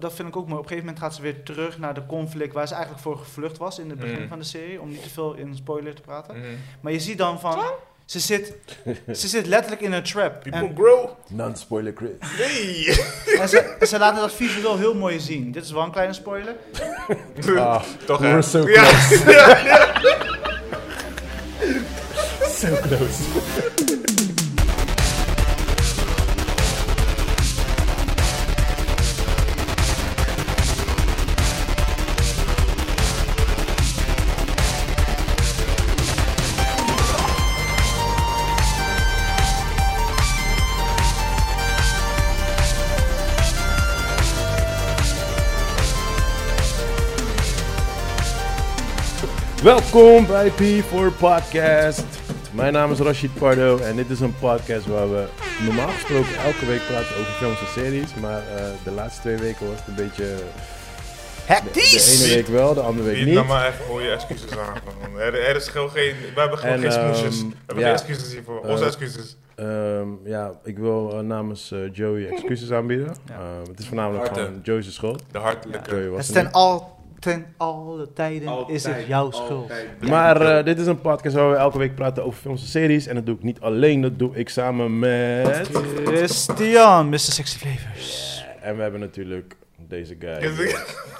Dat vind ik ook mooi. Op een gegeven moment gaat ze weer terug naar de conflict waar ze eigenlijk voor gevlucht was in het begin Mm. van de serie. Om niet te veel in spoiler te praten. Mm. Mhm. Maar je ziet dan van. Ze zit, ze zit letterlijk in een trap. People En, grow. Non-spoiler Chris. Nee. en ze, ze laten dat visueel heel mooi zien. Dit is wel een kleine spoiler. Ah, Toch we hè? were so Ja. close. so close. Welkom bij P4 Podcast. Mijn naam is Rashid Pardo en dit is een podcast waar we normaal gesproken elke week praten over films en series. Maar eh, de laatste twee weken was het een beetje... De ene week wel, de andere week Niet naar niet. maar echt mooie excuses aan. man. Er, er is gewoon geen... We hebben gewoon En, geen smoesjes. ehm, We hebben ja. geen excuses hiervoor. Onze Eh, excuses. Ehm, ja, ik wil eh, namens eh, Joey excuses aanbieden. Ja. Ehm, het is voornamelijk Harte. gewoon Joey's schuld. De hartelijke. Joey was Het is er ten, niet. al, ten alle tijden is het Altijd, jouw schuld. altijd. Maar eh, dit is een podcast waar we elke week praten over films en series. En dat doe ik niet alleen, dat doe ik samen met... Christian, Mr. Sexy Flavors. En we hebben natuurlijk deze Is guy, het-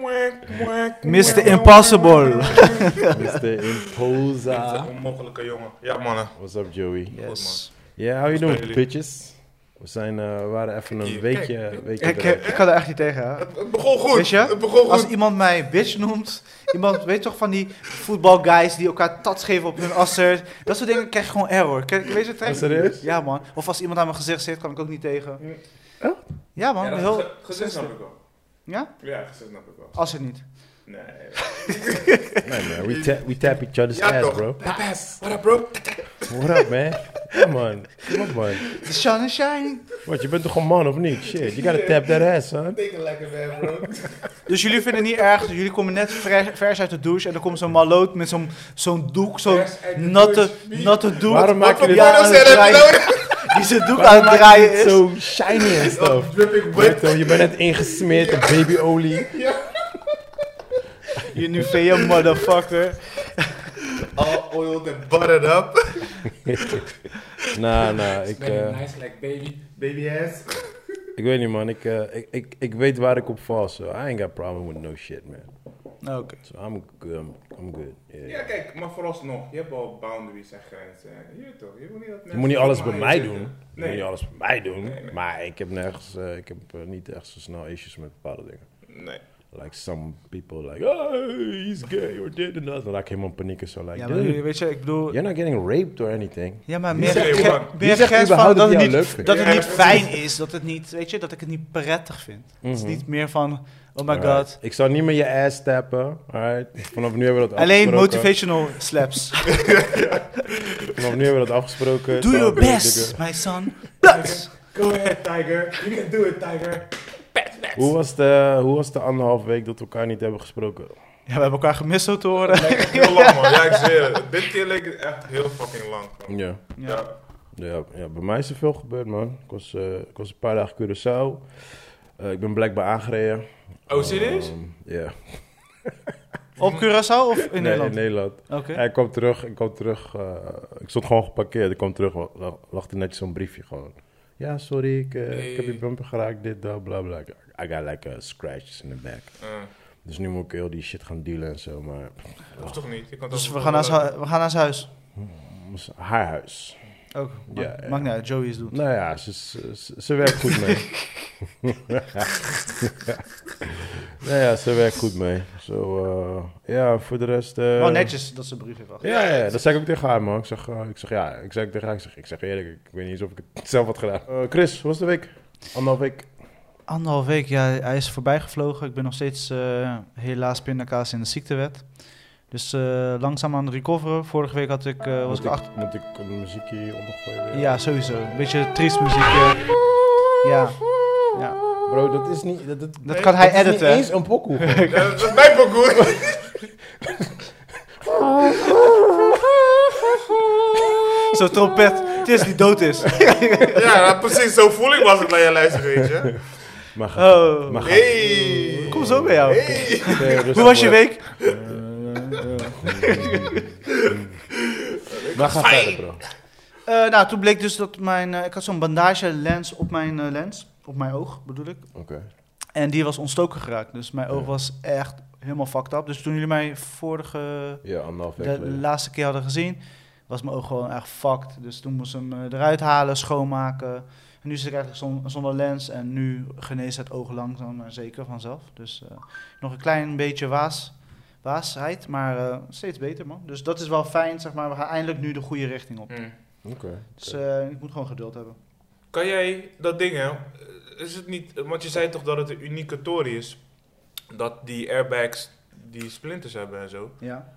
Mwak, mwak, Mr. mwak. Impossible. Mr. Een Imposa. onmogelijke jongen. Ja, mannen. What's up, Joey? Yes. Yeah, how you Hoe doing, spelen bitches? We zijn, eh, we waren even een Kijk, weekje... kijk. weekje Ik, eruit. ik kan er echt niet tegen. hè. Het begon goed. Weet je? Het begon goed. Als iemand mij bitch noemt, iemand weet toch van die voetbalguys die elkaar tats geven op hun asser. Dat soort dingen krijg je gewoon error. Kijk, weet je het echt? Oh, serieus? Ja man. Of als iemand aan mijn gezicht zit, kan ik ook niet tegen. Ja man, Ja, dat heel... ge- Gezin snap ik wel. Ja? Ja, gezin snap ik wel. Als het niet. Nee. Nee, man, we, tap, we tap each other's Ja, ass, toch. bro. Papas. What up, bro? What up, man? Ja, man. Kom op, man. The sun is shining. Wat, je bent toch een man of niet? Shit, you gotta tap that ass, son. Denk er lekker bij, bro. Dus jullie vinden het niet erg, dus jullie komen net vre- vers uit de douche en dan komt zo'n maloot met zo'n zo'n doek, zo'n Vers uit de natte, douche. Wie- natte doek. Waarom maak je dit- Ja, Wat aan zijn het er draaien- nodig? Die zijn doek aan het draaien is. Zo shiny en stuff. Drip ik Weet wet. je, je bent net ingesmeerd in babyolie. Je Nivea motherfucker. All oiled and buttered up. Nou, nou, ik, eh, nice like baby. Baby ass. ik weet niet, man. Ik, eh, ik, ik, ik weet waar ik op val. So I ain't got problem with no shit, man. Oké. So I'm good. I'm, I'm good. Yeah. Ja, kijk, maar vooralsnog, je hebt al boundaries en grenzen. en Je weet toch, je moet niet dat Je mensen moet niet alles bij zomaar mij zitten. doen. Je moet Nee. niet alles bij mij doen. Nee, nee. Maar ik heb nergens, eh, ik heb eh, niet echt zo snel issues met bepaalde dingen. Nee. Like some people like, oh, he's gay or dit en dat. Dan raak ik helemaal in paniek en zo. Like, Ja, maar dude, weet je, Oh ik bedoel... you're not getting raped or anything. Ja, maar Die meer, zegt, ge- "Johan, meer die zegt grens van überhaupt dat dat het, hij jou leuk niet, vindt. dat het Ja. niet fijn is, dat het niet, weet je, dat ik het niet prettig vind. Het Mhm. is niet meer van, oh my Alright. god. Ik zal niet meer je ass tappen. Alright. Vanaf nu hebben we dat Alleen afgesproken. motivational slaps. Vanaf nu hebben we dat afgesproken. Do your Trouwens, dikke- best, my son. But, Go ahead, Tiger. You can do it, Tiger. Hoe was, de, hoe was de anderhalf week dat we elkaar niet hebben gesproken? ja, we hebben elkaar gemist zo te horen. Lekker heel lang, man. Ja, ik zweer het. Dit keer leek het echt heel fucking lang. man. Ja. Ja. Ja, ja bij mij is er veel gebeurd, man. Ik was, eh, ik was een paar dagen Curaçao. Eh, ik ben blijkbaar aangereden. Oh, serieus? Ehm, Ja, Op Curaçao of in Nee, Nederland? in Nederland. Oké. Ja, ik kwam terug, ik kwam terug. eh, ik stond gewoon geparkeerd. Ik kwam terug, lag, lag er netjes zo'n briefje gewoon. Ja, sorry, ik, eh, ik heb je bumper geraakt, dit, dat, bla, bla. I got like eh, scratches in the back. Eh, Dus nu moet ik heel die shit gaan dealen en zo. Maar hoeft toch niet? Je kan Dus toch- we gaan, naar z'n- we gaan naar zijn huis. pff, haar huis. Ook. Ja, Maakt ja. maakt niet uit, Joey is doen. Nou ja, ze, ze, ze- ze werkt goed mee. nou ja, ze werkt goed mee. Zo, eh, ja, voor de rest... eh, Wel Oh, netjes dat ze een brief heeft achter. Ja, ja, dat zei ik ook tegen haar, man. Ik zeg, eh, ik zeg ja, ik zeg tegen haar, ik zeg, ik zeg eerlijk, ik weet niet eens of ik het zelf had gedaan. Eh, Chris, hoe was de week? Anderhalf week. Anderhalf week, ja, hij is voorbij gevlogen. Ik ben nog steeds eh, helaas pindakaas in de ziektewet. Dus eh, langzaam aan het recoveren. Vorige week had ik, eh, was Moet ik achter... ik, moet ik een muziekje ondergooien weer? Ja, sowieso. Een beetje triest muziekje. Ja. ja. Bro, dat is niet... Dat, Dat kan hij is niet editen. eens een pokoe. gewoon. Ja, dat is mijn pokoe. Zo'n trompet. Het is die dood is. ja, precies. Zo voel ik was het naar je luisteren, weet je. Maar ga- Oh. maar ga- Hey! Kom zo bij jou. Hey! Nee, rustig, Hoe was je hoor. week? Eh, eh, maar ga verder, bro. Eh, nou, toen bleek dus dat mijn... eh, ik had zo'n bandage lens op mijn eh, lens. Op mijn oog, bedoel ik. Oké. En die was ontstoken geraakt. Dus mijn oog Ja. was echt helemaal fucked up. Dus toen jullie mij vorige... Ja, anderhalf week de geleden. laatste keer hadden gezien, was mijn oog gewoon echt fucked. Dus toen moest ik hem eh, eruit halen, schoonmaken. En nu zit ik eigenlijk zon- zonder lens en nu geneest het oog langzaam maar zeker vanzelf. Dus eh, nog een klein beetje waas, waasheid, maar eh, steeds beter man. Dus dat is wel fijn, zeg maar. We gaan eindelijk nu de goede richting op. Hm. Oké. Dus eh, ik moet gewoon geduld hebben. Kan jij dat ding, hè? Is het niet, want je zei toch dat het een unieke tory is? Dat die airbags die splinters hebben en zo. Ja,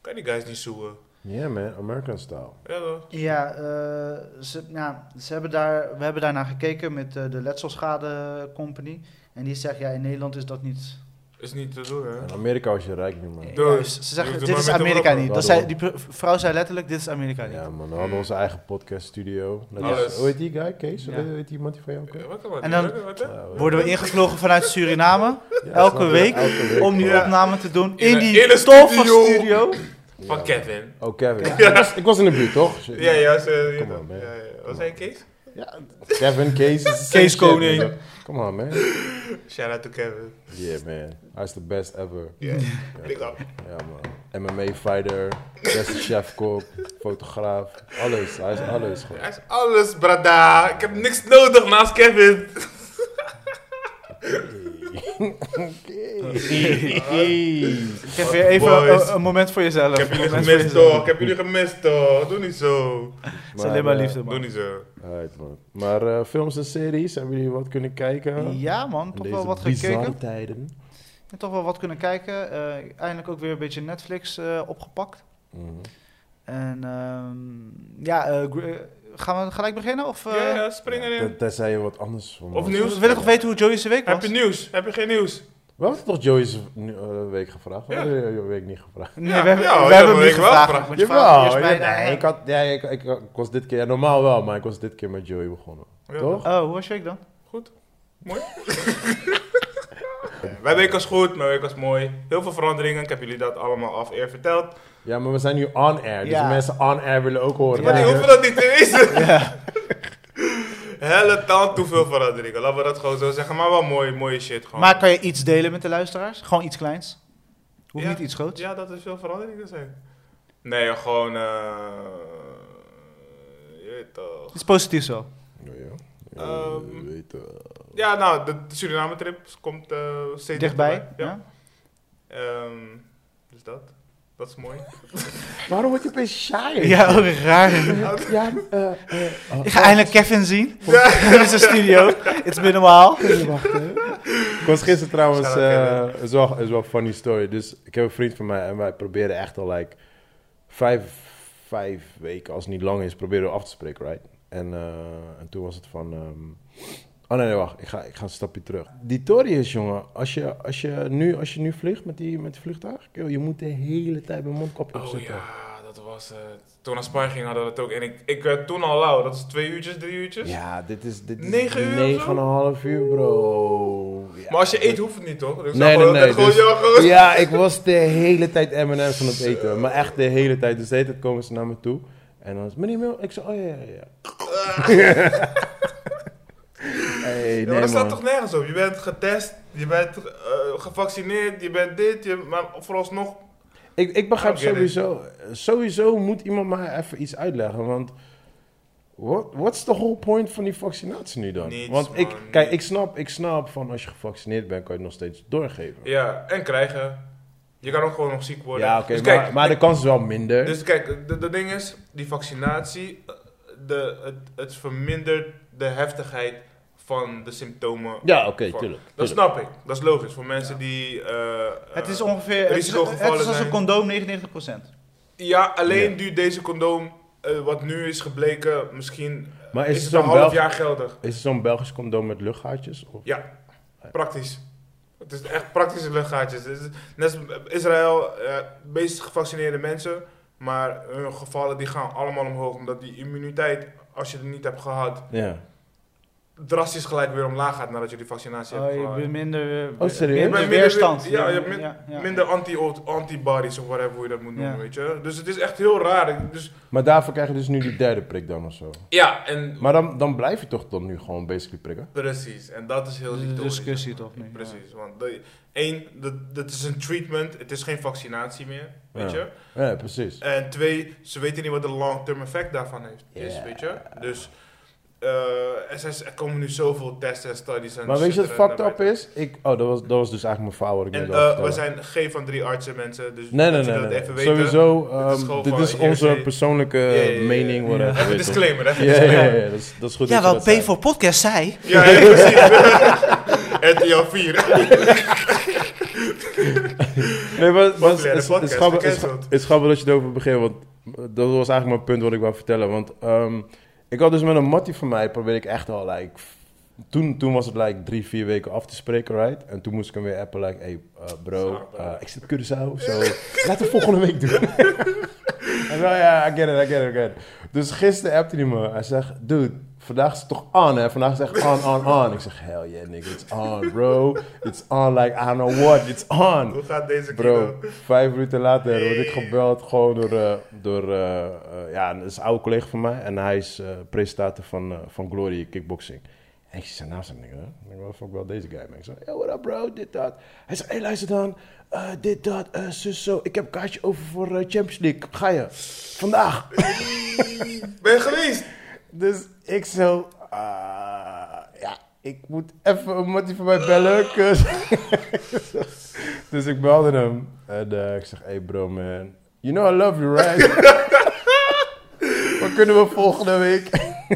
Kan je die guys niet zoeken? Ja, man. American style. Ja, toch? ja eh, ze, nou, ze hebben daar, we hebben daarnaar gekeken met eh, de Letselschade Company. En die zegt, ja, in Nederland is dat niet Is niet te doen, hè? In Amerika was je rijk nu, man. Doe. Juist. ze zeggen, Doe het dit Dus maar is met Amerika de rubber. niet. Dat zei, Waarom? die pr- vrouw zei letterlijk, dit is Amerika niet. Ja, man. We hadden onze eigen podcaststudio. Net als- Alles. Hoe heet die guy? Kees? Ja. Hoe heet die man die van jou? ook? Ja, wat kan dat? En dan- Ja, wat dan? Ja, we- Worden we ingevlogen vanuit Suriname Ja, elke snap je? week Elke week, om die man. opname te doen In in een- die in een toffe studio. studio. Ja. Van Kevin. Oh, Kevin. Ik, was, ik was in de buurt, toch? Shit. Ja, ja, ze, Kom ja, op, man. ja, ja. Kom Wat zei je, Kees? Ja, Kevin, Kees. Kees Koning. Come on, man. Shout out to Kevin. Yeah, man. Hij is the best ever. Yeah. Ja. Big up. Ja, man. MMA-fighter, beste chef-kok, fotograaf. Alles. Hij is alles gewoon. Hij is alles, brada. Ik heb niks nodig naast Kevin. Ik heb weer even Boys. een- een moment voor Ik jezelf. heb jullie Een moment voor gemist, jezelf. toch? Ik heb jullie gemist, toch? Doe niet zo. Het is alleen maar eh, liefde, Doe man. niet zo. alright, man. Maar eh, films en series, hebben jullie wat kunnen kijken? Ja, man. In Toch wel deze wat bizarre gekeken. tijden. En toch wel wat kunnen kijken. Eh, eindelijk ook weer een beetje Netflix eh, opgepakt. Mhm. En ehm, ja, eh, gr- eh, gaan we gelijk beginnen? Of eh, Ja, ja, spring Ten- erin. Tenzij je wat anders van Of me- nu- nieuws. wil ik nog weten hoe Joey's week was? Heb je nieuws? Heb je geen nieuws? We hadden toch Joey's eh, week gevraagd? Ja. Ja. week niet gevraagd. Nee, Ja, we hebben, ja, we dat hebben hem wil niet ik wel gevraagd. vragen. want je vraagt Jawel, eerst mij ja, nee, daarna. ik, had, ja, ik, ik, ik was dit keer, ja, normaal wel, maar ik was dit keer met Joey begonnen. Ja. Toch? Oh, hoe was je week dan? Mijn week was goed, mijn week was mooi. Heel veel veranderingen. Ik heb jullie dat allemaal af eer verteld. Ja, maar we zijn nu on-air, dus Ja. mensen on-air willen ook horen. Ja. Maar die Dat- hoeven dat niet te weten. Helle taal, te veel veranderingen. Laten we dat gewoon zo zeggen. Maar wel mooi, mooie shit gewoon. Maar kan je iets delen met de luisteraars? Gewoon iets kleins? Hoeft Ja. niet iets groots? Ja, dat er veel veranderingen zijn. Nee, gewoon... eh je weet toch. Iets positiefs zo. Ja, ja. Ja, Ehm. je weet, eh, Ja, nou, de Suriname-trip komt eh, steeds Dichtbij? Ja. Ehm, dus dat. Dat is mooi. Waarom word je opeens shy? Ja, ook raar. ja eh, eh, oh, Ik ga eindelijk Kevin zien. In zijn studio. It's been a while. even wachten. Ik was gisteren trouwens, Shout out eh, is, wel, is wel een funny story. Dus ik heb een vriend van mij en wij proberen echt al like vijf, vijf weken, als het niet lang is, proberen we af te spreken, right? En, eh, en toen was het van, ehm, oh nee, nee, wacht, ik ga, ik ga een stapje terug. Die tory is, jongen, als je, als je, nu, als je nu vliegt met die, met die vliegtuig, joh, je moet de hele tijd mijn mondkapje Oh opzetten. ja, dat was eh, het. Toen naar Spanje ging hadden we dat ook. En ik, ik werd toen al lauw. Dat is twee uurtjes, drie uurtjes. Ja, dit is, dit is Negen uur of zo? negen en een half uur, bro. Ja. Maar als je eet, hoeft het niet, toch? Dus Nee, nee, gewoon, nee. Gewoon, dus- ja, gewoon- ja, ik was de hele tijd M&M's aan het eten. Maar echt de hele tijd. Dus de hele tijd komen ze naar me toe. En dan is meneer Mil, ik zei, oh ja, ja, ja. hey, Ja, maar nee dat slaat man. toch nergens op? Je bent getest, je bent eh, gevaccineerd, je bent dit, je, maar vooralsnog... Ik, ik begrijp I don't get it. sowieso, sowieso moet iemand mij even iets uitleggen, want... What, what's the whole point van die vaccinatie nu dan? Niets, Want ik, man, kijk, ik niets. snap, ik snap van als je gevaccineerd bent, kan je het nog steeds doorgeven. Ja, Ja, en krijgen. Je kan ook gewoon nog ziek worden. oké, Dus maar, kijk, maar de kans is wel minder. Dus kijk, de, de ding is, die vaccinatie, eh, de, het, het vermindert de heftigheid van de symptomen. ja, oké, Fuck. tuurlijk. Dat tuurlijk. snap ik, dat is logisch. Voor mensen die... eh, eh, Het is ongeveer... Het is, Risicogevallen het is als zijn. een condoom 99%. Ja, alleen Ja. duurt deze condoom, eh, wat nu is gebleken, misschien eh, Maar is, is het het zo'n een half Belg- jaar geldig. is het zo'n Belgisch condoom met luchtgaatjes? Of? Ja, praktisch. Het is echt praktische luchtgaatjes. Het is, net als Israël, eh meest gevaccineerde mensen, maar hun gevallen die gaan allemaal omhoog, omdat die immuniteit, als je het niet hebt gehad, Ja. drastisch gelijk weer omlaag gaat nadat je die vaccinatie Oh, hebt je gehad. bent minder, eh, Oh, serieus? Je bent minder minder- weerstand. ja, je hebt min- ja, ja. Minder anti antibodies of whatever hoe je dat moet noemen, Ja. weet je. Dus het is echt heel raar. Ik- Dus, Maar daarvoor krijg je dus nu die derde prik dan of zo. ja, en Maar dan, dan blijf je toch tot nu gewoon basically prikken? precies. En dat is heel Dat is een ziekte- discussie toch nu, Precies, want de, één, dat- dat is een treatment, het is geen vaccinatie meer, weet Ja. je. Ja, precies. En twee, ze weten niet wat de long-term effect daarvan heeft, is, Ja. weet je. Dus eh, er, zijn- er komen nu zoveel tests en studies en Maar weet je shit wat er- fucked up is? Ik, oh, dat was, dat was dus eigenlijk mijn fout wat ik En net wou eh, we vertellen. zijn geen van drie artsen mensen, dus Nee, nee, dat nee. je dat nee. even weet. Sowieso, Dit is ehm, gewoon dit van is hearsay. onze persoonlijke Ja, ja, ja. mening. Ja. whatever, Even weet je. disclaimer, hè. Ja, ja, ja, ja, dat, is, dat is goed. Ja, dat je wel dat zei. P voor podcast zei. Ja, ja, precies. RTL 4. Nee, maar het is, Populaire is, podcast, is, grappig, is, gecanceld. is grappig dat je erover begint, want dat was eigenlijk mijn punt wat ik wou vertellen. Want ehm, ik had dus met een mattie van mij, probeerde ik echt al, like, toen, toen was het like drie, vier weken af te spreken, right? En toen moest ik hem weer appen, like, hey eh, bro, eh, ik zit op Curaçao of zo, laten we volgende week doen. En nou ja, I get it, I get it, I get it. Dus gisteren appte hij me. Hij zegt, dude, vandaag is het toch on, hè? Vandaag is het echt on, on, on. Ik zeg, hell yeah, nigga, it's on, bro. It's on, like, I don't know what, it's on. Hoe gaat deze Bro, kilo? vijf minuten later word ik gebeld gewoon door, eh, door eh, eh, ja, dat is een oude collega van mij. En hij is eh, presentator van, eh, van Glory Kickboxing. En ik zie zijn naam staan, ik denk, huh? Ik denk, wat fuck wel deze guy, man. Ik zeg, yo, what up bro, dit, dat. Hij zegt, hey, luister dan, eh, dit, dat, eh zus, zo. Ik heb een kaartje over voor eh, Champions League. Ga je? Vandaag. Ben je geweest? Dus ik zo, ah, ja, ik moet even een mattie van mij Ah. bellen. kus. dus ik belde hem en eh, ik zeg, hey bro man, you know I love you right? Wat kunnen we volgende week?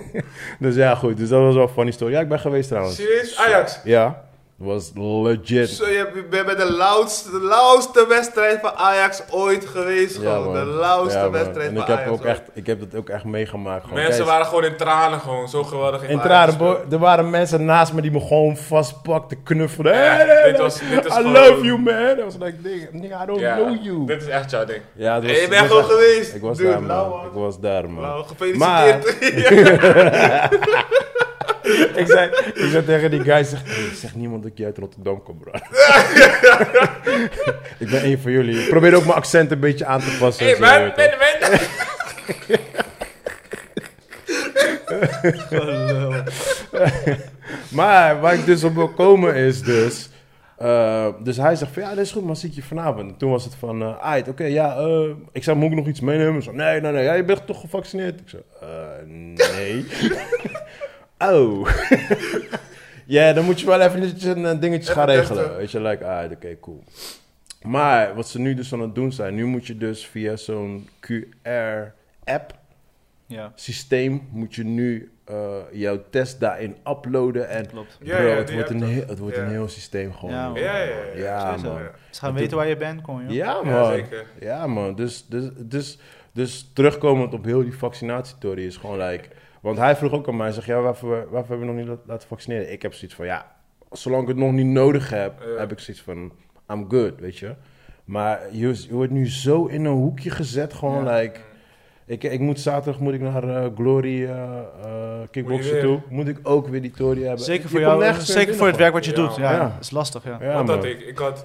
dus ja, goed, dus dat was wel een funny story. Ja, ik ben geweest trouwens. Serieus? Ajax. Ja, was legit. Zo, je bent bij de loudste, de loudste wedstrijd van Ajax ooit geweest. gewoon. man. de loudste Ja, man. wedstrijd En van ik heb, Ajax ook ooit. echt, ik heb dat ook echt meegemaakt. gewoon. Mensen Kijk, waren gewoon in tranen, gewoon zo geweldig. heeft Oh, Ajax In tranen, gespeeld. bro. Er waren mensen naast me die me gewoon vastpakten, knuffelden. Ja, Hey, hey, dit hey, was- dit is I gewoon- love you, man. I was like, nigga, nigga I don't Ja, know you. Dit is echt jouw ding. Ja, het was- Hey, je bent het gewoon was echt- geweest. Ik was Dude, daar, man. lauw, man. Ik was daar, man. Nou, gefeliciteerd. ik, zei, ik zei tegen die guy, zeg, hey, zeg niemand dat ik je uit Rotterdam kom, bro. ik ben één van jullie. Ik probeer ook mijn accent een beetje aan te passen. en Hey, zo, weet man, je ben, ben. Maar waar ik dus op wil komen is dus... eh, dus hij zegt van, ja, dat is goed, maar zie ik je vanavond. En toen was het van, eh "Aight, oké, ja, eh, ik zei, moet ik nog iets meenemen? Hij zei, nee, nee, nee, ja, je bent toch gevaccineerd? Ik zei, "Eh, nee. oh. ja, dan moet je wel even netjes een eh, dingetje gaan Even regelen. testen. Weet je, like, ah, oké, cool. Maar wat ze nu dus aan het doen zijn, nu moet je dus via zo'n QR-app Ja, systeem moet je nu eh, jouw test daarin uploaden. En klopt. Ja, bro, ja, het die wordt, app een, toch? heel, het wordt Ja. een heel systeem gewoon. Ja, man. Ja, ja, ja. Ja, sowieso. man. Ze gaan weten waar je bent, kon je. Ja, Ja, man. zeker. Ja, man. Dus, dus, dus, dus terugkomend op heel die vaccinatietheorie is gewoon like... Want hij vroeg ook aan mij, hij zegt, ja, waarvoor, waarvoor hebben we nog niet la- laten vaccineren? Ik heb zoiets van, ja, zolang ik het nog niet nodig heb, Ja. heb ik zoiets van, I'm good, weet je. Maar je, je wordt nu zo in een hoekje gezet, gewoon Ja. like... Ik, ik moet zaterdag moet ik naar eh, Glory eh eh, Kickboxen weer. toe. Moet ik ook weer die theorie hebben. Zeker Je voor komt jou, nergens meer zeker voor het werk binnen wat je Ja, doet. Ja, ja. dat is lastig, ja. Wat gewoon. Ja, had man. ik? Ik had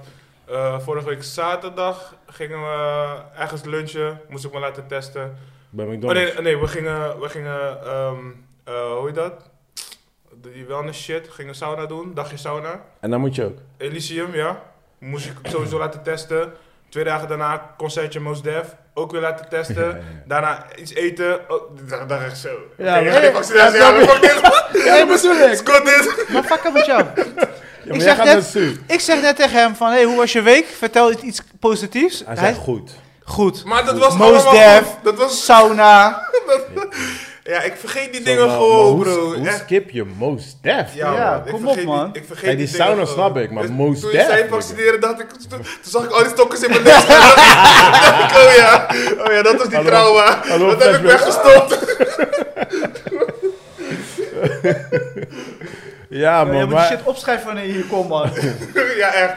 eh, vorige week zaterdag gingen we ergens lunchen. Moest ik me laten testen. Bij Oh McDonald's. nee, nee we gingen, we gingen ehm, eh, hoe heet dat? Die wellness shit. Gingen sauna doen. Dagje sauna. En dan moet je ook. Elysium, ja. Moest ik sowieso laten testen. Twee dagen daarna concertje Mos Def. Ook weer laten testen. Ja, ja. Daarna iets eten. Oh, daar, daar echt zo. Ja, Ja, maar- maar... Ik vaccinatie Ja, aan. snap Fuck dit. Ja, dat bedoel ik. Scott dit. Maar fuck up met jou. Ja, maar Ik jij zeg gaat net- naar Sue. Ik zeg net tegen hem van, hey, hoe was je week? Vertel iets- iets positiefs. Hij Hij zei goed. goed. Maar dat was Mos allemaal Def. goed. Dat was... Sauna. Ja, ik vergeet die Zo, dingen maar- gewoon, maar hoe- bro. Hoe Echt. skip je Most Def? Ja, Ja, man. Ik kom vergeet op, man. Die, ik vergeet Hey, die dingen sauna gewoon. snap ik, maar Dus Mos Toen Def, je zei nigga. vaccineren, dacht ik... Toen, toen zag ik al die stokjes in mijn nek. staan. Dacht ik, oh ja. Oh ja, dat was die Hallo. trauma. Hallo, dat heb ik flashback. weggestopt. Ja, Ja, je man. moet die Maar, shit opschrijven wanneer je hier komt, man. ja, echt.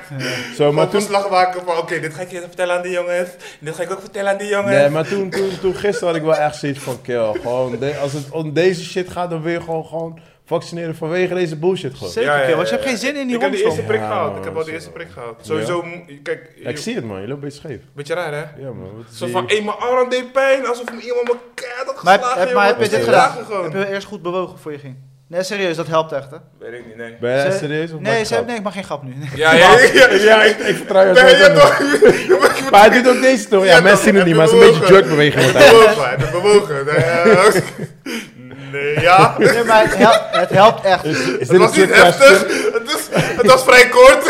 zo, maar Maar toen, slag maken van... Oké, dit ga ik je vertellen aan die jongens. Dit ga ik ook vertellen aan die jongens. nee, maar toen, toen, toen gisteren had ik wel echt zoiets van... Kill, gewoon de- als het om deze shit gaat, dan wil je gewoon, gewoon vaccineren vanwege deze bullshit gewoon. Zeker, Ja, ja, kerel, want je ja, hebt geen ja. zin in die Ik heb de eerste hondsdom. prik Ja, gehaald. Ik man, heb al de zo. eerste prik gehaald. Sowieso, mo- kijk, Ja, ik zie het man, je loopt een beetje scheef. beetje raar hè? Ja man, wat Zo zie van, je- hé, mijn arm deed pijn, alsof me iemand mijn kaart had Maar, heb- geslagen. heb, jongen. maar heb je dat dit is gedaan? Lachen gewoon. Heb je eerst goed bewogen voor je ging? Nee, serieus, dat helpt echt, hè? Weet ik niet, nee. Ben jij Ze- serieus? Of maak Nee, je ze hebben, grap? nee, ik mag geen grap nu. Nee. Ja, ja, ja. ja. Ja, ik, ik vertrouw jou Ben sowieso je niet. toch? Je bent- je Maar hij doet ook deze toch? Ja, Ja, mensen toch, zien het hij niet, maar het is een doet beetje ook, eh, jerkbeweging. wat bent hij- bewogen, hij bent bewogen. Nee, Nee, ja. Nee, maar het, helpt, het helpt echt. Is Het dit een was trick niet question? heftig, het, is, het was vrij kort.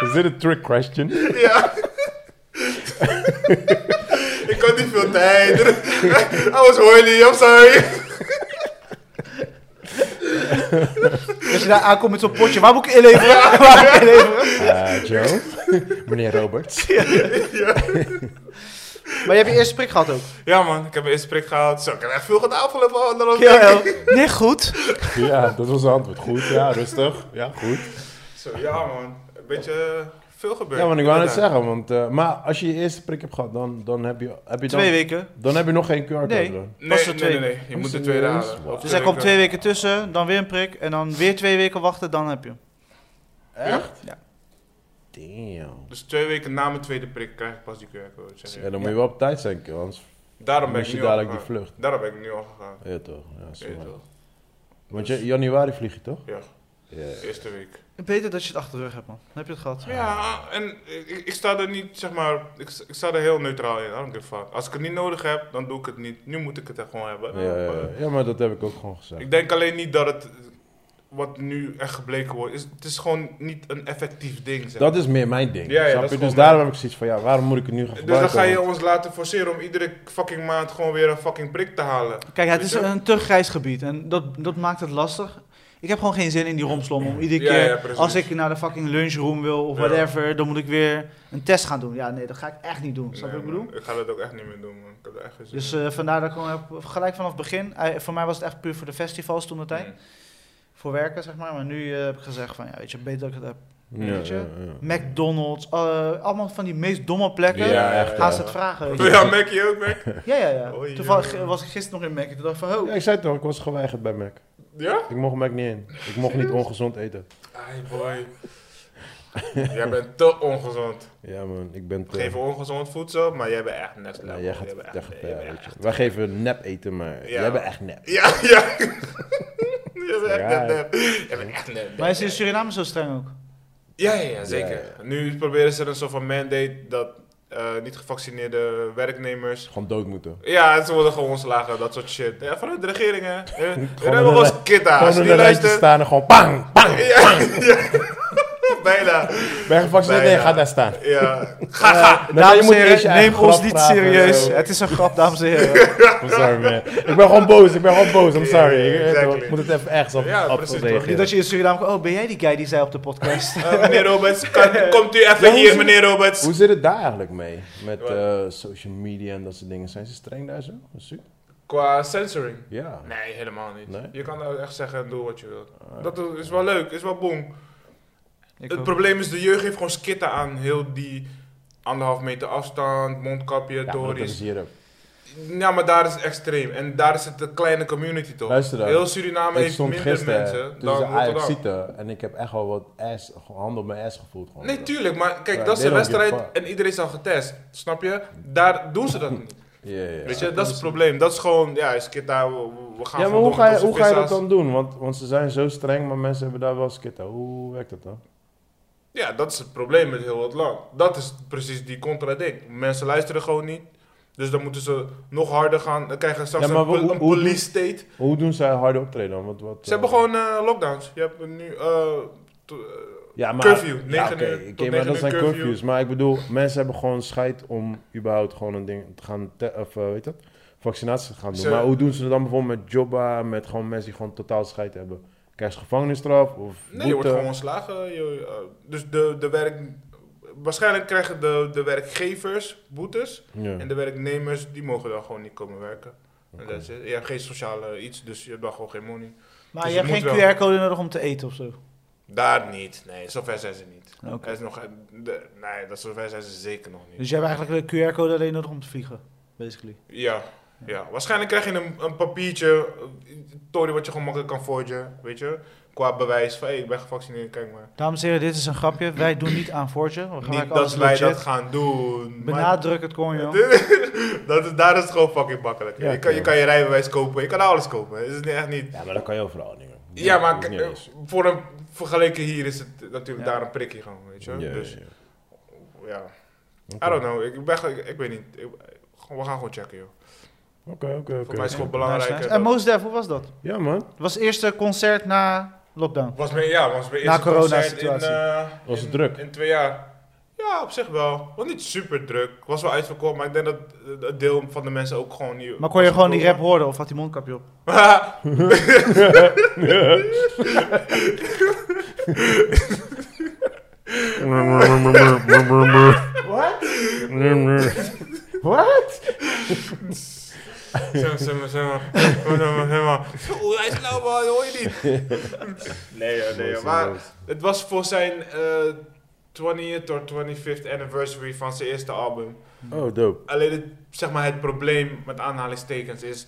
Is dit een trick question? Ja. Ik had niet veel tijd. I was horny, I'm sorry. Als je daar aankomt met zo'n potje, waar moet ik inleveren? Waar moet ik inleveren? Ah, Joe. Meneer Roberts. Maar je hebt je eerste prik gehad ook. Ja man, ik heb een eerste prik gehaald. Zo, ik heb echt veel gedaan afgelopen anderhalf jaar. Kerel, nee, goed. Ja, dat was zijn antwoord. Goed, ja, rustig. Ja, goed. Zo, ja man. Een beetje eh, veel gebeurd. Ja, want ik wou net Inderdaad. zeggen, want... eh, maar als je je eerste prik hebt gehad, dan, dan heb je... Heb je dan, Twee weken. Dan heb je nog geen QR-code. Nee. dan. Was Nee, er nee, nee, twee? nee. Je Was moet de er tweede eens? halen. Wauw. Of Dus hij komt twee weken tussen, dan weer een prik en dan weer twee weken wachten, dan heb je hem. Echt? Ja. Damn. Dus twee weken na mijn tweede prik krijg ik pas die QR-code. zeg Ja, je. dan moet je wel op tijd zijn, kerel, anders Daarom ben mis ik je nu al dadelijk die gegaan. vlucht. Daarom ben ik nu al gegaan. Ja, toch. Ja, Weet je sorry. wel. Want je, januari vlieg je toch? Ja, Ja. eerste week. Beter dat je het achter de rug hebt, man. Dan heb je het gehad. Ja, en ik, ik- ik sta er niet, zeg maar, ik, ik sta er heel neutraal in. I don't give a fuck. Als ik het niet nodig heb, dan doe ik het niet. Nu moet ik het er gewoon hebben. Ja, ja, ja. Ja, maar dat heb ik ook gewoon gezegd. Ik denk alleen niet dat het, wat nu echt gebleken wordt, is, het is gewoon niet een effectief ding. Zeg. Dat is meer mijn ding. Ja, ja, snap dat je? is Dus gewoon mijn- daarom heb ik zoiets van, ja, waarom moet ik het nu gaan dus gebruiken? dan ga je ons laten forceren om iedere fucking maand gewoon weer een fucking prik te halen. Kijk, het Weet is je? een te grijs gebied en dat, dat maakt het lastig. Ik heb gewoon geen zin in die romslom om iedere Ja, keer, ja, precies. als ik naar de fucking lunchroom wil of Ja. whatever, dan moet ik weer een test gaan doen. Ja, nee, dat ga ik echt niet doen. Snap je Nee, wat ik bedoel? man, Ik ga dat ook echt niet meer doen, man. Ik heb er echt Mm. geen zin Dus in. eh, vandaar dat ik gewoon heb, gelijk vanaf het begin, eh, voor mij was het echt puur voor de festivals toen de tijd, Mm. voor werken zeg maar. Maar nu eh, heb ik gezegd van, ja, weet je, beter dat ik het heb. Ja, Weet je? ja, ja. McDonald's, eh, allemaal van die meest domme plekken. Ja, echt, Gaan ja. ze het vragen. weet je. Ja, Mackie ook, Mac. Ja, ja, Oh, ja. Oei, Toevallig jongen. was ik gisteren nog in Mac. en Toen dacht ik van, oh. Ja, ik zei toch, ik was geweigerd bij Mac. Ja? Ik mocht Mac niet in. Ik mocht niet ongezond eten. Ai boy. jij bent te ongezond. Ja man, ik ben We geven te... ongezond voedsel, maar jij bent echt next level. Ja, jij gaat Jij bent echt- echt jij ver, bent weet echt- je. Wij geven nep eten, maar Ja. jij bent echt nep. Ja, ja. jij bent echt Ja. net nep. Jij bent echt net nep. Maar is in Suriname zo streng ook? Ja, ja, ja, zeker. Ja, ja. Nu proberen ze er een soort van mandate dat eh, niet gevaccineerde werknemers... Gewoon dood moeten. Ja, ze worden gewoon ontslagen, dat soort shit. Ja, vanuit de regering, hè. Eh, We in hebben een ons rij- kitta. Als Gewoon je in niet een rijtje luistert... staan en gewoon bang, bang. Ja, ja. Bijna. Ben je gevaccineerd? Nee, Bijna. ga daar staan. Ja. Ga, ga. Nee, je dames moet en heren, eerst je eigen neem ons grap niet praten en serieus. zo. Het is een grap, dames en heren. I'm sorry man. Ik ben gewoon boos, ik ben gewoon boos, I'm Ja, sorry. ja, Ik- ik- exactly. Ik moet het even ergens op, Ja, op precies, op toch. reageren. Niet dat je in Suriname komt, oh, ben jij die guy die zei op de podcast? Eh, meneer Roberts, kan- komt u even Ja, hoe hier, zit- meneer Roberts. Hoe zit het daar eigenlijk mee? Met Wat? eh, social media en dat soort dingen. Zijn ze streng daar zo? Dat is ziek. Qua censoring? Ja. Nee, helemaal niet. Nee? Ah. Je kan nou echt zeggen en doe wat je wilt. Dat is wel leuk, is wel boem. Ik Het ook. probleem is, de jeugd heeft gewoon skitten aan heel die anderhalf meter afstand, mondkapje, Ja, maar dat is tories. hier ook. Ja, maar daar is het extreem. En daar is het een kleine community toch? Luister dan. Heel Suriname Ik heeft stond minder mensen gisteren dan tussen Rotterdam. Ajaxieten en ik heb echt wel wat ass, gewoon hand op mijn ass gevoeld. Gewoon. Nee, tuurlijk, maar kijk, Ja, dat is they een don't give wedstrijd a fuck. en iedereen is al getest. Snap je? Daar doen ze dat niet. Ja, ja. Weet je, dat is het probleem. Dat is gewoon, ja, is kita, we, we gaan Ja, maar gewoon hoe doen ga, je, alsof hoe ga je dat visa's- dan doen? Want, want ze zijn zo streng, maar mensen hebben daar wel skitten. Hoe werkt dat dan? Ja, dat is het probleem met heel het land. Dat is precies die contradict. Mensen luisteren gewoon niet. Dus dan moeten ze nog harder gaan. Dan krijgen ze straks Ja, maar een, pol- hoe- een hoe- police state. Ze Hoe doen zij harde optreden dan? Wat, wat, hebben eh, gewoon eh, lockdowns. Je hebt nu... eh, to- eh, ja, maar, curfew, Ja, negen oké, uur oké, tot maar negen dat uur zijn curfew. curfews. Maar ik bedoel, mensen hebben gewoon scheid om überhaupt gewoon een ding te gaan, te- of eh, weet dat, vaccinatie te gaan doen. Ze- maar hoe doen ze dat dan bijvoorbeeld met jobba, met gewoon mensen die gewoon totaal scheid hebben? Krijg je gevangenisstraf of nee, je wordt boete? gewoon ontslagen. Je, eh, dus de, de werk... Waarschijnlijk krijgen de, de werkgevers boetes. Ja. En de werknemers, die mogen dan gewoon niet komen werken. En dat is het. Je hebt geen sociale iets, dus je hebt dan gewoon geen money. Maar Dus je hebt je geen moet wel- QR-code nodig om te eten of zo. Daar niet. Nee, zover zijn ze niet. Oké. Er is nog, eh, de- nee, dat zover zijn ze zeker nog niet. Dus je hebt eigenlijk de QR-code alleen nodig om te vliegen, basically. Ja, Ja, waarschijnlijk krijg je een, een papiertje, eh, Tory wat je gewoon makkelijk kan forgen, weet je. Qua bewijs van, hé, ik ben gevaccineerd, kijk maar. Dames en heren, dit is een grapje. Wij doen niet aan fortje. We gaan Niet alles dat wij legit. dat gaan doen. maar- Benadruk het kon, joh. dat is, daar is het gewoon fucking makkelijk. Ja, je, kan, je klopt. kan je rijbewijs kopen, je kan alles kopen. Het is niet- echt niet... Ja, maar dat kan je overal dingen. Ja, maar Dat is k- eh, niet eens. voor een, vergeleken hier is het natuurlijk Ja. daar een prikje gewoon, weet je. Ja, ja, dus ja, ja. I don't know, ik, ben, ge- ik, ik weet niet. Ik- we gaan gewoon checken, joh. Oké, oké, Voor mij is het oké. gewoon eh, belangrijker. Nice, nice. dat- En Mos Def, hoe was dat? Ja, man. Het was het eerste concert na lockdown. Was mijn, ja, was mijn Na eerste corona-situatie. concert in, eh, Was het in- druk? In twee jaar. Ja, op zich wel. Was niet super druk. Was wel uitverkocht, maar ik denk dat eh, het deel van de mensen ook gewoon niet... Maar kon je gewoon die rap horen of had die mondkapje op? Zeg maar, zeg maar, zeg maar. Zeg maar, zeg maar. Oeh, hij is lauw, nou, man, hoor je niet. Nee, ja, nee, ja. maar het was voor zijn eh 20th of 25th anniversary van zijn eerste album. Oh, dope. Alleen het, zeg maar, het probleem met aanhalingstekens is.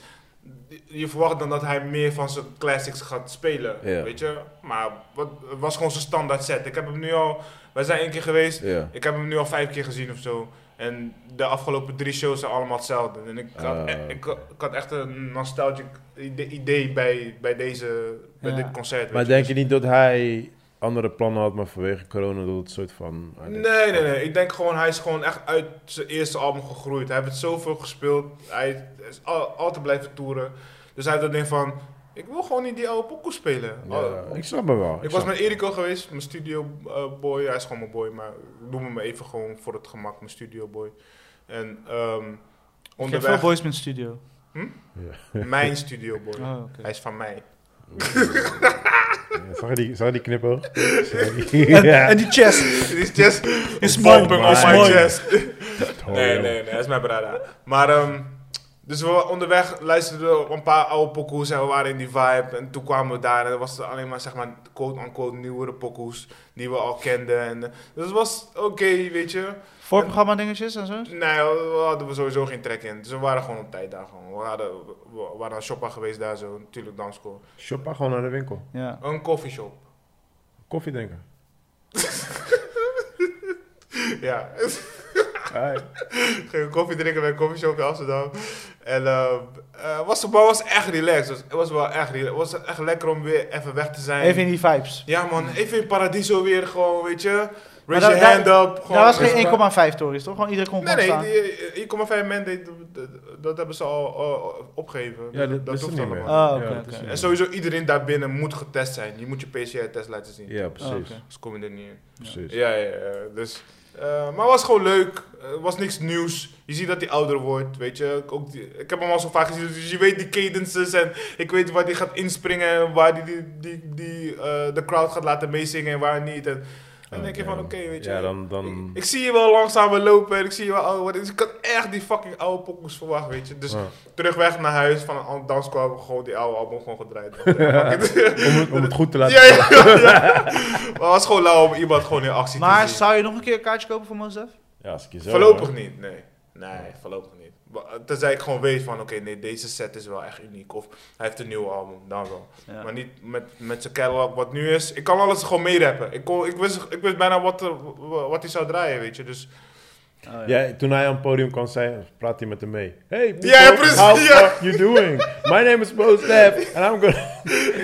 Je verwacht dan dat hij meer van zijn classics gaat spelen. Ja. Weet je? Maar wat, het was gewoon zijn standaard set. Ik heb hem nu al. Wij zijn één keer geweest. Ja. Ik heb hem nu al vijf keer gezien of zo. En de afgelopen drie shows zijn allemaal hetzelfde. En ik had, Ah, eh, ik, ik had echt een nostalgic ide- idee bij, bij, deze, bij Ja. dit concert. Maar weet Dus denk je niet dat hij andere plannen had, maar vanwege corona dat het soort van... Ah, je. Nee, nee, nee. Ik denk gewoon, hij is gewoon echt uit zijn eerste album gegroeid. Hij heeft zoveel gespeeld. Hij is al, altijd blijven toeren. Dus hij had dat ding van, ik wil gewoon niet die oude pokoe spelen. Ja, Al- ik snap me wel. Oh. Ik was met Eriko geweest, mijn studio eh, boy. Hij is gewoon mijn boy, maar noem hem even gewoon voor het gemak, mijn studio boy. En ehm Ik heb onderweg, veel boys met studio. mijn studio boy. Oh, oké. Hij is van mij. Ja, Zag je die, zag je die knipoog? En, en die chest. Het is just Is is mooi. bumping on Is my mooi. Oh, chest. Nee, nee, nee, dat is mijn brada. Maar ehm, dus we onderweg luisterden we een paar oude pokoes en we waren in die vibe. En toen kwamen we daar en er was alleen maar, zeg maar, quote-unquote nieuwere pokoes die we al kenden. En, eh, dus het was oké, weet je. Voorprogramma dingetjes en zo? Nee, we we hadden we sowieso geen trek in. Dus we waren gewoon op tijd daar gewoon. We, hadden, we- we waren aan shoppa geweest daar zo, natuurlijk dansschool. Shoppa gewoon naar de winkel. Ja. Een koffieshop. Koffie drinken. ja, Alright. gingen koffie drinken bij een koffieshop in Amsterdam. En eh, eh, was, maar was echt relaxed. Dus het was wel echt relaxed. Het was echt lekker om weer even weg te zijn. Even in die vibes. Ja man, even in Paradiso weer gewoon, weet je. Maar Raise daar- your hand up. Daar was Is- geen 1,5 tories, toch? Gewoon iedereen kon Nee, gewoon nee, staan. die- die 1,5 man, deed- dat- dat hebben ze al eh, opgegeven. Ja, dat, dat is hoeft niet meer. allemaal. Ah, Ja, oké, dat is oké. niet En meer. sowieso iedereen daarbinnen moet getest zijn. Je moet je PCR-test laten zien. Ja, precies. Oh, oké. Anders kom je er niet in. precies. Ja, ja, ja. Dus, eh, maar het was gewoon leuk. Eh, Het was niks nieuws. Je ziet dat hij ouder wordt, weet je. Ook die- ik heb hem al zo vaak gezien, dus je weet die cadences en ik weet waar hij gaat inspringen en waar hij die, die, die, eh, de crowd gaat laten meezingen en waar niet. En dan denk je Oké. van, oké, weet je. Oh, Ah, Ja, dan... dan... Ik, ik zie je wel langzaam weer lopen en ik zie je wel ouder worden. Dus ik had echt die fucking oude pokkels verwacht, weet je. Dus Ah. terugweg naar huis van een an- dansschool hebben we gewoon die oude album gewoon gedraaid. Ja, fuck it. om, het, om het goed te laten... ja, ja, ja. Maar het was gewoon lauw om iemand gewoon in actie Maar te zien. zou je nog een keer een kaartje kopen voor Mos Def? Ja, als ik je zo Voorlopig hoor. niet, nee. Nee, voorlopig niet. Maar, eh, Tenzij ik gewoon weet van, oké, nee, deze set is wel echt uniek. Of hij heeft een nieuw album, dan wel. Maar niet met, met zijn catalog wat nu is. Ik kan alles gewoon meerappen. Ik, kon, ik, wist, ik wist bijna wat, er, wa- wat hij zou draaien, weet je. Dus Ja, toen hij aan het podium kwam, zei, praat hij met hem mee. Hey, people, Ja, ja, precies, how ja. are you doing? My name is Bo Staff and I'm gonna...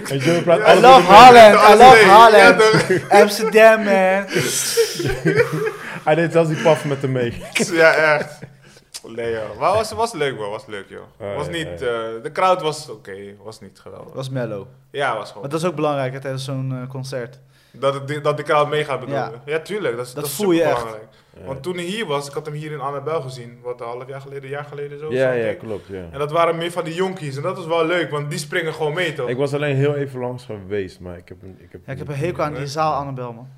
en Joe praat I I alles love met hem mee. Haaland, I Alles love mee. Haaland. Oh, Ja, Amsterdam, man. Hij deed zelfs die paf met hem mee. ja, echt. Nee, joh. Maar was, was leuk, man. Was leuk, joh. Ah, was ja, niet... ja, eh, de crowd was oké. Was niet Dat geweldig. was mellow. Ja, was gewoon... Want dat is ook belangrijk hè, tijdens zo'n eh, concert. Dat, het, die- dat de crowd meegaat bedoelen. Ja. Ja, tuurlijk. Dat, is- Dat dat is voel je echt. superbelangrijk. Want toen hij hier was, ik had hem hier in Annabel gezien. Wat, een half jaar geleden, een jaar geleden zo. Ja, zo, ja, denk ik. klopt, ja. En dat waren meer van die jonkies. En dat was wel leuk, want die springen gewoon mee, toch? Ik Ik, was alleen heel even langs geweest, maar ik heb een... Ik heb, Ja, ik heb een hekel aan die zaal, Annabel, man.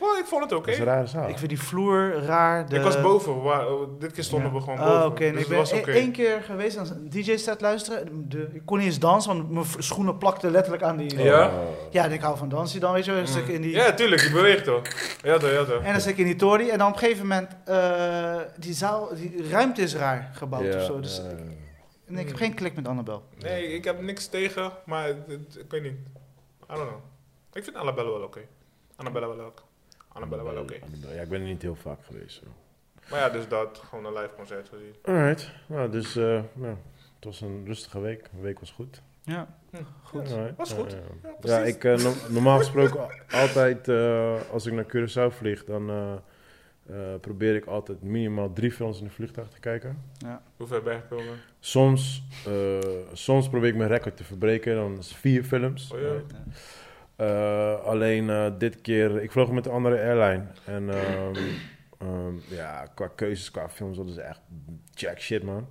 wou- ik vond het oké. Dat is een rare zaal. Ik vind die vloer raar. De... Ik was boven. we waren- oh, dit keer stonden Ja. we gewoon Oh, boven. oké. En Dus ik het was ben oké. e- één keer geweest aan een DJ-set luisteren. De, ik kon niet eens dansen, want mijn v- schoenen plakten letterlijk aan die... Oh. Ja. Ja, en ik hou van dansen dan, weet je wel. Een stuk in die... Mm. Ja, tuurlijk. Je beweegt, toch? Ja, toch, ja, toch. En dan zit ik in die tory. En dan op een gegeven moment, eh, die zaal, die ruimte is raar gebouwd of zo. Dus ja. Nee, ik heb geen klik met Annabel. Nee, ik heb niks tegen, maar het- het- ik weet niet. I don't know. Ik vind Annabelle wel oké. Annabelle wel oké. Annabelle wel oké. Annabelle. Ja, ik ben er niet heel vaak geweest. Zo. Maar ja, dus dat. Gewoon een live concert gezien. Alright. Nou, dus eh, nou, het was een rustige week. De week was goed. Ja. Goed. Alright. Was goed. Ja, ja. Ja, precies. Ja, ik, eh, no- normaal gesproken al- altijd eh, als ik naar Curaçao vlieg, dan eh, eh, probeer ik altijd minimaal drie films in de vliegtuig te kijken. Hoe ver ben je gekomen? Soms, eh, soms probeer ik mijn record te verbreken, dan is het vier films. Oh, ja. Ja. Eh, alleen eh, dit keer, ik vloog met een andere airline. En ehm, ehm, ja, qua keuzes, qua films, dat is echt jack shit, man.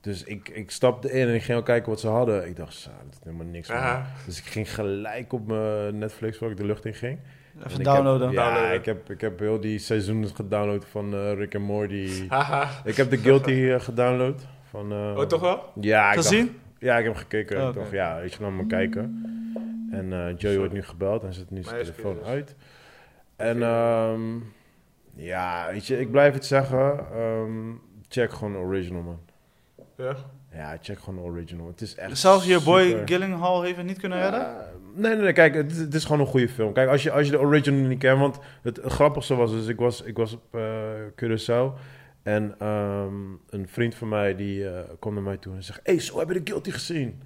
Dus ik, ik stapte in en ik ging al kijken wat ze hadden. Ik dacht, zo, dat is helemaal niks, man. Aha. Dus ik ging gelijk op mijn Netflix, waar ik de lucht in ging. En Even ik downloaden. Heb, ja, Downloaden. Ik, heb, ik heb heel die seizoenen gedownload van eh, Rick and Morty. Haha. ik heb The Guilty eh, gedownload. Van, eh, Oh, toch wel? Ja, ik dacht- Gezien? ja, ik heb gekeken. Oh, Ik dacht, oké. ja, weet je, laat maar kijken. En eh, Joey wordt nu gebeld en zet nu zijn Mijn telefoon excuses. uit. En ehm, ja, weet je, ik blijf het zeggen. ehm, check gewoon original, man. Ja. Ja, check gewoon original. Het is echt Zelfs je boy super. Gillinghall heeft het niet kunnen redden. Ja, Eh, nee, nee, nee, kijk, het, is- het is gewoon een goede film. Kijk, als je, als je de original niet kent, want het grappigste was, dus ik was, ik was op eh, Curaçao en ehm, een vriend van mij die eh, kwam naar mij toe en zegt, hey, zo heb je de Guilty gezien?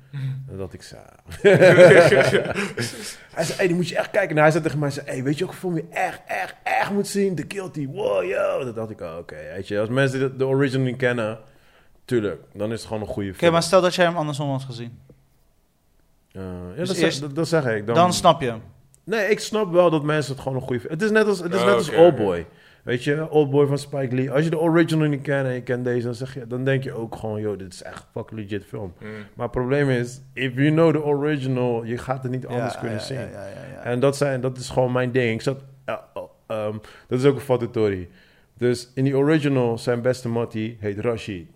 En dat ik zei... hij zei, hey, die moet je echt kijken. En hij zei tegen mij, zei, hey, weet je ook film je echt, echt, echt moet zien? The Guilty, wow, yo. Dat dacht ik, oh, oké, weet je, als mensen de, de original niet kennen, tuurlijk, dan is het gewoon een goede Oké, film. maar stel dat jij hem andersom had gezien. Eh, ja, Dus dat, zeg- eerst- dat, dat zeg ik. Dan, snap je hem. Nee, ik snap wel dat mensen het gewoon een goede... Het is net als, het is Oh, net als oké, Oldboy. Weet je, Oldboy van Spike Lee. Als je de original niet kent en je kent deze, dan, zeg je, dan denk je ook gewoon... ...joh, dit is echt een fucking legit film. Mm. Maar het probleem is, if you know the original... ...je gaat het niet anders Ja, kunnen ja, zien. Ja, ja, ja, ja. En dat, zijn, dat is gewoon mijn ding. Ik zat, eh, oh, ehm, dat is ook een fatatorie. Dus in die original, zijn beste mattie heet Rashid.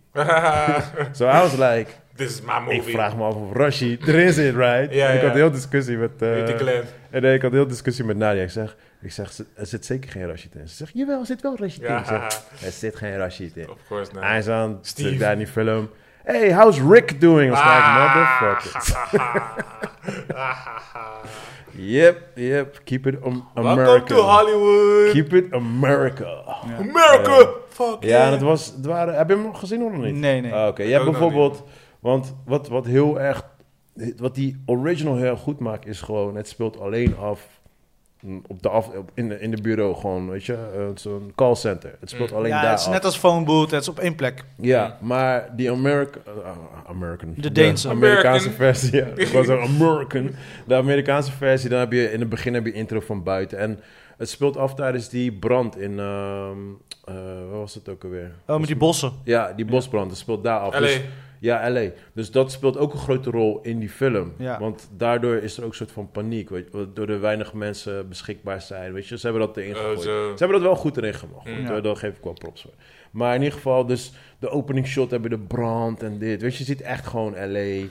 So I was like, This is my movie. ik vraag me af of Rashid erin zit, right? Ja, En ik ja. had een hele discussie met... eh, Weet ik alleen. en nee, ik had een hele discussie met Nadia. Ik zeg, ik zeg ze- er zit zeker geen Rashid in. Ze zegt, jawel, er zit wel Rashid in. Ja. Ik zeg, er zit geen Rashid in. Of course not. Hij is aan, zit Steve. daar in die film. Hey, how's Rick doing? I was like, Ah. motherfucker. Yep, yep, keep it am- Welcome to America. Hollywood. Keep it America. America. Fuck Ja, en yeah. het was, het waren, heb je hem nog gezien of nog niet? Eh, Nee, nee. Ah, Oké, je hebt Ook nog bijvoorbeeld, want wat, wat heel erg, wat die original heel goed maakt, is gewoon, het speelt alleen af mm, op de af, op- in, de, in de bureau gewoon, weet je, eh, het is een callcenter. Het speelt alleen ja, daar het is af. net als phone booth, het is op één plek. Ja, maar die American, American, De Deense. Amerikaanse American. versie, ja, ik was een American. De Amerikaanse versie, dan heb je in het begin heb je intro van buiten en het speelt af tijdens die brand in, ehm eh, wat was het ook alweer? Oh, met die bossen. Ja, die bosbrand, dat speelt daar af. LA. Dus- ja, LA. Dus dat speelt ook een grote rol in die film. Ja. Want daardoor is er ook een soort van paniek, weet je, waardoor er weinig mensen beschikbaar zijn. Weet je, ze hebben dat erin Oh, gegooid. zo. Eh, ze hebben dat wel goed erin gemaakt. Mm. hoor. Ja. Daar geef ik wel props voor. Maar in ieder geval, dus de opening shot hebben de brand en dit. Weet je, je ziet echt gewoon LA.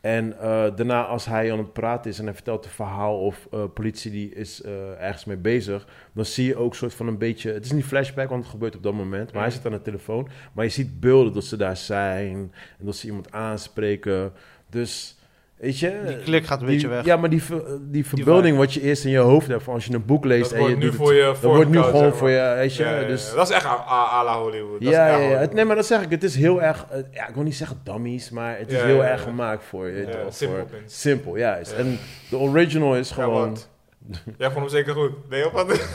En eh, daarna, als hij aan het praten is en hij vertelt een verhaal of eh, politie die is eh, ergens mee bezig, dan zie je ook soort van een beetje. Het is niet flashback, want het gebeurt op dat moment. Maar hij zit aan de telefoon. Maar je ziet beelden dat ze daar zijn en dat ze iemand aanspreken. Dus, weet je. Die klik gaat een die- beetje weg. Ja, maar die, ver- die verbeelding wat je eerst in je hoofd hebt, van als je een boek leest Dat en je wordt nu doet voor het, je dat wordt nu voorgekoud, gewoon zeg voor maar. je, weet je. Ja, ja, ja. dus, Dat is echt à- à à la Hollywood. Dat ja, is ja, echt ja. Het, Hollywood. nee, maar dat zeg ik. Het is heel erg, eh, ja, ik wil niet zeggen dummies, maar het is Ja, heel ja, ja. erg gemaakt voor je. weet Ja, je wel, simpel voor- mensen. Simpel, juist. Ja. En de original is Ja, gewoon... want... Jij vond hem zeker goed. Nee, of wat?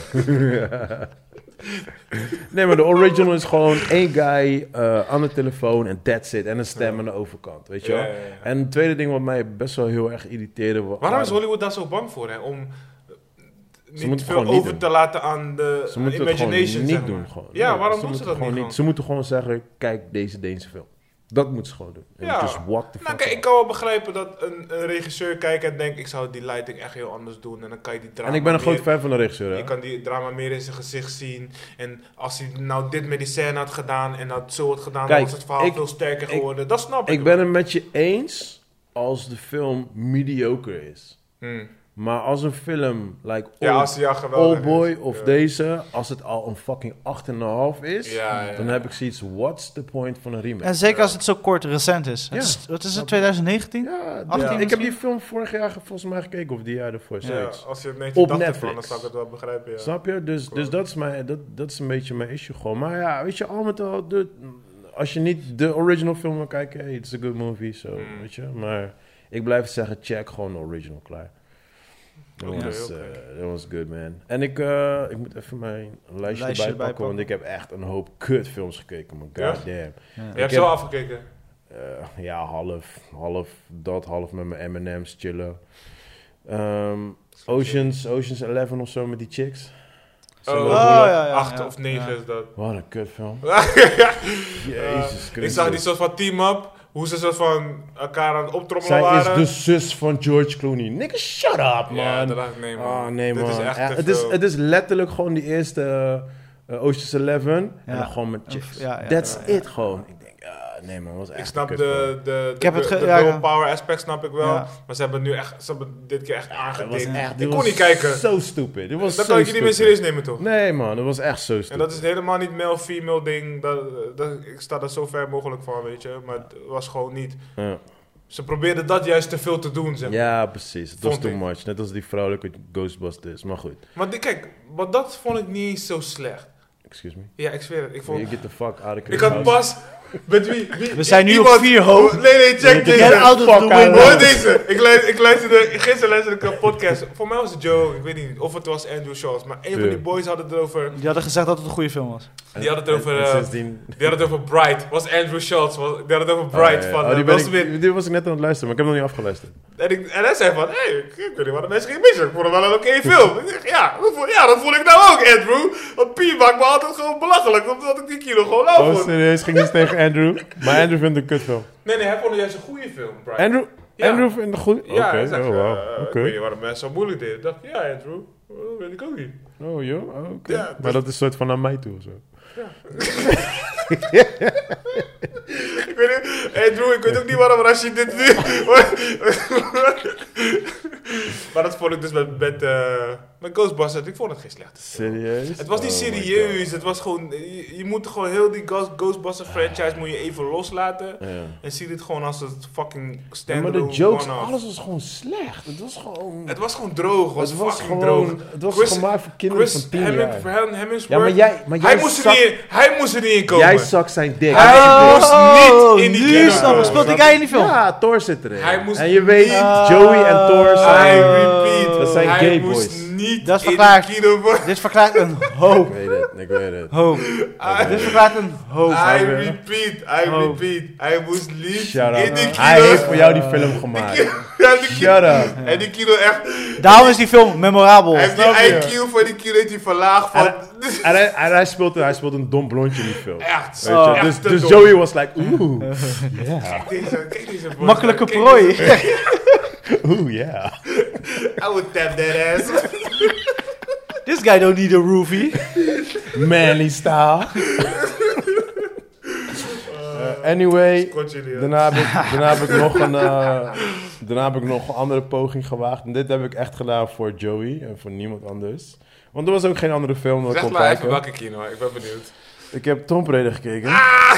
nee, maar de original is gewoon één guy eh, aan de telefoon en that's it. En een stem aan de overkant, weet je wel. Ja, ja, ja. En het tweede ding wat mij best wel heel erg irriteerde... wa- Waarom is waren- Hollywood daar zo bang voor, hè? Om eh, niet moeten veel het gewoon niet over doen. te laten aan de Ze moeten het gewoon imagination, niet zeg maar. doen. Gewoon. Ja, Nee, waarom doen ze moeten dat gewoon niet? Ze moeten gewoon zeggen, kijk deze Deense film. Dat moeten ze gewoon doen. En Ja. Dus what the Nou, fuck. kijk, ik kan wel begrijpen dat een, een regisseur kijkt en denkt... ik zou die lighting echt heel anders doen en dan kan je die drama en ik ben een groot meer- fan van de regisseur, hè. Je kan die drama meer in zijn gezicht zien. En als hij nou dit met die scène had gedaan en dat zo had gedaan... Kijk, dan was het verhaal ik- veel sterker ik- geworden. Dat snap ik. Ik ben het met je eens als de film mediocre is. Hmm. Maar als een film, like Ja, Old- als hij ja, geweldig Old Boy is. of Ja. deze, als het al een fucking 8,5 is, Ja, ja, dan ja. heb ik zoiets, what's the point van een remake? En zeker als het zo kort recent is. Het Ja. is wat is het, 2019? Ja, 18 ja, ik heb misschien? die film vorig jaar ge- volgens mij gekeken, of die jaar ervoor, Ja, zoiets. als je het Op 1980 hebt, dan Netflix. zou ik het wel begrijpen, ja. Snap je? Dus, dus Klopt. dat, is mijn, dat, dat is een beetje mijn issue gewoon. Maar ja, weet je, al met al, dude, als je niet de original film wil kijken, hey, it's a good movie, so, Mm. weet je. Maar ik blijf zeggen, check gewoon de original, klaar. That Oké, was, oké. eh, that was good, man. En ik, eh, ik moet even mijn lijstje, Lijstje erbij pakken, erbij pakken. want ik heb echt een hoop kutfilms gekeken, man. Ja? Goddamn. Ja. Je hebt Ik zo heb- afgekeken. Eh, ja, half, half dat, half met mijn M&M's chillen. Ehm, Oceans, Oceans 11 of zo met die chicks. Oh, Zullen we- Oh, ja, ja, ja. Acht of negen Ja. is dat. Wat een kutfilm. Jezus Eh, Christus. ik zag die soort van team-up, hoe ze soort van elkaar aan het optrommelen Zij is dus- waren. de zus van George Clooney. Nigga, shut up, man. Ja, dat dacht ik, nee man. oh, nee, man. Dit is echt Ja, te het, is, veel. het is letterlijk gewoon die eerste eh, eh, Ocean's 11. En Ja. dan gewoon met chicks. Ja, ja, That's ja, ja. it, gewoon. Ik denk, ah, nee, man. Dat was echt Ik een snap de, kutfilm. de, de, Ik heb het de- ge- de ja, girl ja. power aspect snap ik wel. Ja. Maar ze hebben nu echt, ze hebben dit keer echt Dat was aangedikt. echt, Ik dit kon niet was kijken. Zo stupid. Dit was Dat zo kan ik je niet meer stupid. serieus nemen toch? Nee, man, dat was echt zo En stom. dat is helemaal niet male-female ding. Dat, dat, ik sta daar zo ver mogelijk van, weet je. Maar het was gewoon niet. Ja. Ze probeerden dat juist te veel te doen, zeg maar. ja, precies. Dat was Vond too ik. much. Net als die vrouwelijke Ghostbusters. Maar goed, Maar die- kijk, maar dat vond ik niet eens zo slecht. excuse me. Ja, ik zweer het. Ik, You vond, get the fuck out of ik had pas... Met wie, wie- We zijn nu op iemand- vier hoog. Nee, nee, check Get Get deze. out of the Fuck out. Hoor window. deze. Ik, lu- ik luisterde... Gisteren luisterde ik een podcast. Voor mij was het Joe, ik weet niet. Of het was Andrew Schultz. Maar een van die Ja. boys had het erover... Die hadden gezegd dat het een goede film was. Die had het over, eh, sindsdien... Die had het over Bright. Was Andrew Schultz. Was, die had het over Bright Oh, ja, ja. van Oh, eh, die, ben Will ik- Smith. die was ik net aan het luisteren, maar ik heb hem nog niet afgeluisterd. En, ik, en hij zei van, hé, hey, ik, ik weet niet waar de mensen gingen missen. Ik vond het wel een oké film. Ik zeg, ja, dat voel, ja, dat voel ik nou ook, Andrew. Want P maakt me altijd gewoon belachelijk, omdat ik die kilo gewoon lauw Oh, vond. serieus, ging dus tegen Andrew. Maar Andrew vindt een kutfilm. Nee, nee, hij vond het juist een goede film, Brian. Andrew, Ja. Andrew vindt een goed... Oké, ja, hij zegt, oh, eh, wow. ik weet Oké. niet waar de mensen zo moeilijk deden. Ik dacht, ja, Andrew, dat weet ik ook niet. Oh, joh, oh, oké. Ja, dus- Maar dat is een soort van naar mij toe of zo. Ik weet niet, Andrew, ik weet ook niet waarom Rashid dit doet. maar dat vond ik dus met, met, eh, met Ghostbusters, ik vond het geen slechte Serieus? Het was niet Oh my serieus, het was gewoon, je, je moet gewoon heel die Ghost, Ghostbusters franchise moet je even loslaten. God. Ja. En zie dit gewoon als het fucking Ja, maar standalone de jokes, one-off. alles was gewoon slecht. Het was gewoon... Het was gewoon droog, was Het was fucking gewoon... droog. Het was Chris- gemaakt voor kinderen Chris van 10 jaar. Hemmingsworth, Hem, Hemmingsworth, Ja, maar jij, maar jij hij, moest zakt- er niet in, hij moest er niet in komen. Jij zak zijn dik. Hij moest niet in die Oh, nu film. snap ik. Speelt die guy in die film? Ja, Thor zit erin. nou, Hij moest en je weet, niet- Joey en Thor I zijn... repeat, Dat zijn hij gay moest boys. niet Dat is in de verklaard. kino worden. Dit verklaart een hoop. Ik weet het, ik weet het. hoop. I, Dit verklaart een hoop. I weer. repeat, I Oh. repeat, hij moest niet Shut in de up. kino. Hij heeft voor jou die film gemaakt. Ja, die kino- Shut up. En die kilo echt, Daarom is die film memorabel. hij heeft snap die je. IQ van die kilo heeft hij verlaagd van... En hij, en hij, speelt, hij speelt een dom blondje in die film. Echt, Weet je, echt dus te dus dom. Joey was like, oeh, yeah, Kijk deze, kijk deze boy. Makkelijke Kijk prooi. deze- oeh, yeah. I would tap that ass. This guy don't need a roofie. Manly style. Eh, anyway, Kort jullie. hè. daarna heb ik, daarna heb ik nog een, eh, daarna heb ik nog een andere poging gewaagd. En dit heb ik echt gedaan voor Joey en voor niemand anders. Want er was ook geen andere film dat ik Zeg kon maar even kijken. welke kino, ik ben benieuwd. Ik heb Tom Brady gekeken. Ah!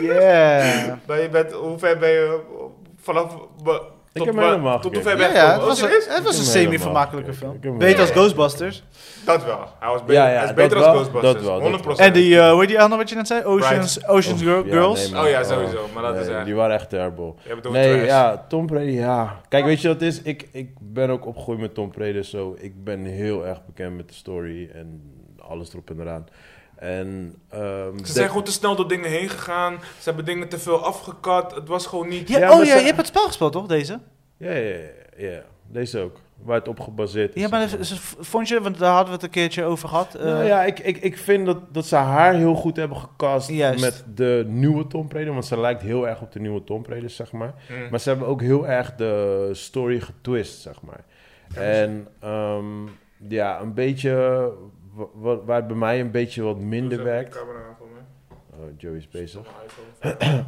Yeah. Maar je bent, hoe ver ben je eh, vanaf... be- Ik tot heb waar- helemaal Tot hoe gekeken. ver ben Ja, je ja, gekomen? het Oh, was een, serieus? het hem was een helemaal semi-vermakelijke gekeken. Ik film. heb hem Beter als helemaal Ghostbusters. Dat wel. Hij was beter, Ja, ja, hij is dat beter wel, als Ghostbusters. dat wel, dat 100%. En die, eh hoe heet die andere wat je net zei? Oceans, Oceans Of- Girl- ja, Girls. nee, man. Oh ja, sowieso, maar dat is echt- Die waren echt terrible. Je hebt het over Nee, trash. ja, Tom Brady, ja. Kijk, weet je wat het is? Ik, ik ben ook opgegroeid met Tom Brady, zo ik ben heel erg bekend met de story en alles erop en eraan. En, ehm, Ze de- zijn gewoon te snel door dingen heen gegaan. Ze hebben dingen te veel afgekat. Het was gewoon niet... Ja, Ja, oh maar ja, ze- je hebt het spel gespeeld toch, deze? Ja, ja, ja, ja. Deze ook. Waar het op gebaseerd is. Ja, maar zeg ze- ze- vond je, want daar hadden we het een keertje over gehad. eh, Nou ja, ik, ik, ik vind dat, dat ze haar heel goed hebben gecast Juist. met de nieuwe Tom Brady. Want ze lijkt heel erg op de nieuwe Tom Brady, zeg maar. Mm. Maar ze hebben ook heel erg de story getwist, zeg maar. En ehm, ja, een beetje... wa- wa- Waar het bij mij een beetje wat minder werkt... Oh, Joey is bezig.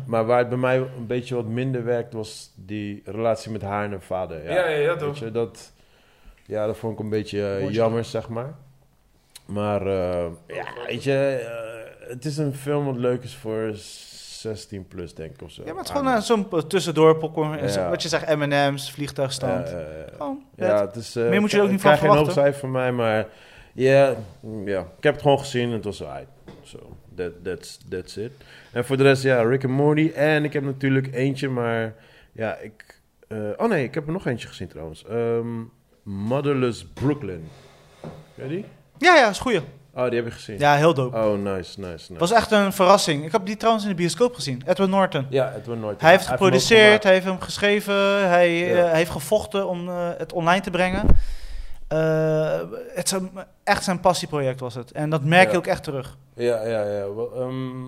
Maar waar het bij mij een beetje wat minder werkt... was die relatie met haar en haar vader. Ja, ja, ja, Weet toch. je, dat... Ja, dat vond ik een beetje eh, Mooi jammer, zeg maar. Maar eh, ja, weet je, eh, het is een film wat leuk is voor 16 plus, denk ik of zo. Ja, maar het is gewoon eh, Aan- zo'n eh, tussendoor popcorn. en zo- Ja. Wat je zegt, M&M's, vliegtuigstand. Oh, Eh, eh, gewoon, ja, het is, eh, Meer moet je er ook ik niet krijg van geen verwachten. hoofdcijfer van mij, maar ja, mm, ja, ik heb het gewoon gezien en het was uit. So, that, that's, that's it. En voor de rest, ja, Rick and Morty. En ik heb natuurlijk eentje, maar ja, ik... eh, oh nee, ik heb er nog eentje gezien trouwens. Ehm, Motherless Brooklyn. Ken je die? Ja, ja, is goeie. Oh, die heb ik gezien. Ja, heel dope. Oh, nice, nice, nice. was echt een verrassing. Ik heb die trouwens in de bioscoop gezien. Edward Norton. Ja, het wordt nooit. Hij heeft hem geproduceerd, ook hij heeft hem geschreven, hij Ja. eh, heeft gevochten om eh, het online te brengen. Eh, het is een- echt zijn passieproject was het. En dat merk je Ja. ook echt terug. gemaakt. Ja, ja, ja. Wel, ehm,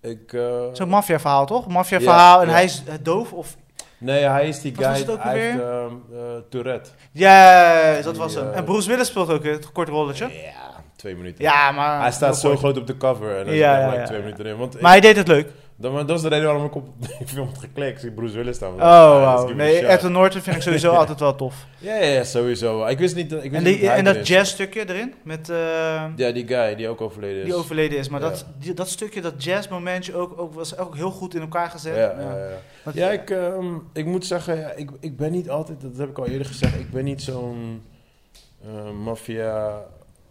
ik. eh, Zo'n maffiaverhaal toch? Ja, Maffiaverhaal en ja. hij is eh, doof of... nee, hij is die Wat was guy. het ook Hij alweer? heeft ehm, eh, Tourette. Ja, dat was Die, hem. eh, En Bruce Willis speelt ook het kort rolletje. Ja, twee minuten. Ja, maar... Hij staat heel zo kort. groot op de cover en Ja, dan zit ja, er ja, gelijk twee ja. minuten in. Want Maar hij deed het leuk. ik- dat, maar dat is de reden waarom ik op die film had geklikt. Ik zie Bruce Willis staan. Oh, let's wow. give it a Nee, shot. Edward Norton vind ik sowieso altijd wel tof. Ja, ja, ja, sowieso. Ik wist niet dat. Ik wist En, niet die, hij en erin dat zat. jazzstukje erin, met... eh, Ja, die guy die ook overleden is. die overleden is. Maar Ja. dat, die- dat stukje, dat jazzmomentje ook, ook, was ook heel goed in elkaar gezet. Ja, Ja. ja, ja. Want- Ja, ik, ehm, ik moet zeggen, ja, ik, ik ben niet altijd, dat heb ik al eerder gezegd, ik ben niet zo'n eh maffia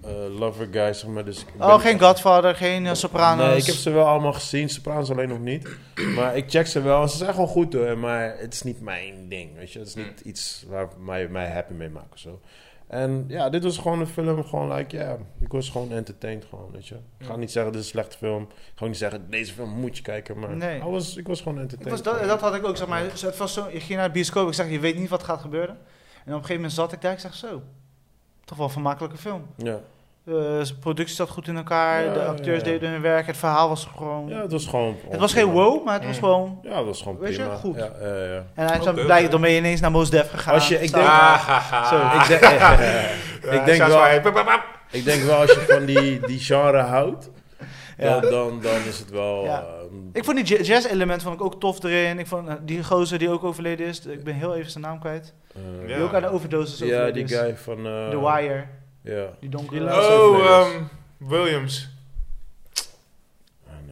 eh, lover guy, zeg maar. Dus ik ben oh, geen Godfather, geen eh, Sopranos. Nee, ik heb ze wel allemaal gezien, Sopranos alleen nog niet. Maar ik check ze wel, ze zijn gewoon goed hoor, maar het is niet mijn ding, weet je. Het is niet Hmm. iets waar mij, mij happy mee maken of zo. En ja, dit was gewoon een film, gewoon like, ja, ik was gewoon entertained gewoon, weet je. Ik ga Hmm. Ja. niet zeggen, dit is een slechte film. Ik ga ook niet zeggen, deze film moet je kijken, maar Nee. I was, ik was gewoon Ik entertained. was, dat, gewoon. dat had ik ook, zeg maar. Het was zo, je ging naar de bioscoop, ik zeg, je weet niet wat gaat gebeuren. En op een gegeven moment zat ik daar, ik zeg, zo, toch wel een vermakelijke film. Ja. Eh, De productie zat goed in elkaar, Ja, de acteurs ja. deden hun werk, het verhaal was gewoon... Ja, het was gewoon. het was geen wow, maar het was Mm. gewoon... Ja, het was gewoon Weet je, prima. goed. Ja, ja, ja. En hij is dan Oké, blij, oké. dan ben je ineens naar Mos Def gegaan. Als je- ik staan. denk- Ah, Zo, Ik, denk, ik, denk wel, ik denk wel, als je van die, die genre houdt, Ja. dan, dan, dan is het wel. Ja. ehm, Ik vond die ja- jazz-element vond ik ook tof erin. Ik vond eh, die gozer die ook overleden is, ik ben heel even zijn naam kwijt. eh, Die Ja. ook aan de overdosis overleden ja, die is. guy van. eh, The Wire, Ja. die donkere... Die laatste. Oh, ehm, Williams.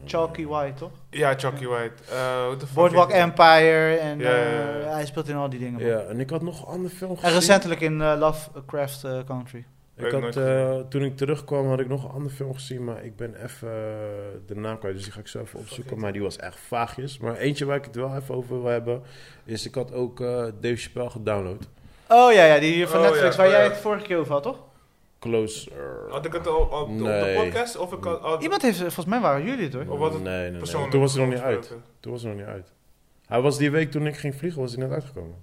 Chalky White, toch? Ja, Chucky White. Eh, what the fuck Boardwalk heet die? Empire en Ja, ja, eh, ja. hij speelt in al die dingen. man. Ja, en ik had nog een andere film gezien. En recentelijk in eh, Lovecraft eh, Country. Ik Heb ik had, nooit eh, toen ik terugkwam had ik nog een andere film gezien, maar ik ben even eh, de naam kwijt, dus die ga ik zo even opzoeken. Maar die was echt vaagjes. Maar eentje waar ik het wel even over wil hebben, is ik had ook eh Dave Chappelle gedownload. Oh ja, ja die hier van Oh, Netflix, ja, waar oh, jij ja. het vorige keer over had, toch? Closer. Had ik het al op, op Nee. de podcast? Of ik had, had Iemand heeft, eh, volgens mij waren jullie het hoor. Of was het nee, nee, nee. persoonlijk Toen was hij nog niet uit. gesproken? Toen was hij nog niet uit. Hij was die week toen ik ging vliegen, was hij net uitgekomen.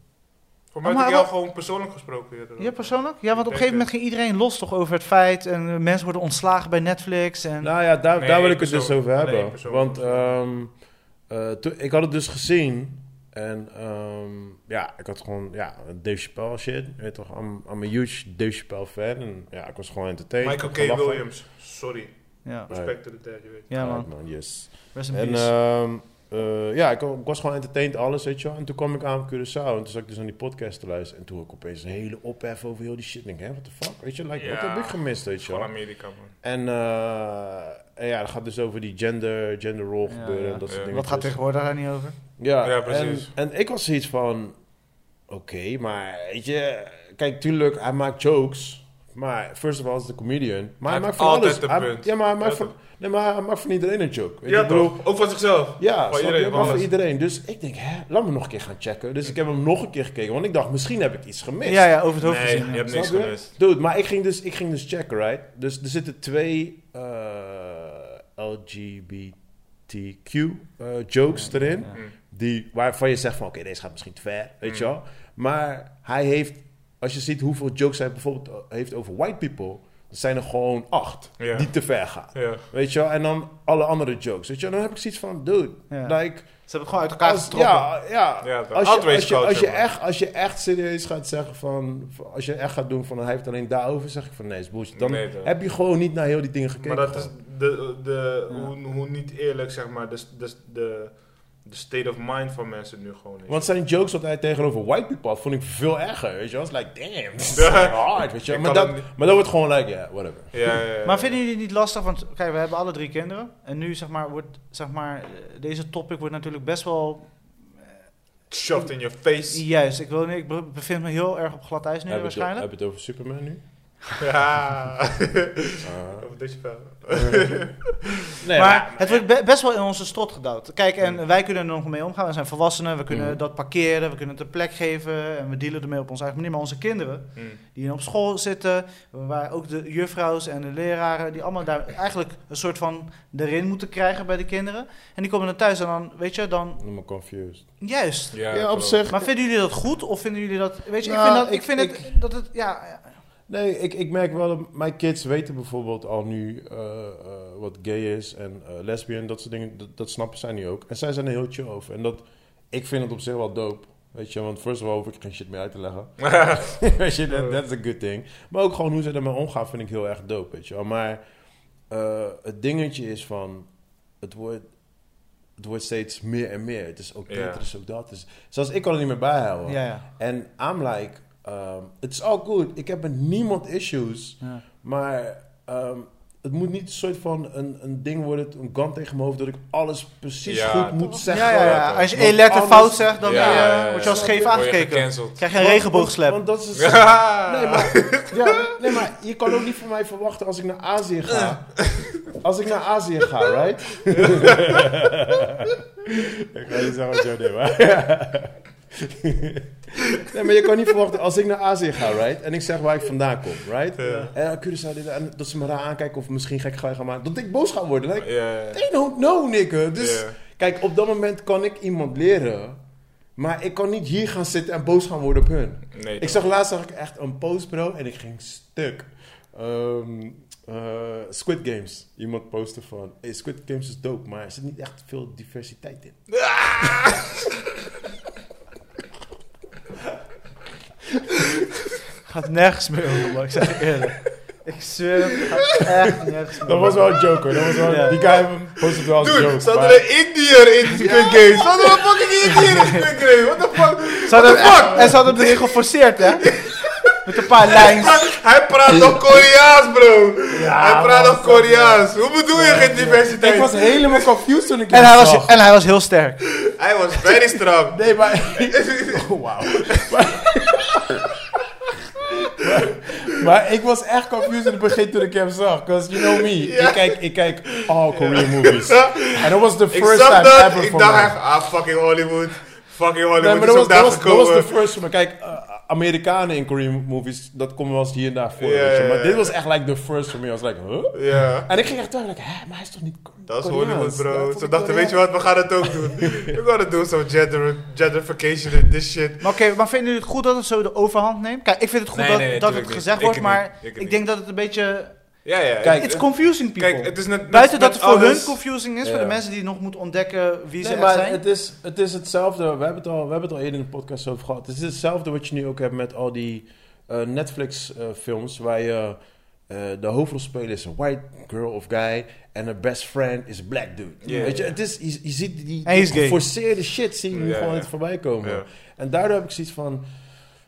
Voor mij Oh, had maar ik jou wat- gewoon persoonlijk gesproken. hierover. Ja, persoonlijk? Ja, want op een Ik gegeven denk moment ging iedereen los toch over het feit en eh, mensen worden ontslagen bij Netflix en... Nou ja, daar, Nee, daar wil één ik het dus persoon. over Nee, hebben. één persoon. Want ehm, eh, toen- ik had het dus gezien. En ehm, ja, ik had gewoon ja, Dave Chappelle shit. Je Weet toch, I'm, I'm a huge Dave Chappelle fan. En ja, ik was gewoon entertained. Michael K. Ik heb gelachen. Williams. Sorry. Ja. Nee. Respect to the dead, je weet. ja, Right, man. man, yes. Rest in En peace. ehm, eh, ja, ik, ik was gewoon entertained, alles, weet je wel. En toen kwam ik aan op Curaçao en toen zat ik dus aan die podcast te luisteren. En toen had ik opeens een hele ophef over heel die shit. Ik denk, hè, what the fuck, weet je, like, wat Ja. heb ik gemist, weet je wel. Gewoon Amerika, man. En, eh, en ja, dat gaat dus over die gender, gender role Ja, gebeuren ja. en dat soort Ja. dingen. Dus Wat gaat tegenwoordig daar niet over? Ja, Ja, precies. precies. En, en ik was zoiets van, oké, maar weet je, kijk, tuurlijk, hij maakt jokes. Maar first of all, is de comedian. Maar hij, heeft maakt van altijd alles. een Hij- punt. Ja, maar hij maakt, Ja, van, nee, maar hij maakt van iedereen een joke. Weet je, Ja, ik bedoel, toch? Ook van zichzelf. ja, Van snap je? iedereen, maar van voor alles. iedereen. Dus ik denk, hè, laat me nog een keer gaan checken. Dus ik heb hem nog een keer gekeken, want ik dacht, misschien heb ik iets gemist. Ja, ja, over het hoofd Nee, gezien. je ja. hebt niks Snap je? gemist. Dude, maar ik ging dus, ik ging dus checken, right? Dus er zitten twee eh, LGBTQ eh, jokes erin. Ja. Mm. Die, waarvan je zegt van, oké, deze gaat misschien te ver, weet je wel. Maar hij heeft, als je ziet hoeveel jokes hij bijvoorbeeld eh, heeft over white people... dan zijn er gewoon acht Ja. die te ver gaan. Ja. Weet je wel? En dan alle andere jokes, weet je wel. Dan heb ik zoiets van, dude, Ja. like... Ze hebben het gewoon uit elkaar Als- getrokken. Ja, ja. Ja, het als, je, outrage als, je, als, je culture, man. echt, als je echt serieus gaat zeggen van... Als je echt gaat doen van hij heeft het alleen daarover... zeg ik van nee, is bullshit. Dan Nee, toch. heb je gewoon niet naar heel die dingen gekeken. Maar dat is gewoon. de, de, Ja. hoe, hoe niet eerlijk, zeg maar, dus, dus de, de state of mind van mensen nu gewoon is. Want zijn jokes wat hij tegenover white people had, vond ik veel erger, weet je wel. I was like, damn, this is Ja. hard, weet je wel. Ik Maar kan dat, het maar dat wordt gewoon like, yeah, whatever. ja, ja, ja. Maar vinden jullie het niet lastig? Want kijk, we hebben alle drie kinderen. En nu zeg maar, wordt, zeg maar eh, deze topic wordt natuurlijk best wel. Shoved in your face. Juist, ik, wil, niet- ik be- bevind me heel erg op glad ijs nu Heb je het- waarschijnlijk. Heb je het over Superman nu? Ja. Ah. Over deze film. nee, maar het wordt be- best wel in onze strot gedouwd. Kijk, en wij kunnen er nog mee omgaan. We zijn volwassenen, we kunnen Mhm. dat parkeren, we kunnen het een plek geven. En we dealen ermee op onze eigen manier. Maar onze kinderen, Mm. die op school zitten, waar ook de juffrouws en de leraren, die allemaal daar eigenlijk een soort van erin moeten krijgen bij de kinderen. En die komen dan thuis en dan, weet je, dan I'm confused. juist. Ja, op zich. Maar vinden jullie dat goed of vinden jullie dat. Weet je, Nou, ik vind, dat, ik ik- vind het, dat het. Ja, Nee, ik, ik merk wel dat mijn kids weten bijvoorbeeld al nu eh, eh, wat gay is en eh, lesbian, dat soort dingen. Dat, dat snappen zij nu ook. En zij zijn er heel chill over. En dat, ik vind het op zich wel dope. Weet je, want first of all hoef ik geen shit meer uit te leggen. weet je, that, that's a good thing. Maar ook gewoon hoe ze ermee omgaan vind ik heel erg dope, weet je wel. Maar eh, het dingetje is van, het wordt, het wordt steeds meer en meer. Het is ook dit, Ja. het is ook dat. Dus, zelfs ik kan er niet meer bijhouden. ja, ja. En I'm like, um, it's all good. Ik heb met niemand issues. ja. Maar um, het moet niet een soort van een, een ding worden, een gun tegen mijn hoofd, dat ik alles precies Ja, goed toch? moet zeggen. ja, ja, ja. Als je één Want letter anders- fout zegt, dan Ja, eh, ja, ja, word je als ja. scheef Word je aangekeken. gecanceld. Krijg je een Want- regenboogslap. Want, want dat is het- Ja. Nee maar, ja, nee, maar je kan ook niet van mij verwachten als ik naar Azië ga. Als ik naar Azië ga, right? ik ga niet zeggen wat jou deed, maar... nee, maar je kan niet verwachten, als ik naar Azië ga, right? En ik zeg waar ik vandaan kom, right? Ja. En dan Curaçao, dit, en dat ze me raar aankijken of misschien gek gaan maken. Dat ik boos ga worden. Like, Ja. they don't know, nigga. Dus Ja. kijk, op dat moment kan ik iemand leren. Maar ik kan niet hier gaan zitten en boos gaan worden op hun. Nee. Ik zag laatst zag ik echt een post, bro, en ik ging stuk. Ehm, eh, Squid Games. Iemand postte van, hey, Squid Games is dope, maar er zit niet echt veel diversiteit in. Gaat nergens meer over, man. Ik zeg je eerlijk. Ik zweer het, het gaat echt nergens meer Dat was wel een joke, hoor. Dat was wel, Ja. Die guy postte wel als Dude, joke. zat maar- er een Indiër in Squid Game? Zat er een fucking Indiër in Squid Game? What the fuck? Ze hadden, en ze hadden het erin geforceerd, hè? Met een paar lijns. Hij praat nog Koreaans, bro. hij praat man, nog Koreaans. Hoe bedoel je geen diversiteit? Ik was helemaal confused toen ik En hem hij, zag. was, en hij was heel sterk. Hij was very strong. Nee, maar... Oh, wauw. Maar, maar, maar ik was echt confused in het begin toen ik hem zag. Because you know me. Ik, kijk, ik kijk all Korean movies. And it was the Ik first zag time dat. ever Ik for me. dacht echt, ah, fucking Hollywood. Fucking Nee, Hollywood maar is dat was, ook daar dat, was, dat was de gekomen. first. Maar kijk, eh, Amerikanen in Korean movies, dat komt wel eens hier en daar voor. Ja, weet je. ja, Maar ja. dit was echt like the first for me. I was like, huh? Ja. En ik ging echt terug, like, hè, maar hij is toch niet Ko- Dat is Koreaans? Hollywood, Ja, bro. toch Ze niet dachten, weet je wat, Koreaans? we gaan het ook doen. We gaan het doen, zo'n gender, genderfication en this shit. Maar oké, maar vinden jullie het goed dat het zo de overhand neemt? Kijk, ik vind het goed Nee, dat, nee, nee, dat het tuurlijk niet. gezegd Ik wordt, niet. maar Ik ik, niet. denk dat het een beetje... Ja, ja. Kijk, It's confusing people. Kijk, het is net... net- Buiten dat net het voor alles- hun confusing is, voor Ja. de mensen die nog moeten ontdekken wie ze Nee, echt maar zijn. het is, het is hetzelfde. We hebben het, al, we hebben het al eerder in de podcast over gehad. Het is hetzelfde wat je nu ook hebt met al die eh, Netflix-films. waar je eh, de hoofdrolspeler is een white girl of guy. En een best friend is a black dude. Ja. Weet je, het is, je, je ziet die Hij is gay. geforceerde shit zien nu Ja, gewoon ja. het voorbij komen. Ja. En daardoor heb ik zoiets van.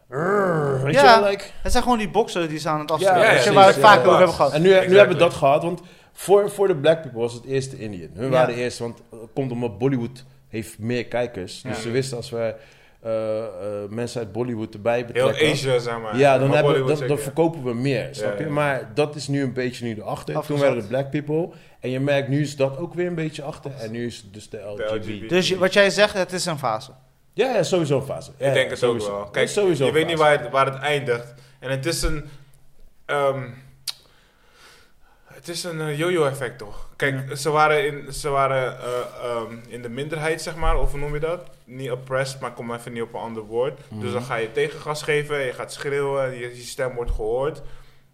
"Urgh," weet Ja. je wel, like, Het zijn gewoon die boxen die ze aan het afstellen. Ja, weet je, precies, waar we het ja, vaker ja. over hebben gehad. En nu, nu Exactly. hebben we dat gehad, want voor, voor de black people was het eerste Indian. Hun Ja. waren de eerste, want het komt omdat Bollywood heeft meer kijkers. Dus Ja. ze wisten als wij eh, eh, mensen uit Bollywood erbij Heel betrekken... Asia, zeg maar. Ja, dan, Maar hebben, Bollywood dan, dan zeker, ja. verkopen we meer, snap je? ja. Maar dat is nu een beetje nu erachter. Afgezet. Toen waren de black people. En je merkt, nu is dat ook weer een beetje achter. En nu is dus de LGB. LGB. Dus je- wat jij zegt, het is een fase. Ja, ja, sowieso een fase. Ja, Ik denk het ook sowieso. wel. Het Kijk, is sowieso je een weet niet fase. waar het, waar het eindigt. En het is een... ehm, het is een eh, yo-yo-effect, toch? Kijk, ze waren, in, ze waren eh, ehm, in de minderheid, zeg maar. Of hoe noem je dat? Niet oppressed, maar kom even niet op een ander woord. Mhm. Dus dan ga je tegengas geven, je gaat schreeuwen, je, je stem wordt gehoord.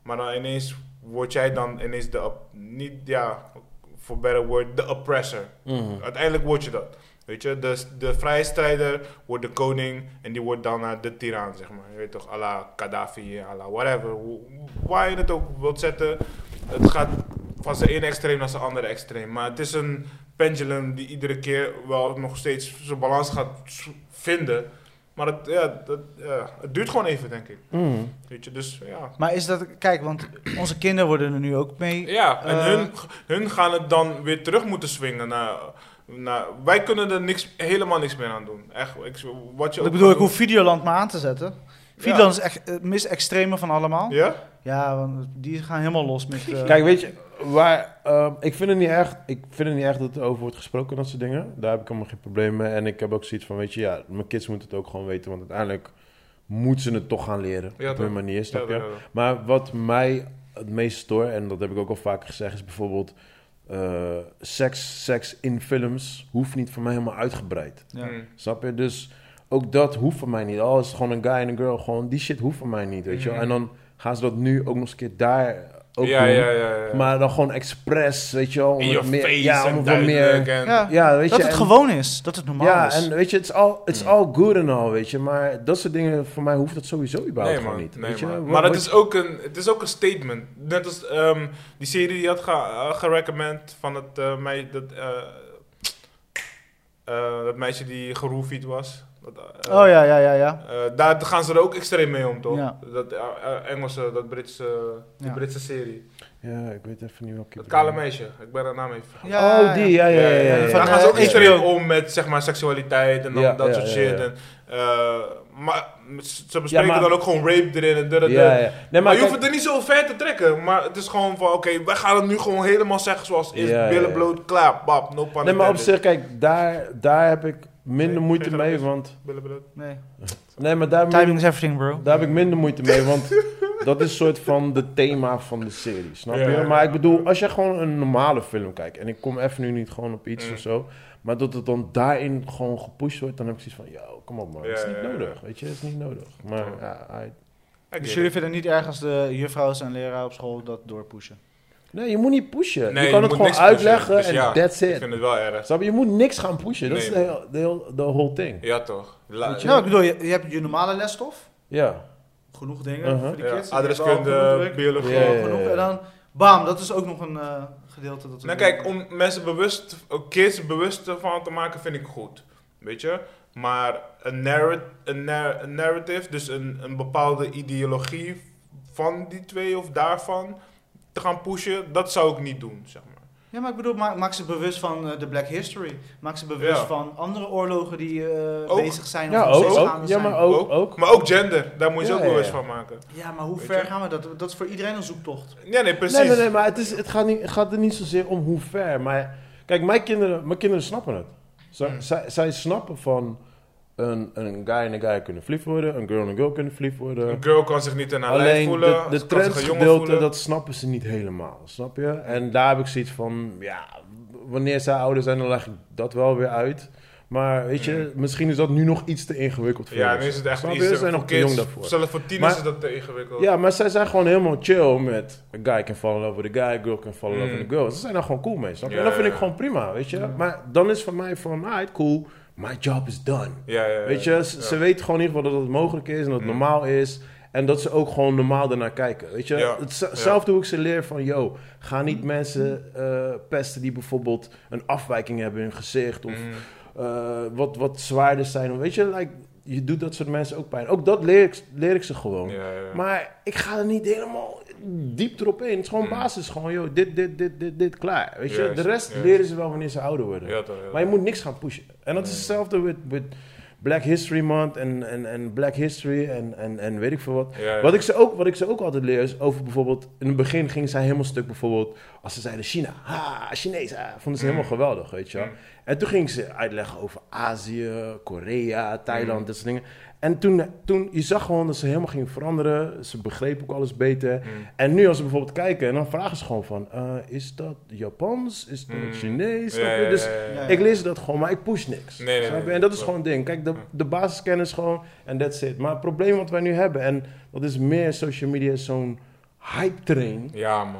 Maar dan ineens word jij dan ineens de... op- Niet, ja, voor better word, de oppressor. Mhm. Uiteindelijk word je dat. Weet je, dus de vrijstrijder wordt de koning en die wordt dan eh, de tiran, zeg maar. Je weet toch, à la Gaddafi, à la whatever. Hoe- Waar je het ook wilt zetten, het gaat van zijn ene extreem naar zijn andere extreem. Maar het is een pendulum die iedere keer wel nog steeds zijn balans gaat s- vinden. Maar het, ja, dat, ja, het duurt gewoon even, denk ik. Mm. Weet je, dus ja. Maar is dat, kijk, want onze kinderen worden er nu ook mee. Ja, en Eh, hun, hun gaan het dan weer terug moeten swingen naar... naar wij kunnen er niks, helemaal niks meer aan doen. Echt, ik, wat je Want ook ik bedoel, ik gaat doen. hoef Videoland maar aan te zetten. Videoland is echt het meest extreme van allemaal. Ja, Ja? want die gaan helemaal los met... eh, Kijk, weet je, waar, ehm, ik, vind het niet erg, ik vind het niet erg dat er over wordt gesproken, dat soort dingen. Daar heb ik allemaal geen probleem mee. En ik heb ook zoiets van, weet je, ja, mijn kids moeten het ook gewoon weten. Want uiteindelijk moeten ze het toch gaan leren. Ja, op hun toch. manier, snap je? Ja, ja, ja. Maar wat mij het meest stoort, en dat heb ik ook al vaker gezegd, is bijvoorbeeld... eh, seks, seks in films hoeft niet voor mij helemaal uitgebreid. ja. Mm. Snap je? Dus ook dat hoeft van mij niet. Al is het gewoon een guy en een girl, gewoon die shit hoeft van mij niet, weet je wel. Mhm. En dan gaan ze dat nu ook nog eens een keer daar ook ja, doen. ja, ja, ja. Maar dan gewoon expres, weet je wel. om Eh, in je het meer- face ja, om en het wel duidelijk. meer. En, Ja, Ja, weet dat je. het en- gewoon is, dat het normaal Ja, is. en weet je, het is al it's Mm. all good en al, weet je. Maar dat soort dingen, voor mij hoeft dat sowieso überhaupt Nee, gewoon man. niet. nee, weet je? man. Wat- Maar het wat- is, ook een, het is ook een statement. Net als ehm, die serie die had ge eh, gerecommend van het, eh, mei- dat, eh, eh, dat meisje die geroefied was. Dat, eh, oh ja, ja, ja, ja. eh, daar gaan ze er ook extreem mee om, toch? Ja. Dat eh, eh, Engelse, dat Britse, die Ja. Britse serie. Ja, ik weet even niet welke. Dat kale meisje, ik ben haar naam even vergeten. Ja, oh, die, ja, ja, ja. ja, ja, ja. van, Daar gaan ze eh, ook extreem HBO. om met zeg maar, seksualiteit en dan Ja, dat ja, soort ja, shit. ja. En, eh, maar ze ze bespreken maar- dan ook gewoon rape erin en dat en Ja, dat. ja. Nee, maar, maar je hoeft kijk, het er niet zo ver te trekken. Maar het is gewoon van, oké, wij gaan het nu gewoon helemaal zeggen zoals het is. Ja, ja, billen ja. bloot, klaar, bab, no pun nee, maar op intended. zich, kijk, daar, daar heb ik minder Nee, moeite geen mee, grapjes. want... Billen bloot. Nee. Nee, maar daar heb ik Timing is everything, bro. Daar heb ik minder moeite mee, want dat is soort van de thema van de serie, snap Ja, je? ja, ja. Maar ik bedoel, als je gewoon een normale film kijkt, en ik kom even nu niet gewoon op iets Mm. of zo, maar dat het dan daarin gewoon gepusht wordt, dan heb ik zoiets van, yo, kom op man, Ja, het is ja, niet ja. nodig, weet je, het is niet nodig. Maar Ja. ja, I- I Dus get jullie it. vinden het niet erg als de juffrouwen en leraar op school dat doorpushen? nee, je moet niet pushen. Nee, je kan moet het gewoon niks pushen. uitleggen Dus en ja, that's Ik it. vind het wel erg. Snap je? Je moet niks gaan pushen, dat Nee, is de, heel, de, heel- de whole thing. Ja. Ja, toch. La- Weet je? Nou, ik bedoel, je, je hebt je normale lesstof. Genoeg dingen Uh-huh. voor die ja, kids. adreskunde, biologie. biologie. Ja, ja, ja. Genoeg. En dan, bam, dat is ook nog een eh, gedeelte dat we Nou kijk, om mensen bewust, kids bewust ervan te maken vind ik goed. Weet je? Maar een, narrat, een, nar- een narrative, dus een, een bepaalde ideologie van die twee of daarvan te gaan pushen, dat zou ik niet doen, zeg maar. Ja, maar ik bedoel, maak, maak ze bewust van eh, de Black History. Maak ze bewust Ja. van andere oorlogen die eh, Ook. bezig zijn. Ja, of nog ook, steeds ook. gaande Ja, zijn. maar ook, ook. Maar ook gender, daar moet je Ja, ook ja, bewust ja. van maken. Ja, maar hoe Weet ver je? gaan we dat? Dat is voor iedereen een zoektocht. Ja, nee, precies. Nee, nee, nee, maar het, is, het, gaat niet, het gaat er niet zozeer om hoe ver. Maar kijk, mijn kinderen, mijn kinderen snappen het. Zij, Hmm. zij, zij snappen van een, een guy en een guy kunnen verliefd worden, een girl en een girl kunnen verliefd worden. Een girl kan zich niet in haar lijf Alleen voelen, de, de ze kan zich een jongen trendsgedeelte, voelen. dat snappen ze niet helemaal, snap je? En daar heb ik zoiets van, ja, wanneer zij ouder zijn, dan leg ik dat wel weer uit. Maar weet je, misschien is dat nu nog iets te ingewikkeld voor Hmm. Ja, ons. nu is het echt Snap je? iets Ze te- zijn voor nog te jong kids, daarvoor. Zelfs voor tieners Maar- is dat te ingewikkeld. Ja, maar zij zijn gewoon helemaal chill met... A guy can fall in love with a guy, a girl can fall in love Mm. with a girl. Ze zijn daar gewoon cool mee, snap je? Ja, en dat vind ja, ik ja. gewoon prima, weet je? Maar dan is van mij van, alright, cool, my job is done. Ja, ja, ja. Weet je, ze, Ja. ze weten gewoon in ieder geval dat het mogelijk is en dat het Mm. normaal is. En dat ze ook gewoon normaal ernaar kijken, weet je? Ja, Het, ja. Mm. Zelf doe ik ze leer van, yo, ga niet mensen eh, pesten die bijvoorbeeld een afwijking hebben in hun gezicht of Mm. eh, wat, wat zwaarder zijn. Weet je, like, je doet dat soort mensen ook pijn. Ook dat leer ik, leer ik ze gewoon. Ja, ja. Maar ik ga er niet helemaal diep erop in. Het is gewoon Mm. basis. Gewoon, joh, dit, dit, dit, dit, dit, klaar. Weet je, Juist, de rest juist. leren ze wel wanneer ze ouder worden. Ja, toch, ja, Maar je moet niks gaan pushen. En dat is Nee. hetzelfde met met Black History Month en, en, en Black History en, en, en weet ik veel wat. Ja, ja. Wat ik, ze ook, wat ik ze ook altijd leer is over bijvoorbeeld... In het begin gingen zij helemaal stuk bijvoorbeeld... Als ze zeiden China, ha, Chinees, ah, vonden ze Mm. helemaal geweldig, weet je wel. Mm. En toen gingen ze uitleggen over Azië, Korea, Thailand, Mm. dat soort dingen. En toen, toen, je zag gewoon dat ze helemaal gingen veranderen. Ze begrepen ook alles beter. Mm. En nu als ze bijvoorbeeld kijken, en dan vragen ze gewoon van... eh, is dat Japans? Is dat Mm. Chinees? Ja, Snap je? ja, Dus ja, ja, ja. Ja. ik lees dat gewoon, maar ik push niks. Nee, nee, Snap je? nee, nee, en dat is klopt. gewoon het ding. Kijk, de, Ja. de basiskennis gewoon en that's it. Maar het probleem wat wij nu hebben, en dat is meer social media, is zo'n hype train. Ja, man.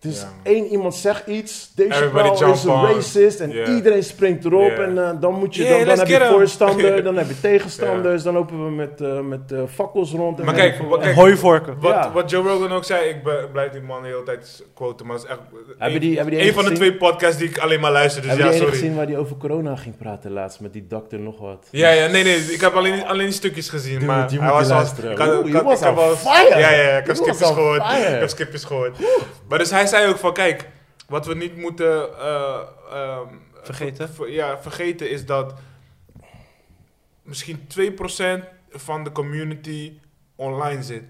Het is Ja, man. één iemand zegt iets, deze Everybody vrouw jump is on. racist en Yeah. iedereen springt erop Yeah. en eh, dan moet je, Yeah, dan, dan let's heb get 'em. je voorstander, dan heb je tegenstanders, dan lopen we met, eh, met eh, fakkels rond. en Maar weet kijk, ik veel wat- En kijk, hooivorken. Wat, Ja. wat Joe Rogan ook zei, ik be- blijf die man de hele tijd quoten, maar dat is echt eh, Heb je een, die- heb je die een ene van de gezien? twee podcasts die ik alleen maar luister, dus Heb je ja, die ene sorry. gezien waar die over corona ging praten laatst met die dokter nog wat? Ja, ja, nee, nee, ik heb alleen, alleen stukjes gezien, Dude, maar je hij moet was die al- luisteren. ik had- Oeh, ik je had- was ik heb on wel- fire. Ja, ja, ja, ik Je heb skipjes was on gehoord, fire. ik heb skipjes gehoord. Maar dus hij zei ook van, kijk, wat we niet moeten eh, ehm, Vergeten. ver- ja, vergeten is dat misschien 2% van de community online zit.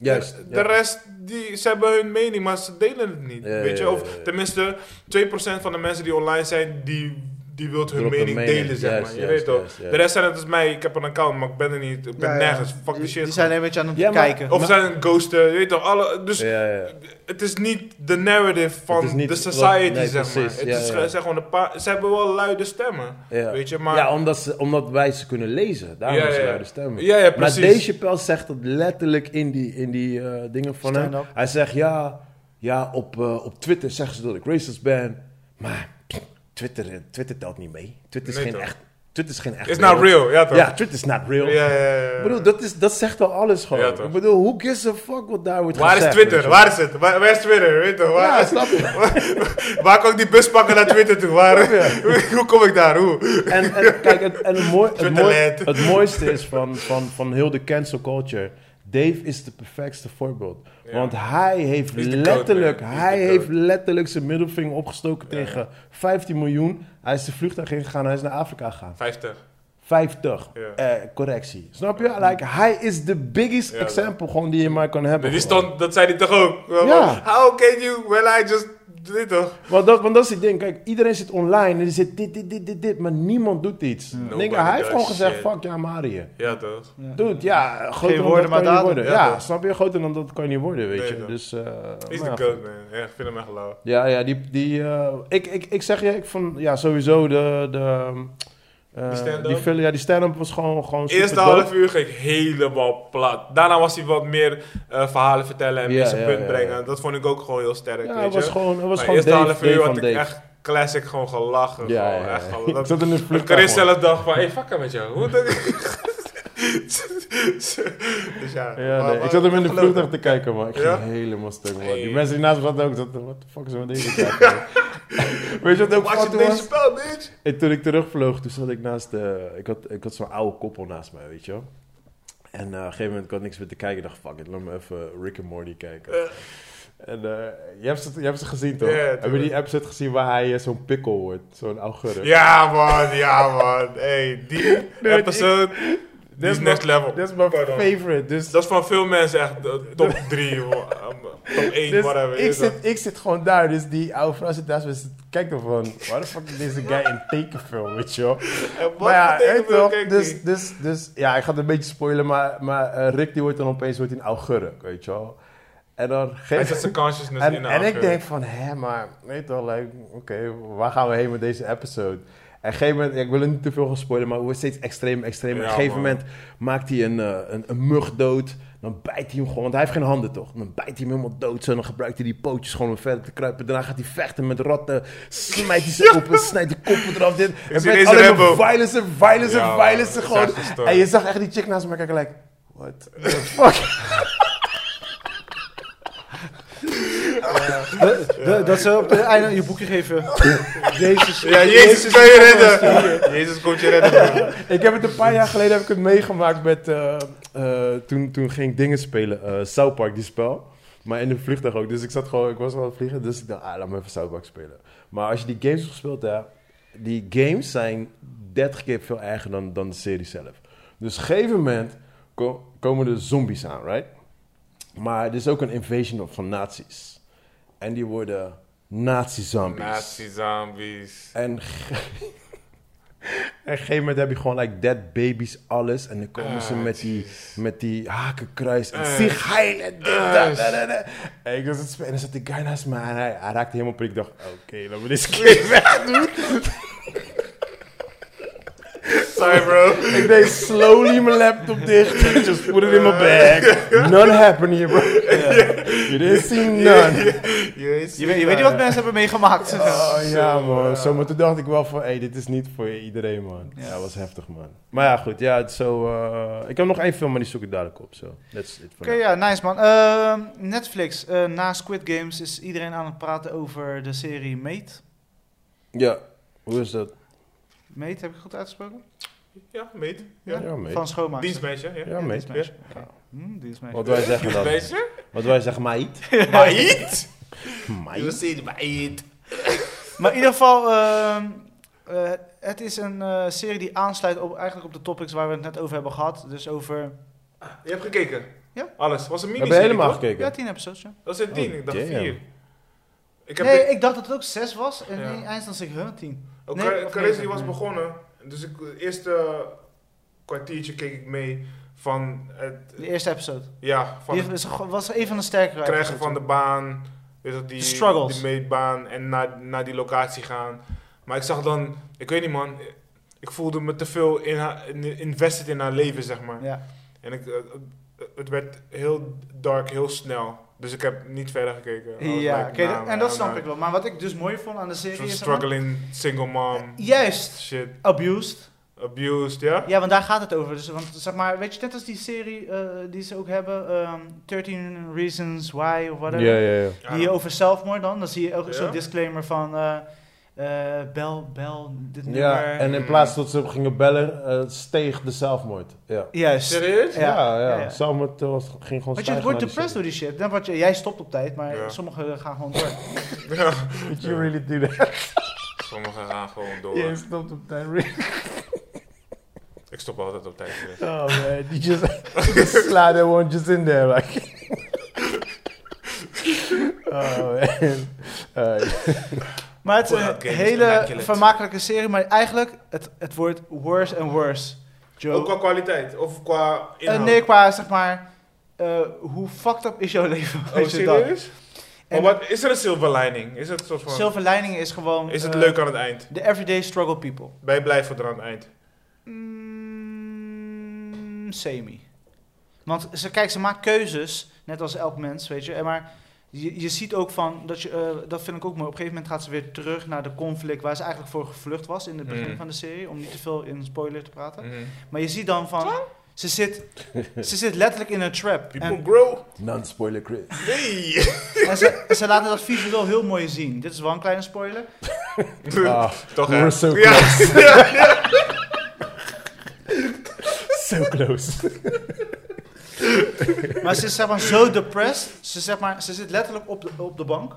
Juist. De, ja. rest, die, ze hebben hun mening, maar ze delen het niet. Ja, weet je? ja, Of ja, ja. tenminste, 2% van de mensen die online zijn, die, die wilt hun Drop hun mening, mening, delen, zeg juist, maar. Je juist, weet toch? juist, juist. De rest zijn het als mij, ik heb een account, maar ik ben er niet. Ik ben Ja, ja. nergens. Fuck Die, the shit. die zijn een beetje aan het Ja, maar- kijken. of ze zijn ghosten, je weet toch? Alle, dus Ja, ja, ja. het is niet de narrative Het van is niet de wat- society, nee, zeg maar. precies, Het ja, is ja. gewoon- zeg gewoon een paar, ze hebben wel luide stemmen, Ja. weet je? Maar ja, omdat, ze, omdat wij ze kunnen lezen. Daarom Ja, is ja, ze ja. luide stemmen. Ja, ja, precies. Maar Dave Chappelle zegt dat letterlijk in die, in die eh, dingen van hem. Stand-up. Hij zegt, ja, ja op, eh, op Twitter zeggen ze dat ik racist ben. Maar pff, Twitter, eh, Twitter telt niet mee. Twitter is Nee, geen toch? echt... Twitter is geen echt... it's not real, ja toch? Ja, Twitter is not real. ja, ja, ja. Ik bedoel, dat, is, dat zegt al alles gewoon. Ja, toch? ik bedoel, who gives a fuck wat daar wordt Waar is gezegd. weet Twitter? je? Waar is het? Waar, waar is Twitter? Weet toch? Waar, Ja, snap je? Waar kan ik die bus pakken naar Twitter toe? Waar, hoe kom ik daar? Hoe? En, en kijk, het, en het, mooi, het, Twitter mooi- led. het mooiste is van, van, van heel de cancel culture. Dave is de perfectste voorbeeld. Want hij heeft He's the goat, letterlijk, man. He's hij the goat. heeft letterlijk zijn middelvinger opgestoken tegen 15 miljoen. Hij is de vliegtuig ingegaan, hij is naar Afrika gegaan. 50. 50, Ja. eh, correctie. Snap je? Like, hij is de biggest Ja, example gewoon die je maar kan hebben. Die gewoon. stond, dat zei hij toch ook? Ja. How can you? Well, I just... Dit toch? Want dat, want dat is het ding. Kijk, iedereen zit online en er zit dit, dit, dit, dit, dit. Maar niemand doet iets. Denk, hij heeft does gewoon gezegd, shit. fuck ja, Mario. Ja toch? Dude, ja, groter dan woorden, dat maar kan je niet daden. worden. Ja, Ja, toch? snap je? Groter dan dat kan je niet worden, weet Nee, je. toch. Dus, eh, He's maar the ja, goat, man. Ja, ik vind hem echt lauw. Ja, ja, die... die eh, ik, ik, ik zeg je, ik vond... Ja, sowieso de... de eh, Die stand-up? die filler- ja, die stand-up was gewoon, gewoon super Eerste dope. half uur ging ik helemaal plat. Daarna was hij wat meer eh, verhalen vertellen en Ja, meer zijn ja, punt ja, ja. brengen. Dat vond ik ook gewoon heel sterk, Ja, weet het was je? gewoon, het was Maar gewoon eerste Dave, half Dave uur van had ik Dave. echt classic gewoon gelachen. Ja, gewoon, ja, echt ja. gelachen. Ik Dat- zat in een Ik vliegtuig, Chris man. zelf dacht van, hé, hey, fuck met jou. Hoe dat- dus ja, Ja, maar- nee, ik zat hem in de maar- vliegtuig te kijken, man. Ik ging Ja? helemaal stuk, man. Die Nee. mensen die naast me zaten ook, zaten, what the fuck is er met deze kijken? Weet je wat ook Als je fout deze was? spel, bitch. En toen ik terugvloog, toen zat ik naast de... Ik had, ik had zo'n oude koppel naast mij, weet je wel. En eh, op een gegeven moment kon ik niks meer te kijken. Ik dacht, fuck it, laat me even Rick and Morty kijken. En eh, je, hebt ze, je hebt ze gezien, toch? Ja, Heb je tuurlijk. die episode gezien waar hij eh, zo'n pikkel wordt? Zo'n augurk? Ja, man, ja, man. Hey, die Nee, episode, die is my- next level. Dat is mijn Pardon. favorite. Dus, Dat is van veel mensen echt eh, top 3, top 1, dus whatever. ik, is dat. zit, ik zit gewoon daar. Dus die oude vrouw zit naast me. Ze kijkt er van, waar de fuck is deze guy in tekenfilm, weet je wel? En wat Maar ja, betekent weet je wel, dat? Kijk dus, die. dus, dus ja, ik ga het een beetje spoilen, maar, maar eh, Rick die wordt dan opeens wordt een augurk, weet je wel. En dan Hij geeft zet zijn consciousness en, in en ik denk van, hè, maar weet je wel, like, oké, waar gaan we heen met deze episode? En op een gegeven moment, ik wil er niet te veel gaan spoilen, maar het wordt steeds extreem, extreem. en op een Ja, gegeven man. moment maakt hij een, eh, een, een mug dood. Dan bijt hij hem gewoon, want hij heeft geen handen toch? Dan bijt hij hem helemaal dood zo. Dan gebruikt hij die pootjes gewoon om verder te kruipen. Daarna gaat hij vechten met ratten. Smijt hij ze open, snijdt die koppen eraf. Dit. En zie met deze alleen maar Rambo. violence en violence Ja, en violence. man, Gewoon. dat is echt een story. En je zag echt die chick naast me kijken, like, what the fuck? Dat- dat- Dat ze op het einde je boekje geven. Jezus. Ja, Jezus kan je redden. Jezus komt je redden. bro. Ik heb het een paar jaar geleden heb ik het meegemaakt met... eh, eh, toen, toen ging ik dingen spelen. eh South Park, die spel. Maar in de vliegtuig ook. Dus ik zat gewoon... Ik was al aan het vliegen. Dus ik dacht, ah, laat me even South Park spelen. Maar als je die games hebt gespeeld hebt... Die games zijn 30 keer veel erger dan, dan de serie zelf. Dus op een gegeven moment ko- komen er zombies aan, right? Maar er is ook een invasion of- van nazi's. En die worden nazi-zombies. Nazi zombies. En, ge- en op een gegeven moment heb je gewoon like dead babies, alles. En dan komen ze Ah, met die, met die hakenkruis. En Ah. zich heilen. dit, dat, Ah. dat, dat, dat. En ik was aan het spelen. En er zat die guy naast me. En hij, hij raakte helemaal prik. Ik dacht, oké, laten we deze keer wegdoen. Sorry bro. Ik deed slowly mijn laptop dicht. Just put it in my bag. None happened here, bro. You didn't see none. Je, weet- je weet niet wat mensen hebben meegemaakt. Oh ja, man. Zometeen dacht ik wel van, hey, dit is niet voor iedereen, man. Ja, eh. Ja. dat was heftig, man. Maar ja, goed. Ja, het is zo... eh, ik heb nog één film, maar die zoek ik dadelijk op. Zo, that's it for Oké, now. ja, nice man. Ehm, Netflix, eh, na Squid Games is iedereen aan het praten over de serie Mate. Ja, hoe is dat? Mate, heb ik goed uitgesproken? Ja, meet. Ja, Ja. mate. Van schoonmaak. Dienstmeisje, ja. Ja, mate. Dienstmeisje. Oké. Hm, dienstmeisje. Wat wij zeggen dan. Dienstmeisje? Wat wij zeggen, mate. Meid? Je Mate. ziet meid. Maar in ieder geval, ehm, eh, het is een eh, serie die aansluit op, eigenlijk op de topics waar we het net over hebben gehad. Dus over... Je hebt gekeken? Ja. Alles. Was een Heb je miniserie, helemaal toch? Ja, gekeken? tien episodes, ja. Dat zijn tien, ik dacht Oh, damn. vier. Ik heb Nee, de- ik dacht dat het ook zes was. En Ja. in eindstand zeg ik, huh, tien. Oh, nee, Car- of Carrezi nee, was nee. begonnen, dus ik, het eerste kwartiertje keek ik mee van het, De eerste episode. ja, van Die het is- was een van de sterkere krijgen episodes. van de baan, weet dat, die, De struggles. die meetbaan en naar, naar die locatie gaan. Maar ik zag dan, ik weet niet man, ik voelde me te veel in haar, in- invested in haar leven, zeg maar. Ja. En ik, eh, eh, het werd heel dark, heel snel. Dus ik heb niet verder gekeken. I was Ja, like, oké, nah, dat- en man, dat I'm snap not- ik wel. Maar wat ik dus mooi vond aan de serie Zo'n is... eh, struggling single mom, Juist, shit, abused. abused, ja? Ja, want daar gaat het over. Dus, want zeg maar, weet je, net als die serie eh, die ze ook hebben, ehm 13 Reasons Why of Ja, whatever. ja, ja. Die over zelfmoord dan, dan zie je ook Ja. zo'n disclaimer van eh, eh, bel, bel, dit nummer. Ja, en in plaats dat ze gingen bellen, eh, steeg de zelfmoord. Ja. Juist. Serieus? Ja, Ja, ja. ja, ja. Zelfmoord eh, was- ging gewoon Want je stijgen wordt naar die depressed door shit. die shit. Dan word je, jij stopt op tijd, maar Ja. sommigen gaan gewoon door. Did you really do that? Sommigen gaan gewoon door. Je stopt op tijd. really? Ik stop altijd op tijd. weer. Oh man, you just, you just slide that one just in there like... oh man. Alright. Maar het is Fallout een games, hele immaculate. vermakelijke serie, maar eigenlijk, het, het wordt worse and worse. Joe. Ook qua kwaliteit of qua Eh, inhoud. nee, qua zeg maar, eh, hoe fucked up is jouw leven? oh, weet je dat? serieus? Maar En- wat, is er een silver lining? Is het, een soort van, Silver lining is gewoon... is het eh, leuk aan het eind? De everyday struggle people. Ben je blij voor er aan het eind? Mm, semi. Want ze, kijk, ze maakt keuzes, net als elk mens, weet je. En maar je, je ziet ook van, dat, je, eh, dat vind ik ook mooi. Op een gegeven moment gaat ze weer terug naar de conflict waar ze eigenlijk voor gevlucht was in het begin Mm. van de serie. Om niet te veel in spoiler te praten. Mhm. Maar je ziet dan van, ze zit, ze zit letterlijk in een trap. People En, grow. Non-spoiler Chris. Nee. en ze, ze laten dat visueel heel mooi zien. Dit is wel een kleine spoiler. Ah, Toch we hè? were so Ja. so close. Maar ze is zeg maar zo depressed. Ze, zeg maar, ze zit letterlijk op de, op de bank.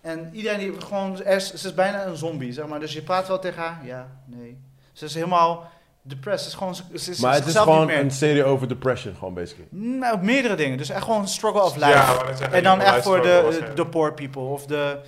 En iedereen die gewoon... Er, is- ze is bijna een zombie, zeg maar. Dus je praat wel tegen haar. Ja, nee. Ze is helemaal depressed. Ze is gewoon... Ze, ze- ze Maar het is zichzelf niet gewoon meer. een serie over depression, gewoon basically. Nou, meerdere dingen. Dus echt gewoon struggle of life. Ja, maar dat zeggen en dan die echt voor geluidsstruggle de, was, de poor people. Of de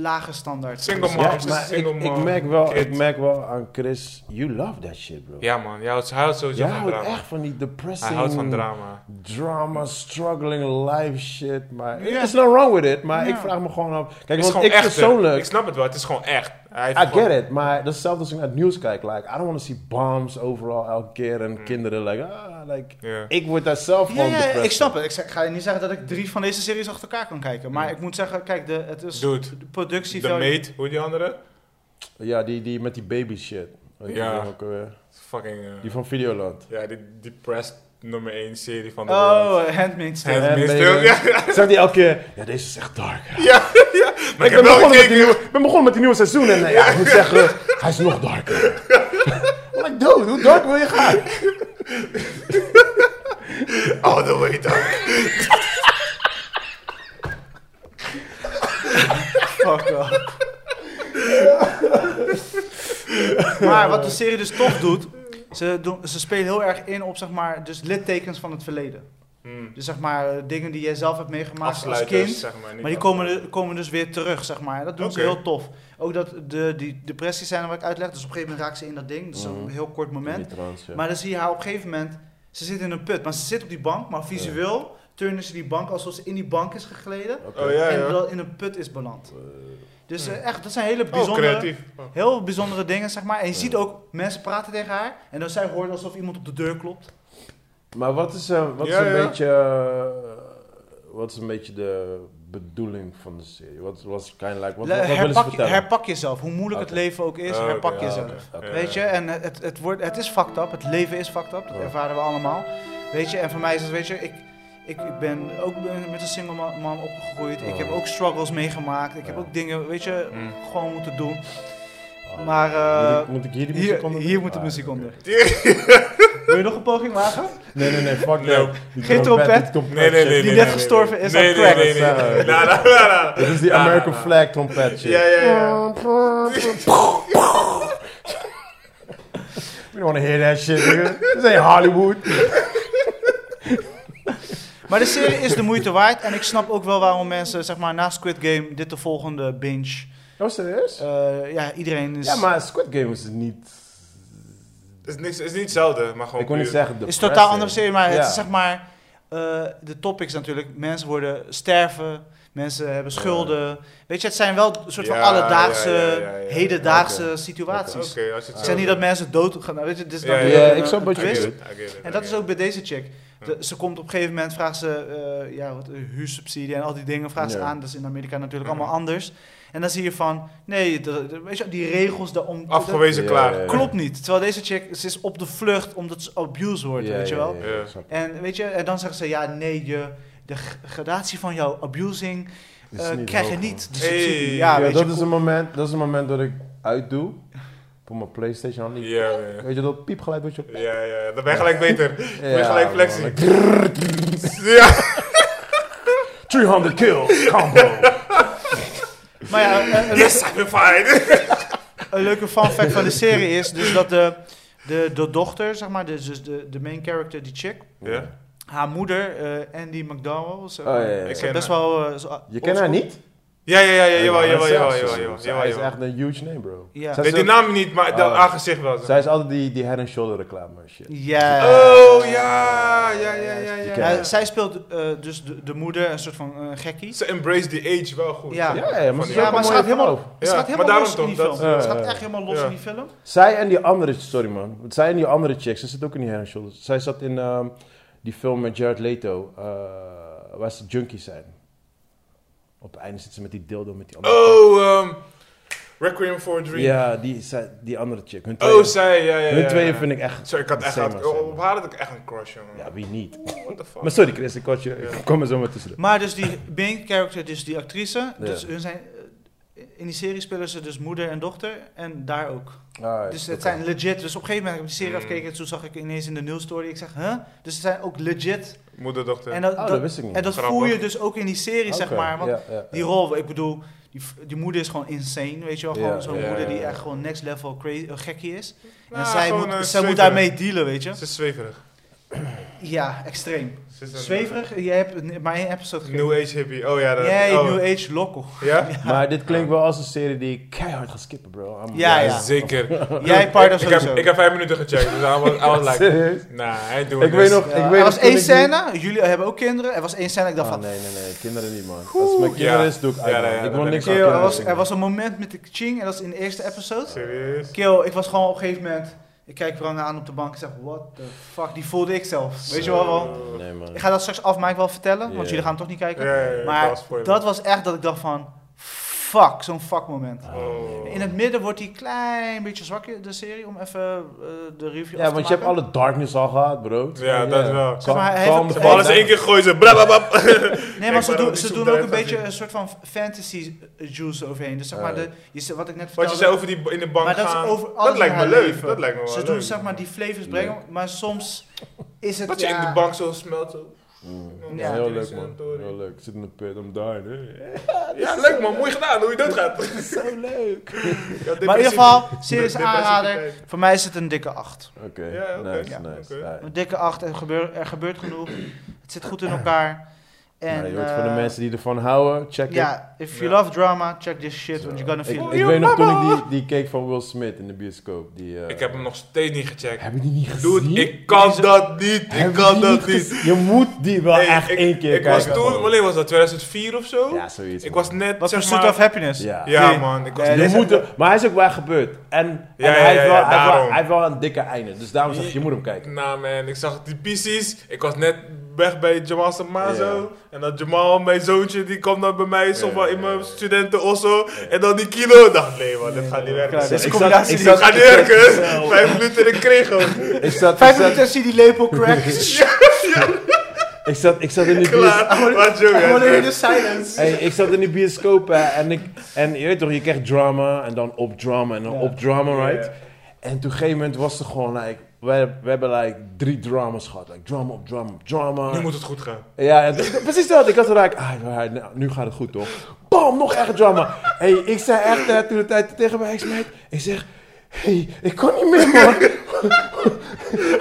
lage standaard. Single Dus- mom. Ja, Moms, maar ik, single ik, mom, merk wel, kid. ik merk wel aan Chris, you love that shit, bro. hè? Ja man, hij houdt, hij houdt sowieso Jij van houdt drama. echt van die depressing... Hij houdt van drama. drama, struggling life shit. Maar Ja. it's not wrong with it, maar Ja. ik vraag me gewoon af. Het Kijk, is want gewoon ik echt. hè? persoonlijk, Ik snap het wel, het is gewoon echt. Hij heeft I gewoon- get it, maar dat is hetzelfde als ik naar het nieuws kijk. Like, I don't want to see bombs overal elke keer Mm. en kinderen like, ah, like, Ja. ik word daar zelf Ja, van ja, depressed. ik snap het. Ik zeg- ga je niet zeggen dat ik drie van deze series achter elkaar kan kijken. Maar ik moet zeggen, kijk, de, het is Dude, de productie... de value- maid, hoe die andere? Ja, die, die met die baby shit. Weet je Ja. wel ook alweer? Fucking, eh, Die van Videoland. ja, die depressed nummer 1 serie van de wereld. Oh, Handmaid's Tale. Handmaid's Handmaid's Tale, ja. Zegt hij elke keer, ja, deze is echt dark. Ja, ja. Maar ik, heb wel ben, begonnen met die gekeken. nieuwe, ben begonnen met die nieuwe seizoen en eh, ja, ik moet zeggen, hij is nog darker. I'm like, dude, hoe dark wil je gaan? All the way down. Fuck off. maar wat de serie dus tof doet, ze, doen, ze spelen heel erg in op zeg maar, dus littekens van het verleden. Dus zeg maar eh, dingen die jij zelf hebt meegemaakt als kind. Hmm. zeg maar. niet Maar die komen, komen dus weer terug, zeg maar. En Dat doen ze Oké. heel tof. Ook dat de, die depressies zijn wat ik uitleg. Dus op een gegeven moment raakt ze in dat ding. Dat is Mm. een Mhm. heel kort moment. Die trans, ja. Maar dan zie je haar op een gegeven moment... Ze zit in een put, maar ze zit op die bank. Maar visueel turnen ze die bank alsof ze in die bank is gegleden. Oké. Oh ja, en ja. dan in een put is beland. Dus Hmm. eh, echt, dat zijn hele Oh, bijzondere, creatief. Oh. heel bijzondere dingen, zeg maar. En je Ja. ziet ook mensen praten tegen haar. En dan zij hoort alsof iemand op de deur klopt. Maar wat is, eh, wat Ja, is een ja. beetje... eh, wat is een beetje de bedoeling van de serie? Wat was kind like... Wat, Le- wat, wat willen ze herpak, vertellen? herpak jezelf, hoe moeilijk Oké. het leven ook is, Oh, oké, herpak ja, jezelf. oké. Oké. Ja, Weet je, ja. en het, het, wordt, het is fucked up, het leven is fucked up, dat Ja. ervaren we allemaal. Weet je, en voor mij is het, weet je, ik, ik, ik ben ook met een single ma- man opgegroeid. Ik Ja. heb ook struggles meegemaakt, ik heb Oh. Ja. ook dingen, weet je, Mm. gewoon moeten doen. Ah. maar, eh, moet, ik, moet ik hier die muziek hier- onder hier doen? moet de Ah, muziek oké. onder. Wil je nog een poging wagen? Ah, Nee, nee, nee, fuck Nee. nee. Die Geen trompet. die Nee, nee, nee. Die nee, net nee, gestorven nee. is nee, aan nee, crack. nee, nee, nee. Dat Nou, nou, nou, nou. Dit is die Ja, American ja, ja. flag trompet shit. Ja, ja, ja. We don't wanna hear that shit, nigga. This ain't Hollywood. Maar de serie is de moeite waard en ik snap ook wel waarom mensen, zeg maar, na Squid Game, dit de volgende binge. Oh, serieus? Eh, ja, iedereen is... Ja, maar Squid Game is niet... Het is, niks, het is niet hetzelfde, maar gewoon. Ik wil niet puur- zeggen Het is depressing. totaal andere serie, maar het Ja. is zeg maar eh, de topics natuurlijk. Mensen worden sterven, mensen hebben schulden. Weet je, het zijn wel een soort van Ja, alledaagse, ja, ja, ja, ja. hedendaagse Oké. situaties. Oké, als je het Het zijn niet dat mensen dood gaan. Weet je, dit is dan Ja, ja, weer ja, een- ik snap een wat je twist. bedoelt. En dat is ook bij deze chick. De- ze komt op een gegeven moment, vraagt ze eh, ja, wat, eh, huursubsidie en al die dingen vraagt Ja. ze aan. Dat is in Amerika natuurlijk Mhm. allemaal anders. En dan zie je van, nee, dat- dat- weet je, die regels daarom... dat- Afgewezen Ja, klaar. ja, ja. Klopt niet. Terwijl deze chick, ze is op de vlucht omdat ze abuse wordt, Ja, weet je ja, wel. ja, ja, Ja. snap ik. En weet je, en dan zeggen ze ja, nee, je, de g- gradatie van jouw abusing Dit is eh, niet krijg je hoog, man. niet. De Hey. subsidie. Ja, Ja, weet dat, je, is cool. een moment, dat is een moment dat ik uitdoe. Voor mijn Playstation. Dan die- Ja, ja. Weet je dat piepgeluid wat je... Ja, ja, dan ben je gelijk beter. Ja, ben gelijk man. flexie. Like, Ja. 300 kills, combo. Maar ja, een, een- Yes, I'm fine. een leuke fun fact van de serie is dus dat de, de, de dochter, zeg maar, dus dus de, de main character, die chick, Ja. haar moeder, eh, Andy McDowell, ze, Oh, ja, ja, ja. ze ken best haar. wel... eh, zo- Je kent haar niet? Ja, ja, ja, ja, jawel, Ja, jawel, maar jawel, zij- jawel, zij- jawel, zij jawel, is jawel. echt een huge name, bro. Ja. Zij, Weet is die ook- naam niet, maar dat Ah. aangezicht wel. zij is altijd die, die head and shoulder reclame en shit. Ja. Oh, ja, ja, ja, ja, Die ja. ken- Ja, zij speelt eh, dus de, de moeder, een soort van eh, gekkie. Ze embrace the age wel goed. Ja. Ja, ja, maar Van ze die- Ja, zijn maar ze gewoon gaat helemaal- vrouw. Ze Ja, gaat maar helemaal daarom los in die toch, dat- film. Ze Ja, gaat ja. echt helemaal los Ja. in die film. Zij en die andere, sorry man, want zij en die andere chicks, ze zit ook in die head and shoulder. Zij zat in ehm, die film met Jared Leto, eh, waar ze junkies zijn. Op het einde zit ze met die dildo met die andere. Oh, ehm Requiem for a Dream. Ja, die, zij- die andere chick. Hun tweeën, Oh, zij, ja, ja, ja. hun tweeën ja. vind ik echt. Sorry, ik had echt... Zeg Had, maar, zeg maar. op haar had ik echt een crush, jongen. Ja, wie niet? What the fuck? Maar sorry Chris, ik, had je, Ja. ik kom er zo maar tussen. Maar dus die main character, dus die actrice, dus hun zijn, eh, in die serie spelen ze dus moeder en dochter en daar ook. Ah, Dus het zijn legit, dus op een gegeven moment heb ik die serie Mm. afgekeken en toen zag ik ineens in de news story, ik zeg, huh? Dus het zijn ook legit. Moeder, dochter. En dat, Oh, dat dat- wist ik niet. en dat Grappig. voel je dus ook in die serie, zeg Oké, maar. Want ja, ja, ja. Eh. die rol, ik bedoel, die, v- die moeder is gewoon insane, weet je wel. Gewoon Ja, zo'n ja, moeder die ja. echt gewoon next level crazy, eh, gekkie is. En Nou, zij, gewoon, moet, eh, zij moet zweverig. daarmee dealen, weet je. Ze is zweverig. Ja, extreem. Ze is een- Zweverig, jij hebt maar één episode gekeken. New Age hippie. Oh ja, dat... Jij, oh. New Age Lokko. Ja? Maar dit klinkt wel als een serie die ik keihard ga skippen, bro. I'm- Ja, ja. zeker. Jij, Pardo, ik, ik, heb, sowieso. ik heb vijf minuten gecheckt, dus hij was, I was like... Serieus? Nah, hij doet dus. Ik weet nog, Ja, er ik weet nog was toen één ik die- scène, jullie hebben ook kinderen. Er was één scène, ik dacht Ah, van... nee, nee, nee. Kinderen niet, man. Als het mijn kinderen Ja. is, doe ik uit. Ja, man. ja, ja, ik dat wil ben niks ik ook. aan Kill, er, kinderen was, doen. er was een moment met de Ching, en dat is in de eerste episode. Serieus? Kill, ik was gewoon op een gegeven moment... Ik kijk Wrange aan op de bank en zeg, what the fuck, die voelde ik zelf. Weet je wel, want- Nee, man. Ik ga dat straks afmaken wel vertellen, want Ja. jullie gaan hem toch niet kijken. Ja, ja, ja, maar dat was voor je. dat was echt dat ik dacht van... Fuck, zo'n fuck moment. Oh. In het midden wordt hij klein beetje zwakker, de serie, om even eh, de review af Ja, te want je hebt maken. alle darkness al gehad, bro. Ja, dat wel. Zeg maar, hij Calm heeft- the hij Ze hebben fuck alles heeft- in één down. keer gooien ze. Blababab. Nee, Ik maar ze, wou dat doen, ik ze zoek doen daar ook een even beetje in. een soort van fantasy juice overheen. Dus zeg maar, de, je, ze- wat ik net Wat vertelde. je zei over die in de bank maar dat is gaan. over alles dat lijkt in me haar leuk. leven. Dat lijkt me wel ze leuk. doen zeg maar die flavors brengen, maar soms is het dat je ja, in de bank zo smelt. Zo. Mm, Ja. Heel leuk, man. Heel leuk. Ik zit in de pit, I'm dying. hè. Ja, leuk man. Mooi gedaan hoe je dat gaat. Dat is zo leuk. Maar in ieder geval, series aanrader. Voor mij is het een dikke 8. Oké, Ja, oké. nice, Ja, nice. oké. Alright. Een dikke 8, er gebeurt, er gebeurt genoeg. Het zit goed in elkaar. En, En, Nou, voor de eh, mensen die ervan houden, check it. Ja, if you Ja. love drama, check this shit, Zo. want you're gonna ik, feel Oh, it. ik yo, weet nog toen mama! ik die, die keek van Will Smith in de bioscoop. Die, eh, Ik heb hem nog steeds niet gecheckt. Heb je die niet gezien? Dude, ik kan Deze- dat niet. Ik Heb je kan die dat niet. gezien? Je moet die wel Nee, echt ik- één keer ik kijken. was toen, gewoon. wanneer was dat? 2004 of zo? Ja, zoiets. ik man. was net, Wat zeg Pursuit maar... of Happiness. Ja. Ja, Nee. man. Ik was Nee, Je dit is- moet hem- maar hij is ook waar gebeurd. En, en ja, hij, heeft ja, wel, ja, hij, heeft wel, daarom. hij heeft wel een dikke einde. Dus daarom zeg ik, je moet hem kijken. Nou man, ik zag die PC's. Ik was net weg bij Jamal Samazo. Ja. En dat Jamal, mijn zoontje, die kwam dan bij mij zomaar in mijn ja. studenten also. En dan die kilo. Ik dacht, nee man, dit gaat niet werken. klaar, dit is Ik een zat- combinatie ik die Dit zat- gaat niet werken. Vijf minuten in de kreeg hem. Ik zat, ik Vijf zat, minuten zie die lepel crack. ik zat, ik zat in die bios- Klaar. Wat joh, Gewoon ja. in de silence. Hey, ik zat in die bioscoop hè, en, ik, en je weet toch, je krijgt drama en dan op drama en dan Ja. op drama, Ja, right? ja. En toen een gegeven moment was er gewoon, like, we, we hebben like drie dramas gehad. Like, drama op drama op drama. Nu moet het goed gaan. Ja, en d- d- precies dat. Ik had er eigenlijk, ah, ja, nou, nu gaat het goed toch? Bam, nog echt drama. hey, ik zei echt eh, toen de tijd tegen mijn ex-meid, ik zeg, hey, ik kan niet meer man.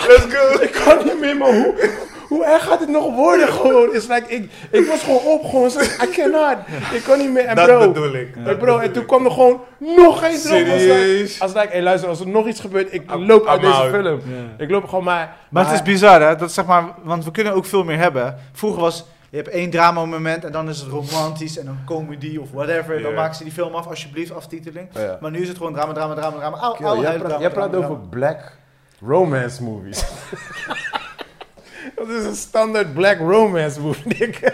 Let's go. Ik kan niet meer man. Hoe, hoe erg gaat het nog worden gewoon? It's like, ik, ik was gewoon op, gewoon, I cannot. Ik kan niet meer. En Dat bro, bedoel ik. Hey Dat bro, bedoel en toen ik. kwam er gewoon nog eens drama. Als ik, Serieus? als ik hey, luister, als er nog iets gebeurt, ik I'm- loop uit I'm deze out. film. Ik loop gewoon maar... Maar het is bizar, hè? Dat zeg maar, want we kunnen ook veel meer hebben. Vroeger was, je hebt één drama-moment en dan is het romantisch en dan comedy of whatever. Dan Ja. maken ze die film af, alsjeblieft, aftiteling. Oh, Ja. Maar nu is het gewoon drama, drama, drama, drama. Au, Kill, au, jij huil, praat, drama, jij praat drama, over drama. black romance movies. dat is een standaard black romance movie, dikke.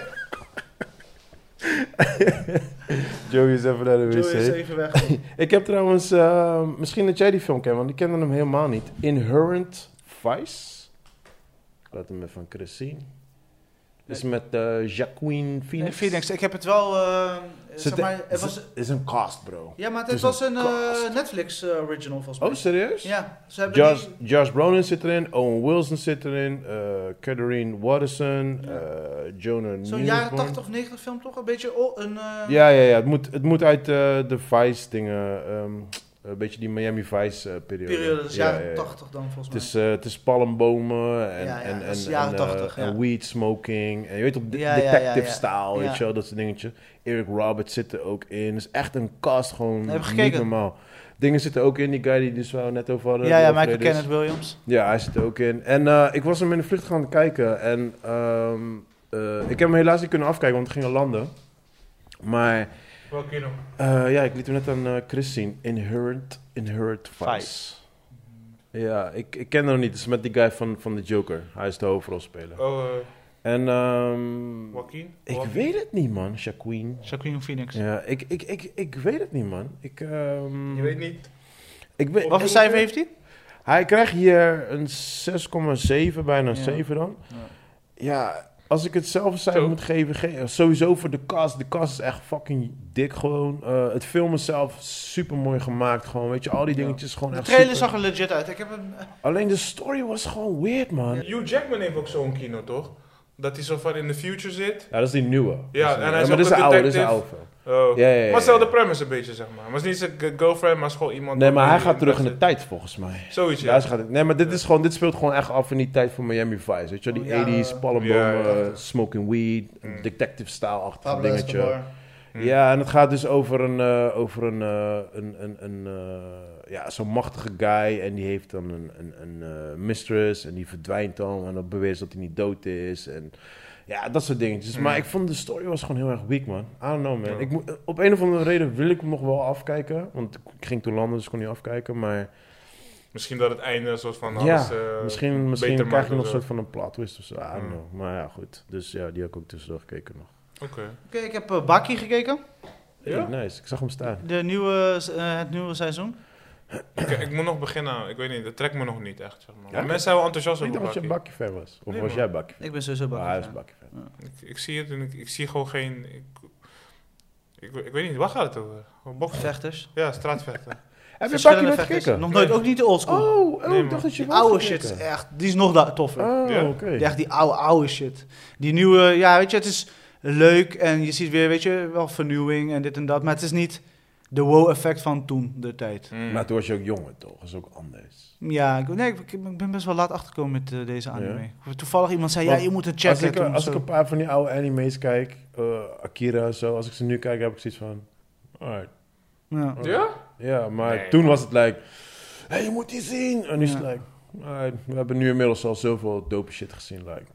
Joey is even naar de Joey is wc. even weg. Ik heb trouwens, eh, misschien dat jij die film kent, want ik kende hem helemaal niet. Inherent Vice. Ik laat hem even van Chris zien. Is met eh Jacqueline Phoenix. Nee, Phoenix, ik heb het wel, eh, Is zeg het- maar, het is was... het- is een cast, bro. Ja, maar het, is was een een cast. eh, Netflix eh, original volgens mij. Oh, serieus? Ja, ze hebben Josh, die- Josh Brolin zit erin, Owen Wilson zit erin, eh Catherine Watterson, Ja. eh, Jonah Newsom. zo'n jaren 80 of 90 film toch? Een beetje o- een... eh, Ja, ja, ja. Het moet, het moet uit eh, de Vice dingen, ehm, een beetje die Miami Vice eh, periode. periode, dus Ja, jaren ja, ja. 80 dan volgens Het mij. is, eh, het is palmbomen en, Ja, ja, en, dat en, is jaren en, 80, eh, ja. en weed smoking. En je weet op de- Ja, ja, ja, detective ja. style, Ja. weet je wel, dat soort dingetjes. Eric Roberts zit er ook in. Het is echt een cast, gewoon Heb je niet gekeken? normaal. Dingen zitten ook in, die guy die dus we net over hadden. ja, die ja, Michael overleden is. Kenneth Williams. Ja, hij zit er ook in. En eh, ik was hem in de vlucht gaan kijken. En ehm, eh, ik heb hem helaas niet kunnen afkijken, want we gingen landen. Maar Welke kino? eh, ja, ik liet hem net aan eh, Chris zien. Inherent, Inherent Vice. Vice. Ja, ik, ik ken hem niet. Het is met die guy van, van de Joker. Hij is de hoofdrolspeler. Oh, eh, En ehm, Joaquin? ik Joaquin? weet het niet, man. Jacqueline. Jacqueline Phoenix. Ja, ik, ik, ik, ik weet het niet, man. Ik, ehm, Je weet niet. Ik weet, Wat voor cijfer heeft hij? Hij krijgt hier een 6,7, bijna een Ja. 7 dan. Ja. Ja. als ik hetzelfde cijfer Zo. moet geven, ge- sowieso voor de cast. De cast is echt fucking dik gewoon. Eh, het film is zelf super mooi gemaakt gewoon. Weet je, al die Ja. dingetjes gewoon De echt trailer super. zag er legit uit. Ik heb eh, een... Alleen de story was gewoon weird, man. Ja, Hugh Jackman heeft ook zo'n kino, toch? Dat hij zo van in the future zit. dat is die nieuwe. Ja, Dat en is die- hij is ook maar dit is een een oude, dit is een oude detective. film. Oh. Ja, ja, ja, ja. Maar hetzelfde premise een beetje, zeg maar. Maar het is niet zijn girlfriend, maar het is gewoon iemand... Nee, maar die hij gaat terug in de zit. tijd volgens mij. Zoiets, Ja, ja. ze gaat, nee, maar dit, is gewoon, dit speelt gewoon echt af in die tijd van Miami Vice. Weet je wel, die Oh, ja. 80s, palmbomen, Ja, ja. eh, smoking weed, Mm. detective-stijl-achtig Pablo dingetje. Escobar. Hm. Ja, en het gaat dus over een, eh, over een, eh, een, een, een eh, ja, zo'n machtige guy. En die heeft dan een, een, een eh, mistress en die verdwijnt dan. En dan beweert ze dat hij niet dood is. En ja, dat soort dingetjes. Mm. Maar ik vond de story was gewoon heel erg weak, man. I don't know, man. Ja. Ik moet, op een of andere reden wil ik hem nog wel afkijken. Want ik ging toen landen, dus ik kon niet afkijken. Maar Misschien dat het einde een soort van Ja, alles... eh, misschien, misschien beter krijg maken je nog een dan. soort van een plot twist of zo. I don't Mm. know. Maar ja, goed. Dus ja, die heb ik ook tussendoor gekeken nog. Oké. Oké, ik heb eh, Baki gekeken. Hey, Ja? Nice, ik zag hem staan. De nieuwe, eh, het nieuwe seizoen. Ik, ik moet nog beginnen. Ik weet niet, dat trekt me nog niet echt, zeg maar. Ja? Mensen zijn wel enthousiast Ik over dacht dat je een Bakkie. bakje fan was. Of Nee, was man. jij bakje fan? Ik ben sowieso Ah, Baki. hij is fan. bakje fan. Ik, ik zie het en ik, ik zie gewoon geen... Ik, ik, ik weet niet, waar gaat het over? Gewoon Boksen? Vechters. Ja, straatvechten. Heb je bakje Verschillende nooit vechters. gekeken? Nog nooit, Nee. ook niet de oldschool. Oh, oh Nee, ik man. dacht dat je die wel oude had shit is gekeken. echt, die is nog da- toffer. Oh, Ja. oké. Die- Echt die oude, oude shit. Die nieuwe, ja, weet je, het is leuk en je ziet weer, weet je, wel vernieuwing en dit en dat. Maar het is niet de wow-effect van toen, de tijd. Mm. Maar toen was je ook jonger, toch? Dat is ook anders. Ja, ik, nee, ik, ik ben best wel laat achtergekomen met eh, deze anime. Toevallig iemand zei, ja, Want je moet het Als checken. ik, toen, als zo. ik een paar van die oude anime's kijk, eh, Akira en zo, als ik ze nu kijk, heb ik zoiets van... Alright. ja. Ja? Ja, maar Nee, toen man. was het like... hey, je moet die zien! En nu is het Ja. like... alright, we hebben nu inmiddels al zoveel dope shit gezien, like...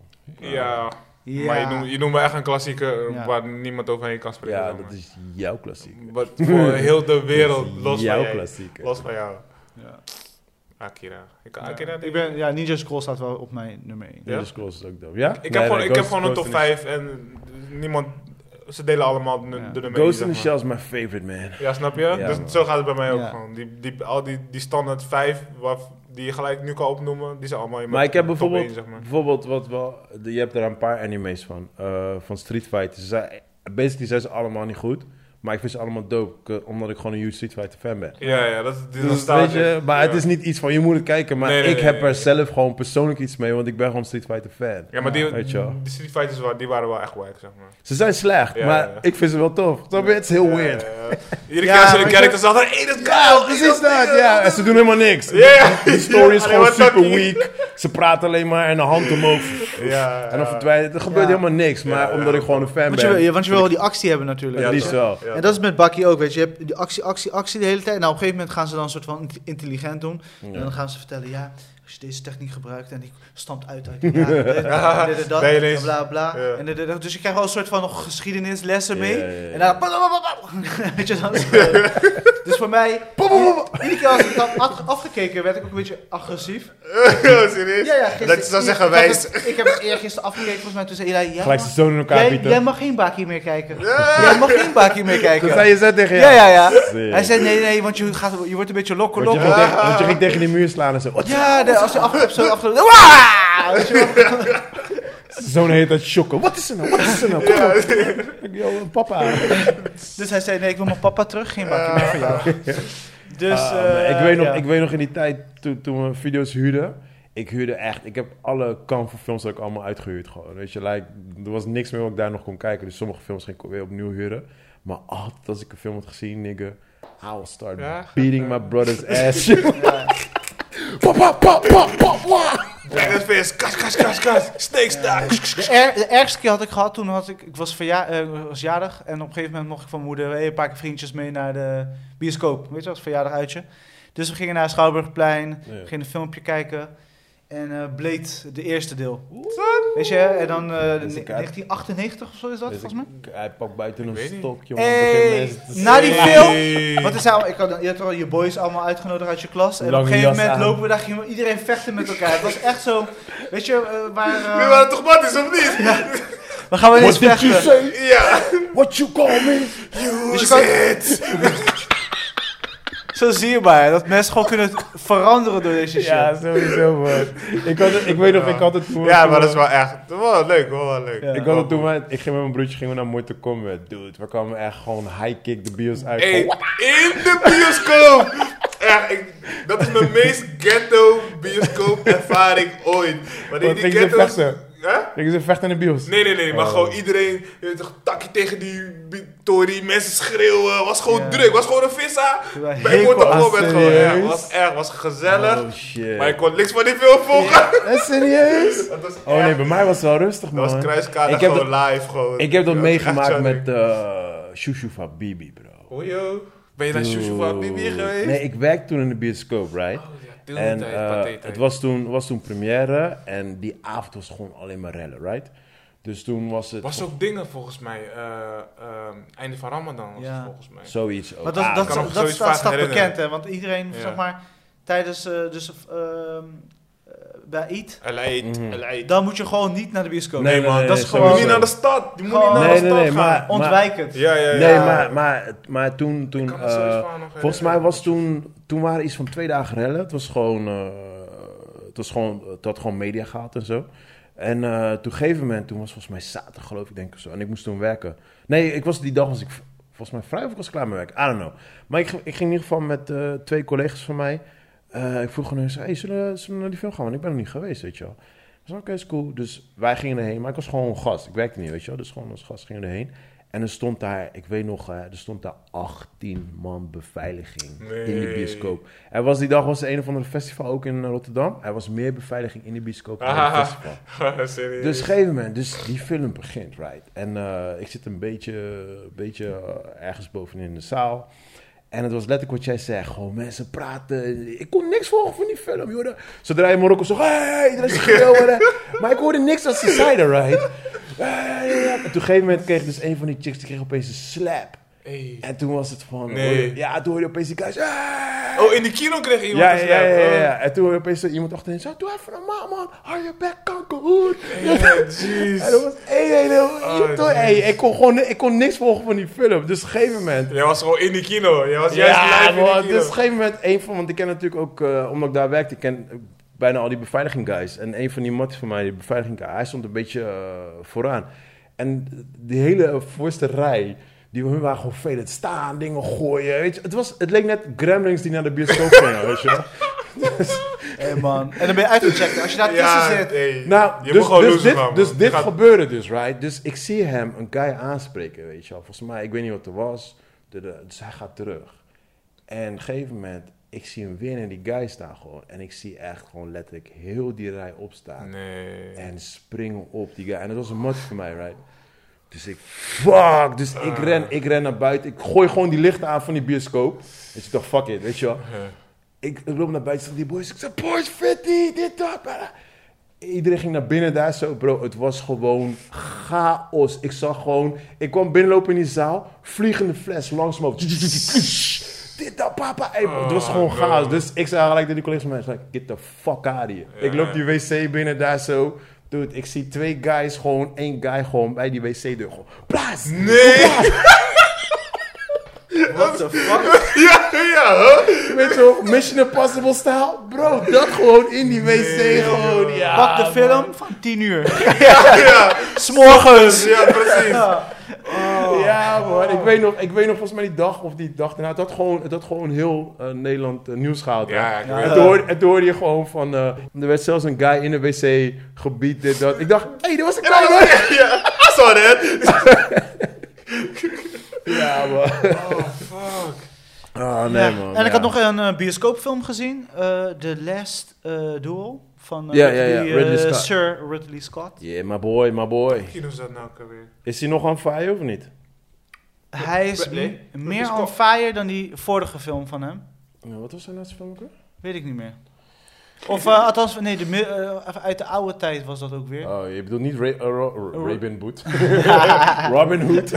Ja. Ja. Maar je noemt, je noemt me echt een klassieker eh, Ja. waar niemand overheen kan spreken. Ja, zeg maar. dat is jouw klassieker. Wat voor heel de wereld, Dat is los van jouw jij. klassieker. Los van jou. Ja. Akira. Ik, Ja. Akira, Ik ben, ja, Ninja Scroll staat wel op mijn nummer 1. Ninja Ja? Scrolls is ook dope. Ja? Ik Nee, heb gewoon, nee, ik heb Ghost- gewoon een top Ghost in 5 en niemand... Ze delen allemaal de, Ja. de the- nummer Ghost één, in the zeg Shell is my favorite, man. maar. Ja, snap je? Ja, dus man. zo gaat het bij mij ook Ja. gewoon. Die, die, al die, die standaard 5 die je gelijk nu kan opnoemen, die zijn allemaal in mijn Maar ik heb top bijvoorbeeld, één, zeg maar. bijvoorbeeld wat wel, de- je hebt er een paar anime's van, eh, van Street Fighter. Ze zijn, basically zijn ze allemaal niet goed, maar ik vind ze allemaal dope, eh, omdat ik gewoon een huge Street Fighter fan ben. Ja, ja, dat, die- dat Dus, staat weet je, echt, maar ja. het is niet iets van je moet het kijken, maar Nee, nee, ik nee, heb nee, er nee. zelf gewoon persoonlijk iets mee, want ik ben gewoon Street Fighter fan. Ja, maar die, Weet je wel. die Street Fighters wa- die waren wel echt wack, zeg maar. Ze zijn slecht, Ja, maar ja, ja. ik vind ze wel tof. Snap je? Het is heel Ja, weird. ja, ja. Iedere Ja, keer als je maar de ik- characters zag, dan, hey, dat is Ja, Kyle, precies dat is dat. dit, Ja, dat en is ze doen helemaal niks. Ja, ja. De story Alleen is gewoon maar super talkie. weak. Ze praten alleen maar en de hand omhoog. Ja, En dan ja. verdwijnt het. Er gebeurt Ja. helemaal niks. Maar omdat ik gewoon een fan Want ben. je, wil- want je wil wel die actie hebben natuurlijk. ja, Ja, die toch? is eh, wel. Ja. En dat is met Bakkie ook, weet je. Je hebt die actie, actie, actie de hele tijd. Nou, op een gegeven moment gaan ze dan een soort van int- intelligent doen. En dan gaan ze vertellen, ja, als je deze techniek gebruikt en die stamt uit uit die jaren, dit, en dit en dat, Ben je en ineens- bla bla. Ja. En dit en dat. Dus je krijgt wel een soort van nog geschiedenislessen mee. Ja, ja, ja. En dan... Weet je, dan is het- dus voor mij, iedere keer als ik dat had afgekeken, werd ik ook een beetje agressief. Oh, Serieus? Ja, ja, gisteren- Dat zou zeggen ik had wijs. het- Ik heb het eergisteren afgekeken, volgens mij. Toen zei Eli, ja, Gelijk maar ze zo in elkaar jij, bieten. jij mag geen Bakkie meer kijken. Jij mag geen Bakkie meer kijken. Dat zei je zo tegen Ja, jou. ja, ja. Sick. Hij zei, nee, nee, want je, gaat, je wordt een beetje lokker, Want je, lokker. ging tegen, want je ging tegen die muur slaan en zo. Wat? Ja, de- als je afgelopen zo afgelopen... Waaah! Weet je wel? Zo'n heet dat shocken. Wat is er nou? Wat is er nou? Kom op. Ik- Yo, papa. Dus hij zei, nee, ik wil mijn papa terug. Geen bakje meer voor jou. Dus... Ah, eh, man, ik, weet nog, ja. ik weet nog in die tijd toen, toen we video's huurden. Ik huurde echt. Ik heb alle films ook allemaal uitgehuurd. Gewoon. Weet je, like, er was niks meer wat ik daar nog kon kijken. Dus sommige films ging ik weer opnieuw huren. Maar altijd als ik een film had gezien, nigga. I will start Ja. beating my brother's ass. pa, pa, pa, pa, pa, pa. Dragon Fist, kas, kas, kas, kas. Snake Star. De, er- de ergste keer had ik gehad, toen had ik, ik was, verja, eh, was jarig en op een gegeven moment mocht ik van mijn moeder hey, een paar keer vriendjes mee naar de bioscoop. Weet je wat, verjaardag uitje. Dus we gingen naar Schouwburgplein, Ja. we gingen een filmpje kijken en eh Blade, de eerste deel. Weet je, en dan eh, Dat is een kaart. 1998 of zo is dat, Dus ik- volgens mij. Hij pakt buiten Ik een weet niet. stok, jongen. Begin Hey, nou, mensen te na die Hey. film. Wat is nou, ik had, je had al je boys allemaal uitgenodigd uit je klas. En op Lange een gegeven jas moment aan. lopen we daar, ging iedereen vechten met elkaar. Het was echt zo, weet je, eh, waar, eh, Nu waren toch matties, of niet? waar gaan we What ineens did you vechten? say? Ja. What you call me? Dus je You kan- it. Zo zie je maar, dat mensen gewoon kunnen veranderen door deze shit. Ja, sowieso, man. Ik, had het- ik weet nog, ik had het toen... Ja, maar dat is wel echt. Wel leuk, hoor, wel leuk. Ja. Ik had het toen, maar ik ging met mijn broertje gingen we naar Mortal Kombat, dude. We kwamen echt gewoon high kick de bios uit. Hey, Gewoon, in de bioscoop! Echt, ik, dat is mijn meest ghetto bioscoop ervaring ooit. Maar die, Wat die ging ze ghetto's- vechten? Hè? Ik ze vechten in de bios. Nee, nee, nee, maar Oh. gewoon iedereen, je weet toch, takje tegen die bi- Tory, mensen schreeuwen, was gewoon Ja. druk, was gewoon een vissa. Terwijl Bij hekel Mortal aan Kombat gewoon, ja, serieus? was erg, was gezellig, Oh shit. maar ik kon niks van die film volgen. Eh, serieus? Dat was Oh nee, bij mij was het wel rustig, man. dat was kruiskade ik heb gewoon dat, live gewoon. ik heb dat Ja, meegemaakt echt zo met leuk. eh Shushu van Bibi, bro. Hojo, ben je naar Shushu van Bibi Dude. geweest? Nee, ik werk toen in de bioscoop, right? Oh ja, toen En tijd, eh, paté tijd. het was toen, was toen première en die avond was gewoon alleen maar rellen, right? Dus toen was het was ook dingen volgens mij, eh, ehm, einde van Ramadan was Ja. het volgens mij. zoiets ook. Maar dat, Ah, dat, kan me dat, zoiets staat, vaag staat herinneren. bekend, hè? Want iedereen, Ja. zeg maar, tijdens, eh, dus, ehm, eh, bij Eat, Aleid, Mhm. Aleid. dan moet je gewoon niet naar de bioscoop. Nee, Nee, man, nee, dat nee, is Je gewoon- moet sowieso. niet naar de stad, je moet Gewoon- niet naar Oh. de Nee, nee, stad nee, gaan. maar- Ontwijk het. Ja, ja, ja. Nee, maar, maar, maar toen... toen kan me zoiets eh, van nog volgens mij was toen... Toen waren iets van twee dagen rellen. Het was gewoon... eh, het, was gewoon het had gewoon media gehad en zo. En eh, toen een gegeven moment... Toen was volgens mij zaterdag geloof ik denk ik of zo. En ik moest toen werken. Nee, ik was die dag was ik... v- Volgens mij vrij of ik was klaar met werk. I don't know. Maar ik, ik ging in ieder geval met eh, twee collega's van mij. Eh, ik vroeg aan hun, hey, zullen, we- zullen we naar die film gaan? Want ik ben er niet geweest, weet je wel. Ik zei, oké, is cool. Dus wij gingen erheen. Maar ik was gewoon gast. Ik werkte niet, weet je wel. Dus gewoon als gast gingen we erheen. En er stond daar, ik weet nog, eh, er stond daar 18 man beveiliging in de Nee. bioscoop. Er was die dag was er een of andere festival ook in Rotterdam. Er was meer beveiliging in de bioscoop dan in het Ah. festival. Serieus. Dus op een gegeven moment, dus die film begint, right? En eh, ik zit een beetje, een beetje eh, ergens bovenin in de zaal. En het was letterlijk wat jij zegt. Gewoon mensen praten. Ik kon niks volgen van die film, joh. Zodra je Marokko zag, hey, iedereen schreeuwen. maar ik hoorde niks als ze zeiden, right? Hey, ja. En toen op een gegeven moment kreeg dus een van die chicks, die kreeg opeens een slap. Hey. En toen was het van, Nee. hoorde- ja, toen hoorde je opeens die guys, hey. Oh, in de kino kreeg iemand Ja, een ja, ja, slap. ja, Oh. ja. En toen hoorde je opeens zo iemand achterin zo, doe even normaal, man. Hou je bek, kankerhoer. Ja, En dat jeez. was één hele... Oh, Toch, hey, jezus. ik, kon gewoon, ik kon niks volgen van die film. Dus op een gegeven moment... Jij was gewoon in de kino. Jij was juist Ja, live man, in de kino. dus op een gegeven moment... Een van, want ik ken natuurlijk ook... eh, omdat ik daar werkte, ik ken eh, bijna al die beveiliging guys. En een van die matties van mij, die beveiliging guy... Hij stond een beetje eh, vooraan. En die hele voorste rij... Die hun waren gewoon veel het staan, dingen gooien. Weet je. Het, was, het leek net gremlings die naar de bioscoop gingen, weet je wel. Dus- Hey man. En dan ben je uitgecheckt. Als je daar tussen Ja, zit. hey. Nou, je dus, moet gewoon dus loser dit, gaan, man. dus Je dit gaat- gebeurde dus, right? Dus ik zie hem een guy aanspreken, weet je wel. Volgens mij, ik weet niet wat er was. De- de- Dus hij gaat terug. En op een gegeven moment, ik zie hem weer in die guy staan gewoon. En ik zie echt gewoon letterlijk heel die rij opstaan. Nee. En springen op die guy. En dat was een match voor mij, right? Dus ik, fuck. Dus ik, ren, ik ren naar buiten. Ik gooi gewoon die lichten aan van die bioscoop. Dus ik dacht, fuck it, weet je wel. Ik loop naar buiten, zag die boys. Ik zei, boys, fit niet, dit, dat. bla, bla." Iedereen ging naar binnen daar zo, bro. Het was gewoon chaos. Ik zag gewoon, ik kwam binnenlopen in die zaal, vliegende fles langs me. Dit, dat, papa. Hey, het was gewoon Oh, chaos. no. Dus ik zei gelijk tegen die collega's van mij, ik zei, get the fuck out of here. Ja. Ik loop die wc binnen daar zo. Dude, ik zie twee guys gewoon, één guy gewoon bij die wc-deur. Gewoon, blaas! Nee! What the fuck? Ja, ja, huh? Weet je wel, Mission Impossible style. Bro, dat gewoon in die wc Nee, gewoon. joh. Ja, Pak de man. film van 10 uur. Ja, S'morgens. ja, precies. Ja. Ja, Oh. man. Ik weet, nog, ik weet nog volgens mij die dag of die dag daarna. Het had gewoon, het had gewoon heel eh, Nederland eh, nieuws gehaald. hè. Ja, ik Ja. weet En het. toen, hoorde, en toen hoorde je gewoon van... eh, er werd zelfs een guy in een wc-gebied, dit, dat. Ik dacht, hé, hey, dat was een Ja, guy, man. ja, I saw that. Ja, man. Oh, fuck. Ah, nee, Ja. man. En ik ja. had nog een eh, bioscoopfilm gezien. eh, The Last eh, Duel. Van eh, Ja, ja, ja, die, eh, Ridley Scott. Sir Ridley Scott. Yeah, my boy, my boy. Kino zat nou ook alweer. Is hij nog aan fire of niet? Hij is Ridley? m- Ridley meer Scott. on fire dan die vorige film van hem. Nou, wat was zijn laatste film ook weer? Weet ik niet meer. Of eh, althans, nee, de, mi- eh, uit de oude tijd was dat ook weer. Oh, je bedoelt niet Ray, eh, Ro- Ro- Robin Hood? Robin Hood.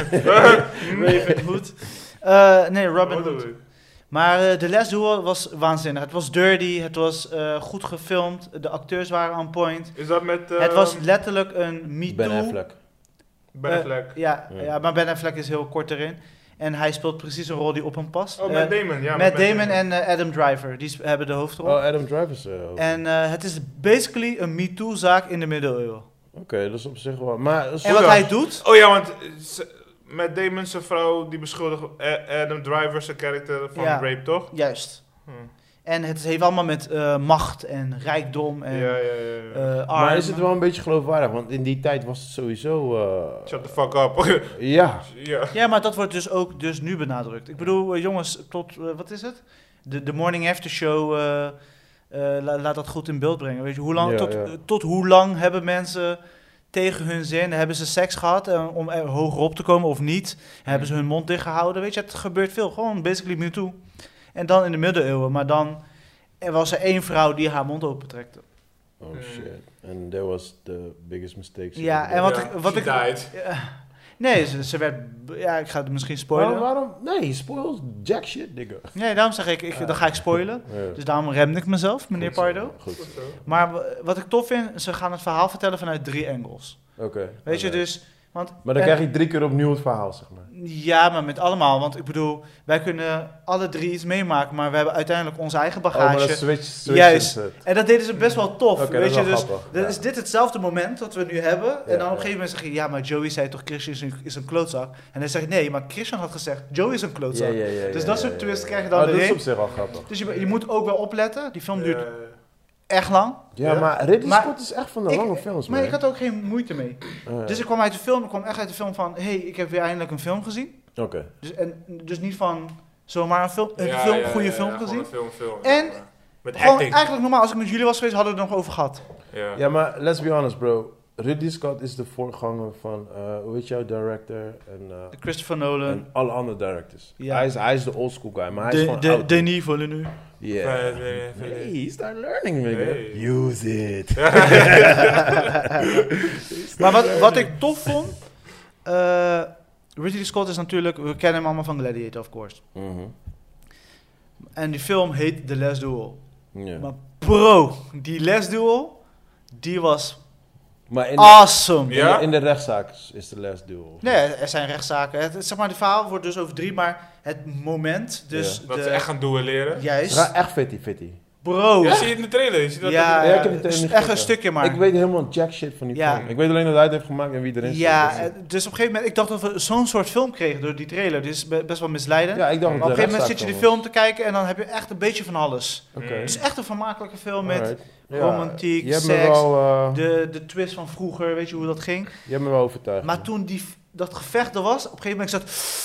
Raven Hood. Eh, nee, Robin Hood. Hood. Maar eh, de Les Duel was waanzinnig. Het was dirty, het was eh, goed gefilmd, de acteurs waren on point. Is dat met... eh, het was letterlijk een me Ben Too. Affleck. Ben Eh, Affleck. Ja, Ja. ja. maar Ben Affleck is heel kort erin. En hij speelt precies een rol die op hem past. Oh, Eh, Matt Damon. Ja, Matt Damon en eh, Adam Driver, die sp- hebben de hoofdrol. Oh, Adam Driver's. eh, ook. En eh, het is basically een me Too zaak in de middeleeuwen. Oké, dat is op zich wel... Maar, En wat dan? hij doet, Oh ja, want eh, ze- Matt Damon, zijn vrouw, die beschuldigt eh, Adam Driver, zijn karakter, van Ja. rape, toch? juist. Hm. En het heeft allemaal met eh, macht en rijkdom en ja, ja, ja. ja. eh, arm. maar is het wel een beetje geloofwaardig? Want in die tijd was het sowieso... eh, Shut the fuck up. Ja. ja. Ja, maar dat wordt dus ook dus nu benadrukt. Ik bedoel, eh, jongens, tot, eh, wat is het? De, de morning after show, eh, eh, la- laat dat goed in beeld brengen. Weet je, hoe lang, Ja, tot, ja. eh, tot hoe lang hebben mensen tegen hun zin, hebben ze seks gehad eh, om er hoger op te komen of niet? Hebben ze Hmm. hun mond dicht gehouden? Weet je, het gebeurt veel. Gewoon basically me too. En dan in de middeleeuwen, maar dan er was er één vrouw die haar mond opentrekte. Oh Hmm. shit. And that was the biggest mistake. Ja, en wat Ja, ik... Wat she ik died. Ja. nee, ze, ze werd... Ja, ik ga het misschien Waarom, spoilen. waarom? Nee, spoils jack shit, nigga. Nee, daarom zeg ik, ik dan ga ik spoilen. Ja. Dus daarom remde ik mezelf, meneer Goed zo, Pardo. Goed. zo. Maar w- wat ik tof vind, ze gaan het verhaal vertellen vanuit drie angles. Oké. Weet je, oké. dus... Want, Maar dan en- krijg je drie keer opnieuw het verhaal, zeg maar. Ja, maar met allemaal. Want ik bedoel, wij kunnen alle drie iets meemaken, maar we hebben uiteindelijk onze eigen Oh, maar bagage. dat switch, switch Juist. het. En dat deden ze best wel tof. Oké, dat weet is je, wel dus grappig, dat ja. is dit hetzelfde moment dat we nu hebben. en dan op ja. een gegeven moment zeg je, ja, maar Joey zei toch, Christian is een, is een klootzak. En dan zeg je, nee, maar Christian had gezegd, Joey is een Ja, klootzak. ja, ja, ja, Dus dat ja, soort ja, twists ja. krijg je dan Oh, Dat is erin. op zich wel grappig. Eh, Dus je, je moet ook wel opletten. Die film duurt Ja. echt lang. Ja, Ja. maar Ridley Maar- Scott is echt van de Ik- lange films, man. Maar ik had ook geen moeite mee. Ja. Dus ik kwam uit de film, ik kwam echt uit de film van, hé, hey, ik heb weer eindelijk een film gezien. Oké. Dus, en, dus niet van zomaar een film, een film, goede film ja, gezien. gewoon Een film, film. En- ja. Met Gewoon acting. eigenlijk normaal, als ik met jullie was geweest, hadden we het er nog over gehad. Ja. Ja, maar let's be honest, bro. Ridley Scott is de voorganger van, eh hoe heet jouw director? En, eh, Christopher Nolan, en alle andere directors. Ja. Hij, is, hij is de old school guy, maar hij is de, gewoon de, oud. Denis Villeneuve. Yeah. Nee, nee, nee, nee. Hey, start learning, nigga. Hey. Use it. Maar wat, wat ik tof vond, eh, Ridley Scott is natuurlijk, we kennen hem allemaal van Gladiator, of course. Mhm. En die film heet The Last Duel. Ja. Maar bro, die Last Duel, die was Maar in de, awesome. Ja. in de rechtszaak is de last duel. Ah. Nee, er zijn rechtszaken. Het, zeg maar, de verhaal wordt dus over drie, maar het moment, dus Ja. de, Dat ze echt gaan duelleren. Ze juist, gaan echt fitty fitty. bro. Ja, Ja, zie je het in de trailer? Je ziet dat ja, Ja, ik heb het s- niet echt gekeken. een stukje maar. Ik weet helemaal jack shit van die Ja. film. Ik weet alleen dat hij het heeft gemaakt en wie erin zit. ja, Dat is- eh, dus op een gegeven moment, ik dacht dat we zo'n soort film kregen door die trailer. Dit is be- best wel misleidend. ja, ik dacht maar op een gegeven moment zit je die film te kijken en dan heb je echt een beetje van alles. Oké. Het is echt een vermakelijke film met Alright. Ja, romantiek, je hebt me seks, wel, eh, de, de twist van vroeger, weet je hoe dat ging. Je hebt me wel overtuigd. Maar toen die, dat gevecht er was, op een gegeven moment ik zat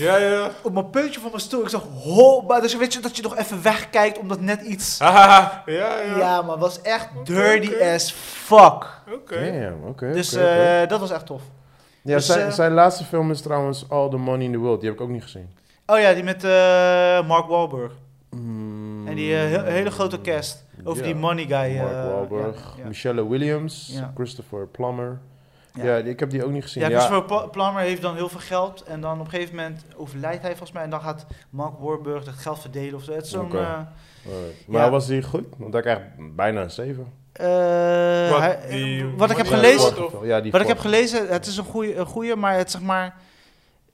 Ja, ja. op mijn puntje van mijn stoel. Ik zag, ho, maar dus weet je dat je nog even wegkijkt omdat net iets... Hahaha. Ja, ja. Ja, maar was echt dirty oké. as fuck. Oké. Damn, oké. Dus oké, oké. eh, dat was echt tof. ja, dus, zijn, eh, zijn laatste film is trouwens All the Money in the World. Die heb ik ook niet gezien. Oh ja, die met eh, Mark Wahlberg. Mm, En die eh, he- hele grote cast. Over ja. die money guy. Mark eh, Wahlberg, Ja, ja. Michelle Williams, Ja. Christopher Plummer. Ja, Ja. die- ik heb die ook niet gezien. Ja, Christopher Pla- Plummer heeft dan heel veel geld. En dan op een gegeven moment overlijdt hij volgens mij. En dan gaat Mark Wahlberg dat geld verdelen of zo. Het is zo'n... Oké. eh, Alright. Maar Ja. was die goed? Want daar krijg ik bijna een 7. eh, Wat hij- die- wat ik heb Ja, gelezen... wat- of- Ja, die Wat ik heb vorige. gelezen, het is een goeie, een goeie maar het zeg maar...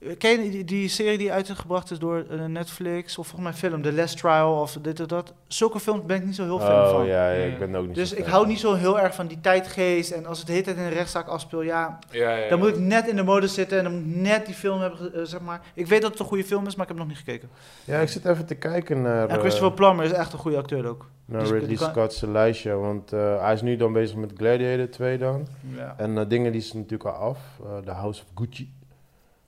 eh, Ken je die, die serie die uitgebracht is door eh, Netflix? Of volgens mij film, The Last Trial of dit of dat. Zulke films ben ik niet zo heel fan oh, van. Ja, ja, ik Mm. ben er ook niet Dus zo ik fan hou van. niet zo heel erg van die tijdgeest. En als het de hele tijd in een rechtszaak afspeel, ja, Ja, ja, ja. dan moet ik net in de mode zitten. En dan moet ik net die film hebben, ge- eh, zeg maar. Ik weet dat het een goede film is, maar ik heb nog niet gekeken. Ja, ik zit even te kijken naar, En eh, Christopher Plummer is echt een goede acteur ook. naar die- Ridley die kan- Scott's lijstje. Want eh, hij is nu dan bezig met Gladiator 2 dan. Ja. En eh, dingen die zijn natuurlijk al af. Eh The House of Gucci.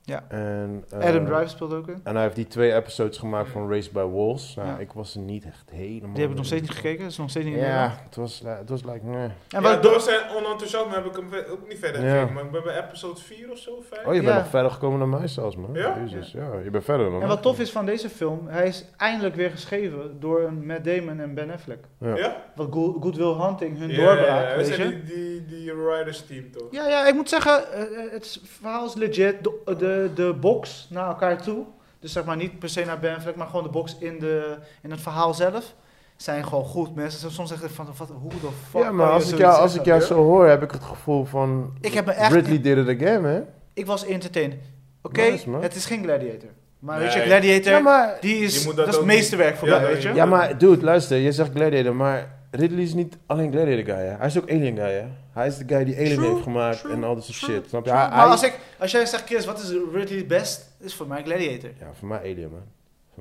Ja. En, eh, Adam Driver speelt ook in. En hij heeft die twee episodes gemaakt van Race by Wolves. Nou, Ja. ik was er niet echt helemaal... Die heb ik nog steeds niet gekeken. Dat is nog steeds niet in Nederland. Ja, het was, eh, het was like... meh. En wat ja, ik do- door zijn onenthousiasme heb ik hem ve- ook niet verder Ja. gekeken, maar ik ben bij episode 4 of zo, 5. Oh, je bent Ja. nog verder gekomen dan mij zelfs, man. Ja? Jezus, ja. Je bent verder dan En mij. wat tof is van deze film, hij is eindelijk weer geschreven door een Matt Damon en Ben Affleck. Ja. Ja? Wat Good, Good Will Hunting, hun Ja, doorbraak, ja, ja. We weet je. zijn die, die, die writers team toch? Ja, ja, ik moet zeggen, eh, eh, het is- verhaal is legit. De, de, de box naar elkaar toe, dus zeg maar niet per se naar Ben Affleck, maar gewoon de box in, de, in het verhaal zelf, zijn gewoon goed. Mensen zijn soms zeggen van, wat, hoe de fuck Ja, kan maar je als ik, zoiets jou, als zeggen? ik jou ja. zo hoor, heb ik het gevoel van... Ik heb me echt- Ridley did it again, hè? Ik was entertained. Oké, Nice, man. het is geen Gladiator. Maar weet je, Nee. Gladiator, Ja, maar... die is, Je moet dat dat is het ook meesterwerk niet- voor mij, Ja, weet je. ja, Ja, maar dude, luister. Je zegt Gladiator, maar Ridley is niet alleen Gladiator guy, hè? Hij is ook Alien guy, hè? Hij is de guy die Alien True, heeft gemaakt true, en al dat soort true, shit. Snap je? Ja, Hij- maar hij- als, ik, als jij zegt, Chris, wat is Ridley best? Is voor mij Gladiator. Ja, voor mij Alien, man.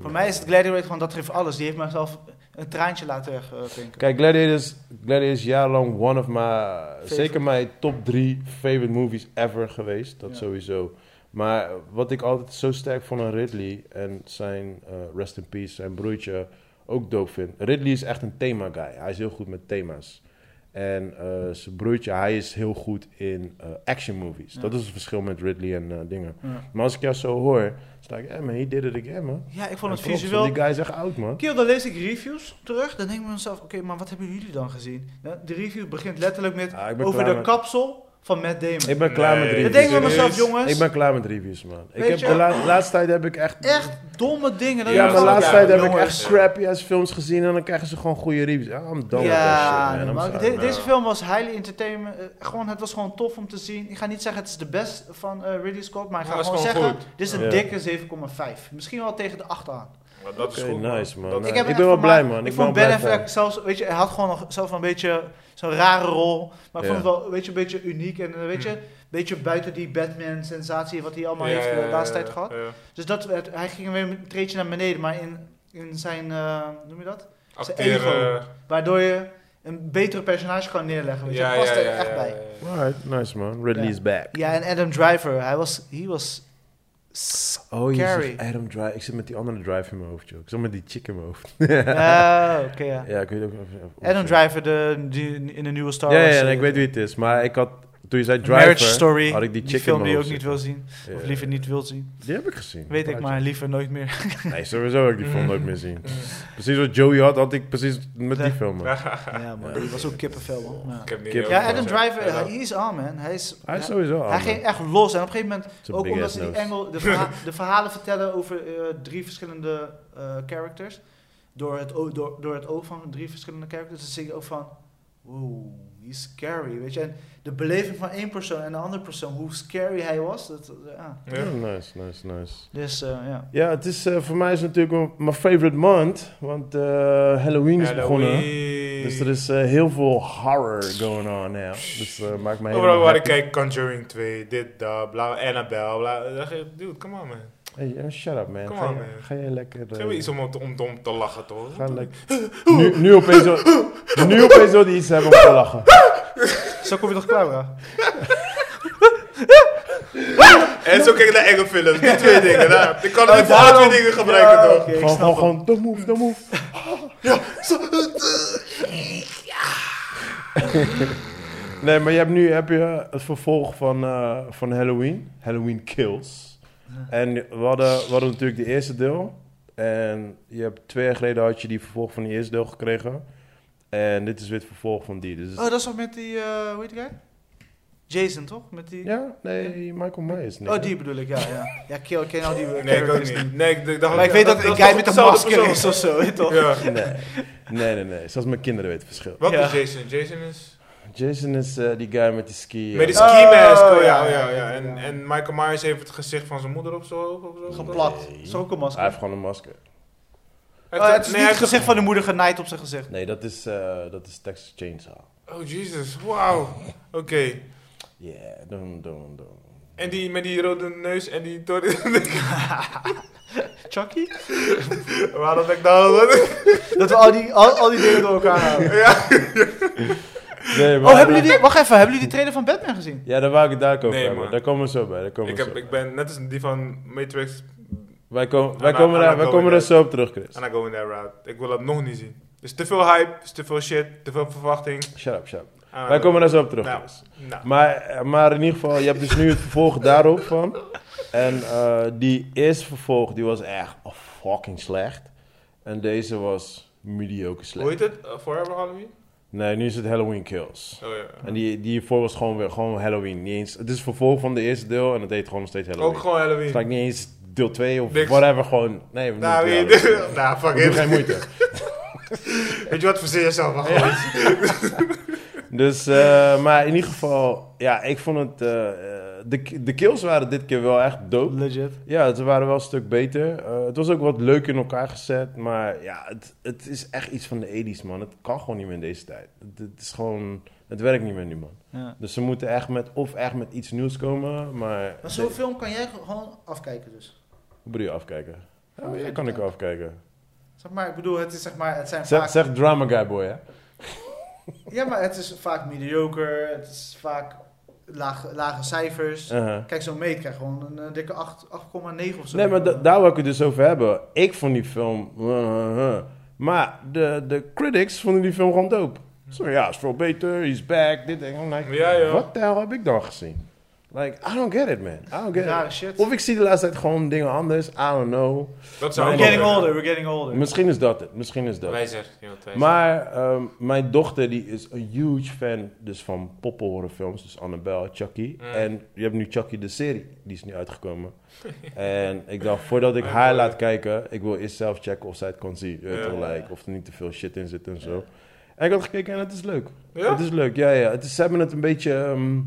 Voor mij is het Gladiator gewoon dat geeft alles. Die heeft mezelf een traantje laten wegvinken. Kijk, Gladiator is, Gladiator is jarenlang one of my... Zeker mijn top drie favorite movies ever geweest. Dat Ja. sowieso. Maar wat ik altijd zo sterk vond aan Ridley... en zijn eh, rest in peace, zijn broertje, ook dope vind. Ridley is echt een thema guy. Hij is heel goed met thema's. En eh, zijn broertje, hij is heel goed in eh, action movies. Ja. Dat is het verschil met Ridley en eh, dingen. Ja. Maar als ik jou zo hoor, sta ik... Hey man, he did it again, man. Ja, ik vond En het props, visueel... want Die guy is echt oud, man. Kiel, dan lees ik reviews terug. Dan denk ik bij mezelf, oké, maar wat hebben jullie dan gezien? Nou, de review begint letterlijk met Ah, ik ben over klaar de met- kapsel van Matt Damon. Ik ben klaar Nee. met Dat Ridley. Dan denk ik bij serieus? mezelf, jongens, Ik ben klaar met reviews, man. Ik Weet heb je- de la- laatste tijd heb ik echt... echt domme dingen. Dan denk Ja, maar ik de van, laatste ja, tijd heb ik jongens. echt crappy ass films gezien en dan krijgen ze gewoon goede reviews. Ja, I'm Ja, done with that shit, man. maar I'm sorry. de- deze film was highly entertainment. eh, gewoon, het was gewoon tof om te zien. Ik ga niet zeggen het is de best van eh Ridley Scott, maar ik ga Ja, het is gewoon gewoon zeggen, goed. dit is een Ja. dikke 7,5. Misschien wel tegen de 8 aan. Maar dat Oké, is goed. nice, man. Dat- Nee. heb ik echt ben wel vermaakt. blij, man. Ik Ik vond ben Ben wel blij Affleck zelfs, weet je, hij had gewoon nog zelf een beetje zo'n rare rol. Maar ik Ja. Hm. vond het wel, weet je, een beetje uniek. En eh, weet je, een beetje buiten die Batman-sensatie wat hij allemaal Ja, heeft eh, ja, de ja, laatste ja, tijd gehad. ja. Dus dat, werd- hij ging weer een treetje naar beneden, maar in, in zijn, eh, hoe noem je dat? Zijn Acteren. ego. Waardoor je een betere personage kan neerleggen. Weet je, Ja, hij ja, past ja. er ja, echt ja, bij. ja. Alright, nice man. Ridley Ja. is back. Ja, en Adam Driver, hij was, he was Oh, je Carrie. zegt Adam Drive. Ik zit met die andere Drive in mijn hoofd, joh. Ik zit met die chick in mijn hoofd. Ah, oké, ja. Ja, ik weet ook even. Adam Driver de, die in de nieuwe Star Ja, Wars. ja, en eh, ik weet wie het is. Maar ik had, toen je zei Driver, Marriage Story, had ik die chick in film mijn die je ook hoofd niet wil zitten. zien. Of Ja. liever niet wil zien. Die heb ik gezien. Weet Een ik, maar plaatje. liever nooit meer. Nee, sowieso heb ik die film nooit meer zien. Precies wat Joey had, had ik precies met die Ja. film. man. ja, man, die was ook kippenvel, man. Ja. Ik heb niet Kip. heel Ja, veel Adam gezegd. Driver, Ja, hij is aan, man. Hij, is, Hij is sowieso aan. hij ging echt los. En op een gegeven moment Ook omdat ze die Engel, de, verha- de verhalen vertellen over eh, drie verschillende eh, characters. Door het, o- door, door het oog van drie verschillende characters. Dan zie je ook van, wow, he's scary. Weet je? En de beleving van één persoon en de andere persoon, hoe scary hij was. Dat, eh, ja. Ja. nice, nice, nice. Dus eh, ja. Ja, het is, eh, voor mij is het natuurlijk mijn favorite month. Want eh, Halloween is begonnen. Halloween. Dus er is eh, heel veel horror going on now. Dus eh maakt mij Overal waar ik happy. kijk, Conjuring 2, dit, dat, bla, Annabelle, bla. Dan dacht ik, dude, come on man. Hey, eh, shut up man. Come Ga, on, je- man. ga jij lekker... eh, Geef me iets om, om, om, om te lachen toch? Ga lekker... Nu, nu opeens wil nu opeens wil die iets hebben om te lachen. Zo kom je toch klaar, bro? En zo kijk ik naar enge films, die twee dingen. Nou, ik Oh, kan het voor alle twee dingen gebruiken toch? oké, ik Gewoon, snap gewoon, het. gewoon, don't move, don't move. eh, Nee, maar je hebt nu heb je het vervolg van, eh, van Halloween. Halloween Kills. En we hadden, we hadden natuurlijk de eerste deel. En je hebt, twee jaar geleden had je die vervolg van die eerste deel gekregen. En dit is weer het vervolg van die. Dus, Oh, dat is toch met die, eh hoe heet die guy? Jason, toch? Met die... ja, nee, Michael Myers. Nee. Oh, die bedoel ik, ja. Ja, ja kill, ken al die eh, Nee, ik ook characters niet. Nee, ik, ik dacht, Maar ik weet dat, is een guy toch met een dezelfde masker persoon? is of zo, weet je toch? Ja. Nee. nee, nee, nee. Zelfs mijn kinderen weten het verschil. Wat Ja. is Jason? Jason is... Jason is eh, die guy met die ski. eh, Met die Oh, ski mask, oh ja, ja, oh ja, ja, ja. ja. En, en Michael Myers heeft het gezicht van zijn moeder op zijn hoofd of Oh, zo. Geplakt. Nee. Zo ook een Hij heeft masker. gewoon een masker. Hij Oh, heeft- het is nee, niet hij het heeft- gezicht van de moeder genaaid op zijn gezicht. Nee, dat is, eh, dat is Texas Chainsaw. Oh, Jesus, wauw. Oké. Yeah, don't, don't, don't. En die met die rode neus en die... door- Chucky? Waarom denk ik dat? Dat we al die, al, al die dingen door elkaar halen. Nee, maar Oh, hebben jullie die, wacht even, hebben jullie die trailer van Batman gezien? Ja, daar wou ik het daar ook over Nee, hebben. man. Daar komen we zo bij. Daar komen Ik, we heb, zo ik Nou, bij. ben net als die van Matrix, Wij, komen wij Anna- komen, Anna daar, wij Goldberg. komen er zo op terug, Chris. and I go in that route. Ik wil dat nog niet zien. Dus te veel hype, is te veel shit, te veel verwachting. Shut up, shut up. Ah, wij komen daar zo op terug, Nou, Chris. nou. Maar, eh, maar in ieder geval, je hebt dus nu het vervolg daarop van. En eh, die eerste vervolg, die was echt fucking slecht. En deze was mediocre Hoe heet slecht. het? Eh, Forever Halloween? Nee, nu is het Halloween Kills. Oh ja. En die, die hiervoor was gewoon weer gewoon Halloween. Niet eens, het is vervolg van de eerste deel en het heet gewoon nog steeds Halloween. Ook gewoon Het Halloween. lijkt niet eens deel 2 of Niks. whatever, gewoon... Nee, we Nou, doen wie- het wel. nou, fuck We doen geen it. moeite. Weet je wat, verzin jezelf maar gewoon. Dus, eh, maar in ieder geval, ja, ik vond het... eh, eh, de, de kills waren dit keer wel echt dope. Legit. Ja, ze waren wel een stuk beter. Eh, het was ook wat leuk in elkaar gezet. Maar ja, het, het is echt iets van de 80s, man. Het kan gewoon niet meer in deze tijd. Het, het is gewoon... Het werkt niet meer nu, man. Ja. Dus ze moeten echt met... Of echt met iets nieuws komen, maar... Maar zo'n film kan jij gewoon afkijken dus. Hoe bedoel je afkijken? Ja, Hoe ja, ga je kan dat ik afkijken. Zeg maar, ik bedoel, het, is, zeg maar, het zijn Zeg, vaak... zeg drama guy boy, hè? Ja, maar het is vaak mediocre, het is vaak lage, lage cijfers. Uh-huh. Kijk, zo'n meet krijgt gewoon een eh, dikke acht- 8,9 of zo. Nee, maar da- daar wil ik het dus over hebben. Ik vond die film... uh-huh. Maar de, de critics vonden die film gewoon dope. Zo ja, is veel beter, he's back, dit en I'm like, Ja, ja. Wat de hel heb ik dan gezien? Like, I don't get it, man. I don't get Rare it. shit. Of ik zie de laatste tijd gewoon dingen anders. I don't know. Dat zou We're ook getting wel older, we're getting older. Misschien is dat het. Misschien is dat. Wijzer, iemand wijzer. Maar ehm, mijn dochter die is een huge fan dus van poppenhorrorfilms. Dus Annabelle, Chucky. Mm. En je hebt nu Chucky de serie. Die is nu uitgekomen. en ik dacht, voordat ik Ah, haar mooi. laat kijken... ik wil eerst zelf checken of zij het kan zien. Je weet Ja. wel, like, of er niet te veel shit in zit en zo. En ik had gekeken en het is leuk. Ja? Het is leuk, ja, ja. Het is, ze hebben het een beetje... ehm,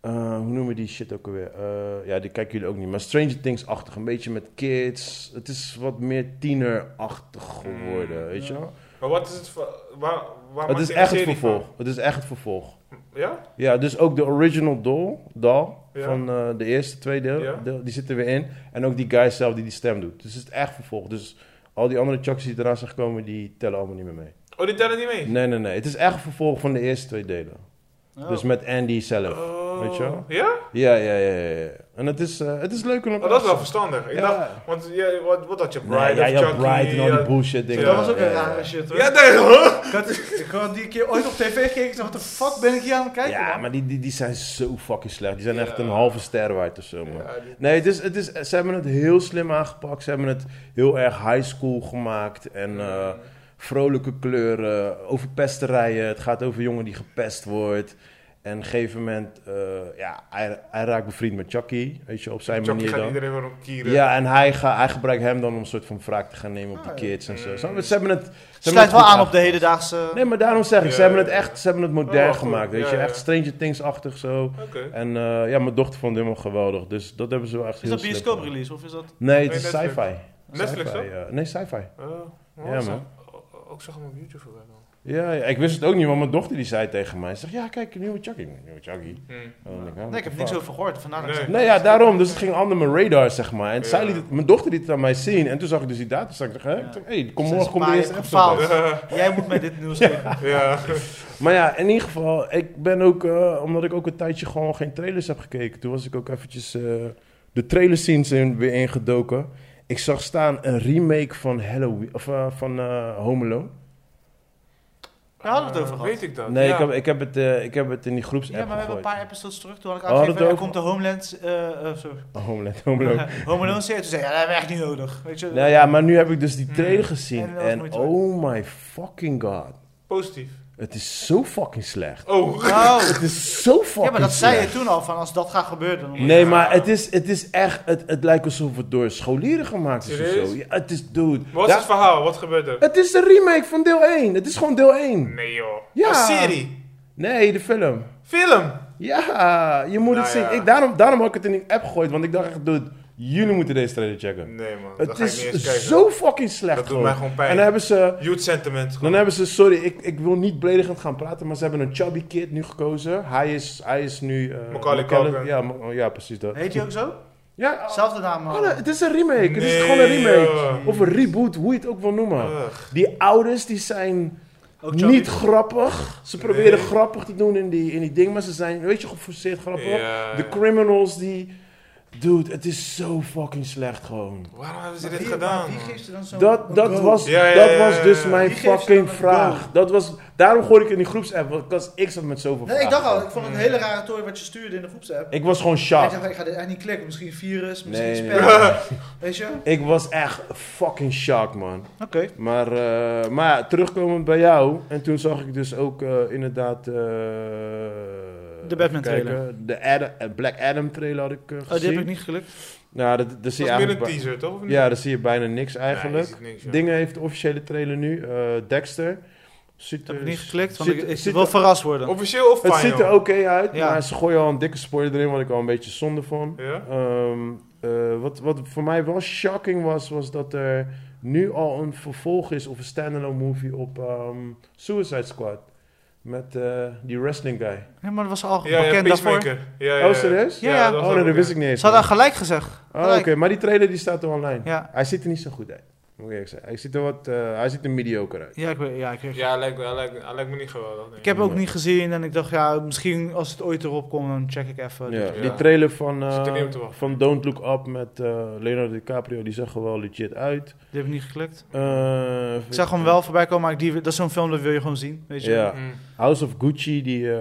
eh, hoe noemen we die shit ook alweer? Eh, ja, die kijken jullie ook niet. Maar Stranger Things-achtig. Een beetje met kids. Het is wat meer tiener-achtig geworden, Mm. weet je Ja. wel? Maar wat is het voor... Waar, waar Het maakt is hij een echt het serie van? vervolg. Het is echt het vervolg. Ja? Ja, dus ook de original doll, doll Ja. van eh, de eerste twee deel, Ja. deel, die zitten weer in. En ook die guy zelf die die stem doet. Dus het is echt vervolg. Dus al die andere chucks die eraan zijn gekomen, die tellen allemaal niet meer mee. Oh, die tellen niet mee? Nee, nee, nee. Het is echt een vervolg van de eerste twee delen. Oh. Dus met Andy zelf. Oh. Weet je wel? Ja? Ja, ja, ja, ja. ja. En het is, eh, het is leuk om... Oh, dat is wel verstandig. Ik Ja. dacht, want jij- wat, wat had je? Bride Nee, ja, of je had Chucky? eh, Bright en al die ja. bullshit dingen. Dat was ook Ja, een ja, rare ja. shit hoor. Ja, nee, hoor. Ik had, ik had die keer ooit op tv gekeken en dacht, de fuck ben ik hier aan het kijken Ja, man? maar die, die, die zijn zo fucking slecht. Die zijn Ja. echt een halve ster waard of zo, man. Ja, die- Nee, het is, het is, ze hebben het heel slim aangepakt. Ze hebben het heel erg high school gemaakt. En eh, vrolijke kleuren, over pesterijen. Het gaat over een jongen die gepest wordt. En op een gegeven moment, eh, ja, hij, hij raakt bevriend met Chucky, weet je, op zijn Chucky gaat manier dan. iedereen weer op kieren. Ja, en hij, ga, hij gebruikt hem dan om een soort van wraak te gaan nemen op Ah, die ja. kids en zo. Snap je? Ze hebben het... Ze hebben Sluit het wel goed aan op de aangepakt. hedendaagse... Nee, maar daarom zeg ik, ze Ja, hebben ja, het ja. echt, ze hebben het modern Oh, goed. gemaakt, weet Ja, je. ja. Echt Stranger Things-achtig zo. Oké. En eh, ja, mijn dochter vond het helemaal geweldig, dus dat hebben ze wel echt Is heel dat slim bioscoop gedaan. release of is dat... Nee, het Nee, is Netflix. sci-fi. Netflix, Sci-fi, ja. Nee, sci-fi. Oh, Ja, was man. dat? Oh, oh, Ik zag hem op YouTube voorbij dan. Ja, ja, ik wist het ook niet, want mijn dochter die zei tegen mij, ze zegt, ja, kijk, nieuwe Chucky. Nieuwe Chucky. En dan denk ik, ah, Nee, ik heb what er the niks fuck. over gehoord. Vandaar dat ik Nee. zei- Nee, ja, daarom. Dus het ging onder mijn radar, zeg maar. En Ja. zij liet het, mijn dochter liet het aan mij zien. En toen zag ik dus die data. Toen zag ik, hè? Ja. Ik dacht, hey, kom Ze morgen, is kom de maar eerste heeft episode gefaald. uit. Jij moet met dit nieuws leven. ja. Maar ja, in ieder geval, ik ben ook, eh, omdat ik ook een tijdje gewoon geen trailers heb gekeken, toen was ik ook eventjes eh, de trailer scenes in, weer ingedoken. Ik zag staan een remake van Halloween, of eh, van eh Home Alone. Daar hadden we het over Eh, gehad. Weet ik dat? Nee, ja. ik, heb, ik, heb het, eh, ik heb het in die Ja, groepsapp maar we hebben een gegooid. paar episodes terug. Toen had ik Oh, hadden we aangegeven, het er komt de Homeland... eh eh, sorry. Oh, Home Alone, Home Alone. Home Alone serie. Toen zei ik, ja, dat hebben we echt niet nodig. Weet je? nou ja, maar nu heb ik dus die Hmm. trailer gezien En dat was en moeite oh my fucking god. Positief. Het is zo fucking slecht. Oh. Nou, Het is zo fucking slecht. ja, maar dat zei je toen al, van als dat gaat gebeuren... Dan Nee, Ja. maar het is, het is echt... Het, het lijkt alsof het door scholieren gemaakt is of Serieus? zo. Ja, het is... Dude. Wat is daar- het verhaal? Wat gebeurt er? Het is de remake van deel 1. Het is gewoon deel 1. Nee joh. Ja. Een serie. Nee, de film. Film. Ja, je moet Nou het zien. ja. Ik, daarom, daarom had ik het in die app gegooid. Want ik dacht echt, dude, jullie moeten deze trailer checken. Nee man, dat het ga ik niet eens is kijken. zo fucking slecht Dat doet gewoon. mij gewoon pijn. En dan hebben ze... Youth sentiment. Dan hebben ze, sorry, ik, ik wil niet beledigend gaan praten, maar ze hebben een chubby kid nu gekozen. Hij is, hij is nu... eh, Macaulay Macaulay- Culkin. Ja, Ma- ja, precies dat. Heet hij ook zo? Ja, oh, Zelfde naam. oh, hadden. nee, het is een remake. het is Nee, gewoon een remake. joh. Of een reboot, hoe je het ook wil noemen. Ugh. Die ouders, die zijn... Ook Charlie. niet grappig. Ze proberen Nee. grappig te doen in die, in die ding, maar ze zijn, weet je, geforceerd grappig. Ja, De ja. criminals die... Dude, het is zo fucking slecht gewoon. Waarom hebben ze Maar dit wie- maar gedaan? Wie man? geeft ze dan zo'n... Dat, dat, goal? was, Ja, ja, dat ja, was ja, dus ja. mijn Die geeft ze fucking dan een vraag. Dat was, daarom gooi ik in die groepsapp, want ik was- ik zat met zoveel Nee, ik dacht al, vragen. ik vond het een hele rare tooi wat je stuurde in de groepsapp. Ik was gewoon Ik shocked. dacht, ik ga dit echt niet klikken. Misschien virus, misschien Nee, nee, spel. nee. Weet je? Ik was echt fucking shocked, man. Oké. Oh, Maar, eh, maar ja, terugkomend bij jou. En toen zag ik dus ook eh, inderdaad... eh, even Batman kijken. trailer. De Adam- eh, Black Adam trailer had ik eh, gezien. Oh, die heb ik niet gelukt. Nou, dat, dat zie Dat is je meer eigenlijk... een bij- teaser toch? Of niet? Ja, daar zie je bijna niks Nee, je eigenlijk. ziet niks, joh. Dingen heeft de officiële trailer nu. eh, Dexter. Ziet Dat heb er- ik niet geklikt, want ziet- ik, ik ziet wil er- verrast worden. Officieel of Het final? ziet er oké uit, Ja. maar ze gooien al een dikke spoiler erin, wat ik al een beetje zonde vond. Ja? Ehm, eh, wat, wat voor mij wel shocking was, was dat er nu al een vervolg is of een standalone movie op ehm, Suicide Squad. Met eh, die wrestling guy. Nee, maar dat was al Ja, ja, bekend daarvoor. Peacemaker. Ja, ja, ja. Oh, serieus? Ja, ja. dat was oh, ook, nee, dat ja. wist ik niet eens. Ze hadden man. gelijk gezegd. Oh, oké, maar die trailer die staat er online. Ja. Hij ziet er niet zo goed uit. Moet ik eerlijk zeggen. Hij ziet er wat, eh, hij ziet er mediocre uit. Ja, ik, weet- ja, ik, weet- Ja, hij lijkt, me- hij lijkt, me- hij lijkt me niet geweldig. nee. ik heb het ook niet gezien en ik dacht, ja, misschien als het ooit erop komt, dan check ik even. Ja, Ja. Die trailer van, eh, Zit er niet op te wachten. van Don't Look Up met eh, Leonardo DiCaprio, die zag er wel legit uit. Die heb ik niet geklikt. Eh, Ik zag hem wel voorbij komen, maar ik die, dat is zo'n film, dat wil je gewoon zien. Weet je? Ja. Mm. House of Gucci, die, eh,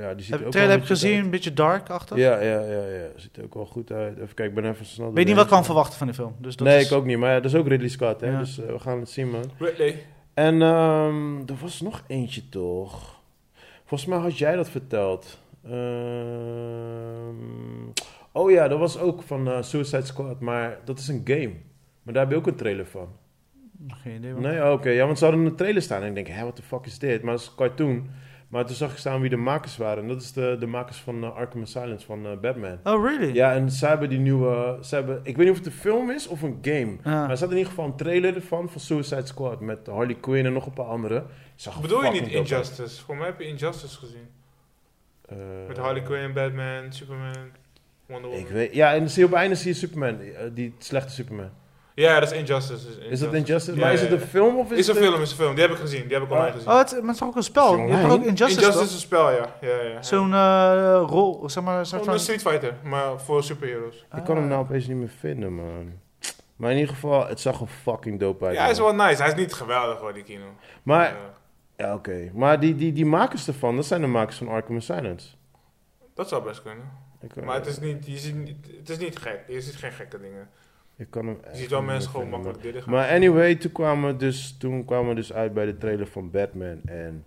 ja, die ziet Heb, er trailer ook wel heb ik gezien, een beetje dark achter. goed uit. Ja, ja, ja, ja, ziet er ook wel goed uit. Even kijken, ik ben even snel. Weet niet doorheen. wat ik kan verwachten van de film. Dus dat nee, is- ik ook niet, maar ja, dat is ook Ridley Scott, hè? Ja. dus eh, we gaan het zien, man. Ridley. En ehm, er was nog eentje, toch? Volgens mij had jij dat verteld. Ehm, oh ja, dat was ook van eh, Suicide Squad, maar dat is een game. Maar daar heb je ook een trailer van. Geen idee. man. Nee, Oh, oké. Ja, want ze hadden een trailer staan. En ik denk, hé, wat de fuck is dit? Maar dat is een cartoon. Maar toen zag ik staan wie de makers waren. En dat is de, de makers van eh, Arkham Asylum van eh, Batman. Oh, really? Ja, en ze hebben die nieuwe... Ze hebben, ik weet niet of het een film is of een game. Ah. Maar er zat in ieder geval een trailer ervan van Suicide Squad. Met Harley Quinn en nog een paar anderen. Zag er Bedoel je fucking niet dope uit. Injustice? Voor mij heb je Injustice gezien. Eh, Met Harley Quinn, Batman, Superman, Wonder Woman. Ik weet, ja, en dan zie je op het einde zie je Superman. eh, die slechte Superman. Ja, dat is Injustice. Is, Is dat Injustice. Injustice? Ja, Maar is ja, het een ja. film of is, Is een het film, is een film. Die heb ik gezien, die heb ik online Oh. gezien. Oh, het, maar het is ook een spel. Je hebt toch ook Injustice, Injustice toch? is een spel, ja. ja, ja. Zo'n eh, rol, zeg maar... een soort Gewoon een van- Street Fighter, maar voor superheroes. Ik kan hem nou opeens niet meer vinden, man. Maar in ieder geval, het zag er fucking dope uit. Ja, hij is man. wel nice. Hij is niet geweldig hoor, die kino. Maar, Ja. ja, oké. Maar die, die, die makers ervan, dat zijn de makers van Arkham Silence. dat zou best kunnen. Ik, eh, Maar het is niet, je ziet niet, het is niet gek. Je ziet geen gekke dingen. ik kan hem Je echt ziet wel niet mensen meer gewoon vinden, makkelijk dit man. Maar anyway, toen kwamen, we dus, toen kwamen we dus uit bij de trailer van Batman. En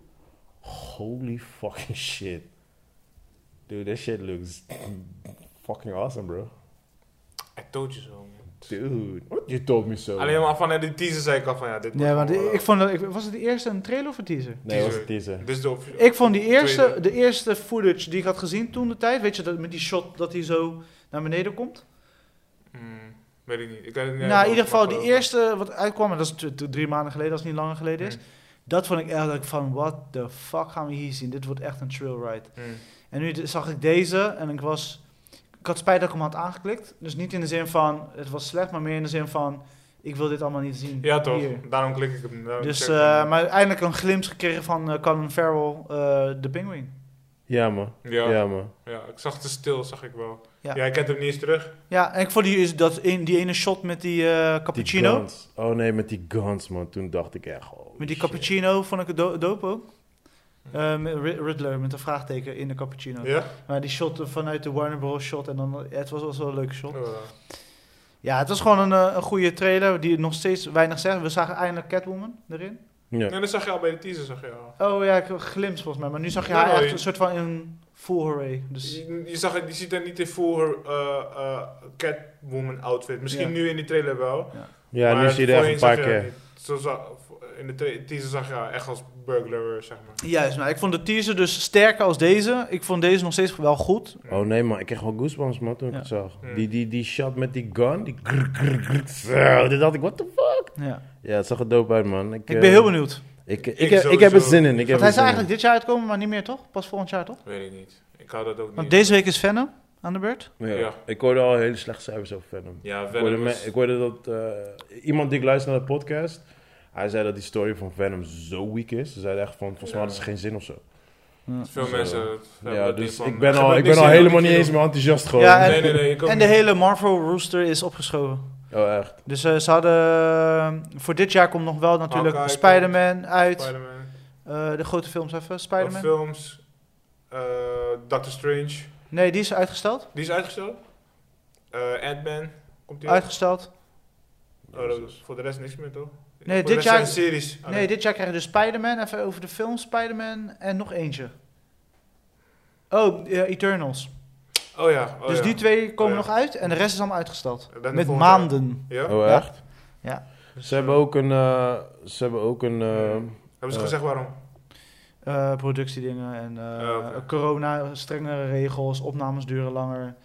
holy fucking shit. Dude, that shit looks fucking awesome, bro. I told you so, man. Dude, what you told me so. Alleen maar vanuit die teaser zei ik al van ja, dit Ja, want wordt gewoon ik wel- vond dat... ik- Was het de eerste een trailer of een teaser? Nee, was het teaser. Dit is de officiële. Ik vond die eerste, Tweede. de eerste footage die ik had gezien toen de tijd, weet je, dat, met die shot dat hij zo naar beneden komt. Mm, weet ik niet. Ik kan het nou, niet in helemaal ieder geval, die geloven. eerste wat uitkwam, en dat is t- t- drie maanden geleden, als het niet langer geleden is. Mm, Dat vond ik echt dat ik van, what the fuck gaan we hier zien? Dit wordt echt een trail ride. mm. En nu d- zag ik deze en ik was, ik had spijt dat ik hem had aangeklikt. Dus niet in de zin van, het was slecht, maar meer in de zin van, ik wil dit allemaal niet zien. Ja, toch. hier. Daarom klik ik hem. daarom Dus, check ik eh, hem. maar eindelijk een glimp gekregen van eh Colin Farrell, eh, de penguin. Ja, man. ja, ja. ja man. ik zag te stil, zag ik wel. Ja. Ja, ik kent hem niet eens terug. Ja, en ik vond die, dat in, die ene shot met die eh, Die cappuccino. guns. Oh nee, met die guns, man. Toen dacht ik echt, oh Met die cappuccino vond ik het do- dope ook. Eh, met Ri- Riddler met een vraagteken in de cappuccino. Hm. Ja? Maar die shot eh, vanuit de Warner Bros. shot en dan, het was wel een leuke shot. Eh, Ja, het was gewoon een, eh, een goede trailer die nog steeds weinig zegt. We zagen eindelijk Catwoman erin. Ja. Nee, dat zag je al bij de teaser, zag je al. Oh ja, ik heb glimps volgens mij. Maar nu zag je Oh, Ja, haar echt je- een soort van in full hooray. Dus Je, je zag, het- je ziet er niet in full her, eh, eh, Catwoman outfit. Misschien Ja. nu in die trailer wel. Ja, nu maar zie je er echt een voorheen paar zag je dat keer. niet. Zo zag- in de tra- teaser zag je haar echt als burglar, zeg maar. juist, nou, ik vond de teaser dus sterker als deze. Ik vond deze nog steeds wel goed. Oh nee, man. Ik kreeg wel goosebumps, man, toen ik Ja. het zag. Hmm. Die, die, die shot met die gun. Die grrr, grrr, grrr, zo. Dit dacht ik, what the fuck? Ja. Ja, het zag er dope uit, man. Ik, Ik eh, ben heel benieuwd. Ik, ik, Ik heb, ik heb er sowieso. zin in. Ik heb Want hij er zin zou in. eigenlijk dit jaar uitkomen, maar niet meer toch? Pas volgend jaar toch? Weet ik niet. Ik hou dat ook Want niet. deze week is Venom aan de beurt. Ja. Ja. Ik hoorde al hele slechte cijfers over Venom. Ja, Ik hoorde, Venom is- me- ik hoorde dat eh, iemand die ik luister naar de podcast, hij zei dat die story van Venom zo weak is. Ze zeiden echt van, volgens mij Ja. hadden ze geen zin of zo. Veel Zo. mensen Ja, hebben dat niet dus van- ik ben Ze al, hebben ik niks ben al in de helemaal niet kino. eens meer enthousiast gewoon. Ja, en- Nee, nee, nee. Ik ook En de niet. hele Marvel rooster is opgeschoven. Oh, echt. Dus eh, ze hadden... eh, voor dit jaar komt nog wel natuurlijk Hawkeye Spider-Man uit. Spider-Man. Eh, de grote films even. Wat Spider-Man. films. eh, Doctor Strange. Nee, die is uitgesteld. Die is uitgesteld. Eh Ant-Man. Komt die uit? Uitgesteld. Oh, dat is voor de rest niks meer, toch? Nee, Voor de dit rest jaar- zijn series. Oh, Nee, dit jaar krijg je dus Spider-Man. Even over de film Spider-Man en nog eentje. Oh, eh, Eternals. Oh ja. oh dus ja. die twee komen Oh ja. nog uit en de rest is allemaal uitgesteld. En dan de Met volgende- maanden. Ja? Oh, Ja. echt? Ja. Ze hebben ook een, eh, ze hebben ook een, eh, Hebben ze Eh. gezegd waarom? Eh, productiedingen en eh, Ah, oké. corona, strengere regels, opnames duren langer.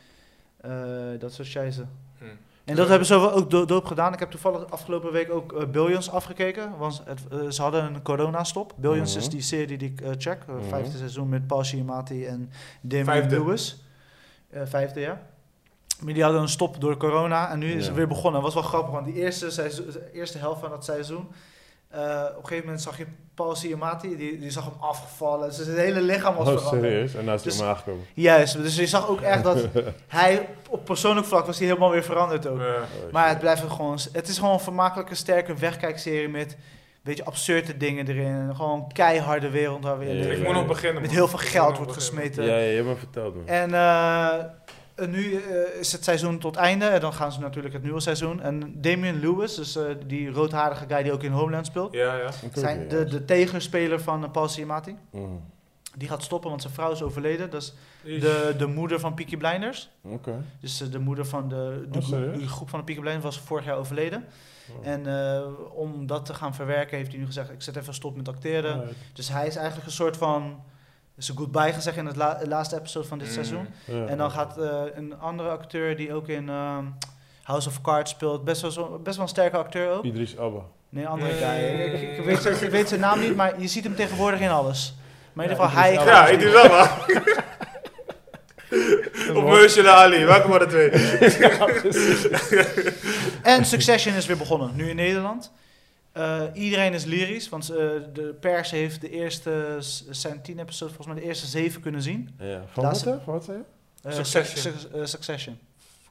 Eh, dat soort scheisse. Hm. En dat hebben ze wel ook do- doop gedaan. Ik heb toevallig afgelopen week ook eh, Billions afgekeken. Want het, eh, ze hadden een corona-stop. Billions Mhm. is die serie die ik eh, check. eh, Mhm. Vijfde seizoen met Paul Giamatti en Damon Vijfde. Lewis. Eh, vijfde, ja. Maar die hadden een stop door corona. En nu is Ja. het weer begonnen. Dat was wel grappig, want die eerste, seizoen, de eerste helft van dat seizoen... eh, op een gegeven moment zag je Paul Giamatti, die, die zag hem afgevallen. Dus zijn hele lichaam was oh, veranderd. serieus? En daar is hij Dus- maar aangekomen. Juist, dus je zag ook echt dat hij op persoonlijk vlak was hij helemaal weer veranderd ook. Eh, Oh, Maar het blijft gewoon. Het is gewoon een vermakelijke, sterke wegkijkserie met een beetje absurde dingen erin. En gewoon keiharde wereld waar we in Ja, ik leven. moet nog beginnen. Met man. heel veel Ik moet geld nog wordt beginnen. gesmeten. Ja, ja, je hebt me verteld, man. En eh, en nu eh, is het seizoen tot einde. En dan gaan ze natuurlijk het nieuwe seizoen. En Damian Lewis, dus eh, die roodharige guy die ook in Homeland speelt. Ja, ja. Ik ook Zijn niet, de, ja. de tegenspeler van eh, Paul Giamatti. Mhm. Die gaat stoppen, want zijn vrouw is overleden. Dat is Dus- de, de moeder van Peaky Blinders. Oké. Dus eh, de moeder van de, de, Oh, serieus? de groep van de Peaky Blinders was vorig jaar overleden. Oh. En eh, om dat te gaan verwerken heeft hij nu gezegd, ik zet even stop met acteren. Alright. Dus hij is eigenlijk een soort van, is een goodbye gezegd in het la- laatste episode van dit Mm. seizoen. Ja. En dan gaat eh, een andere acteur die ook in ehm, House of Cards speelt, best wel, zo- best wel een sterke acteur ook. Idris Abba. Nee, een andere Mm. guy. Ik, ik- ik weet, zijn- ik weet zijn naam niet, maar je ziet hem tegenwoordig in alles. Maar in ieder geval, Ja, hij Idris gaat... Elba. Ja, ik doe dat wel. Of Mahershala Ali, welke van de twee? En Succession is weer begonnen, nu in Nederland. Eh, iedereen is lyrisch, want eh, de pers heeft de eerste, s- zijn tien episodes, volgens mij de eerste zeven kunnen zien. Ja. Van wat, Laatste- hè? Van wat zei je? Eh, Succession. Suc- Suc- eh, Succession.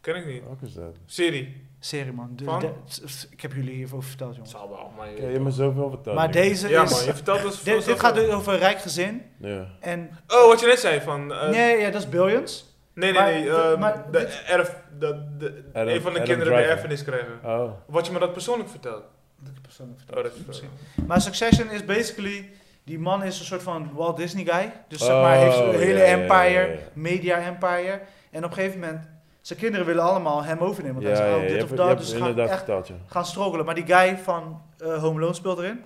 Ken ik niet. Wat is dat? Serie. Serie, man. De- Van? de- s- ik heb jullie hierover verteld, jongens. Zal wel, maar... Oké, je hebt me zoveel verteld. Maar nu. deze Ja is... man, je vertelt ons... dit, dit gaat dus over een rijk gezin. Ja. En, Oh, wat je net zei van... eh, nee, ja, dat is Billions. Nee, nee, Maar- nee. ehm, maar de dit- erf, dat de, Adam- een van de Adam kinderen de Driver. erfenis krijgen. Oh. Wat je me dat persoonlijk vertelt. Dat ik het persoonlijk vertel. Oh, dat is Misschien. misschien. Maar Succession is basically... Die man is een soort van Walt Disney guy. Dus zeg Oh, maar, heeft een ja, hele ja, ja, empire, ja, ja. media empire. En op een gegeven moment... Zijn kinderen willen allemaal hem overnemen. Ja, Want hij ja, is je oh, dit hebt- of je dat. hebt Dus ze gaan inderdaad echt verteld, ja. gaan struggelen. Maar die guy van eh, Home Alone speelt erin.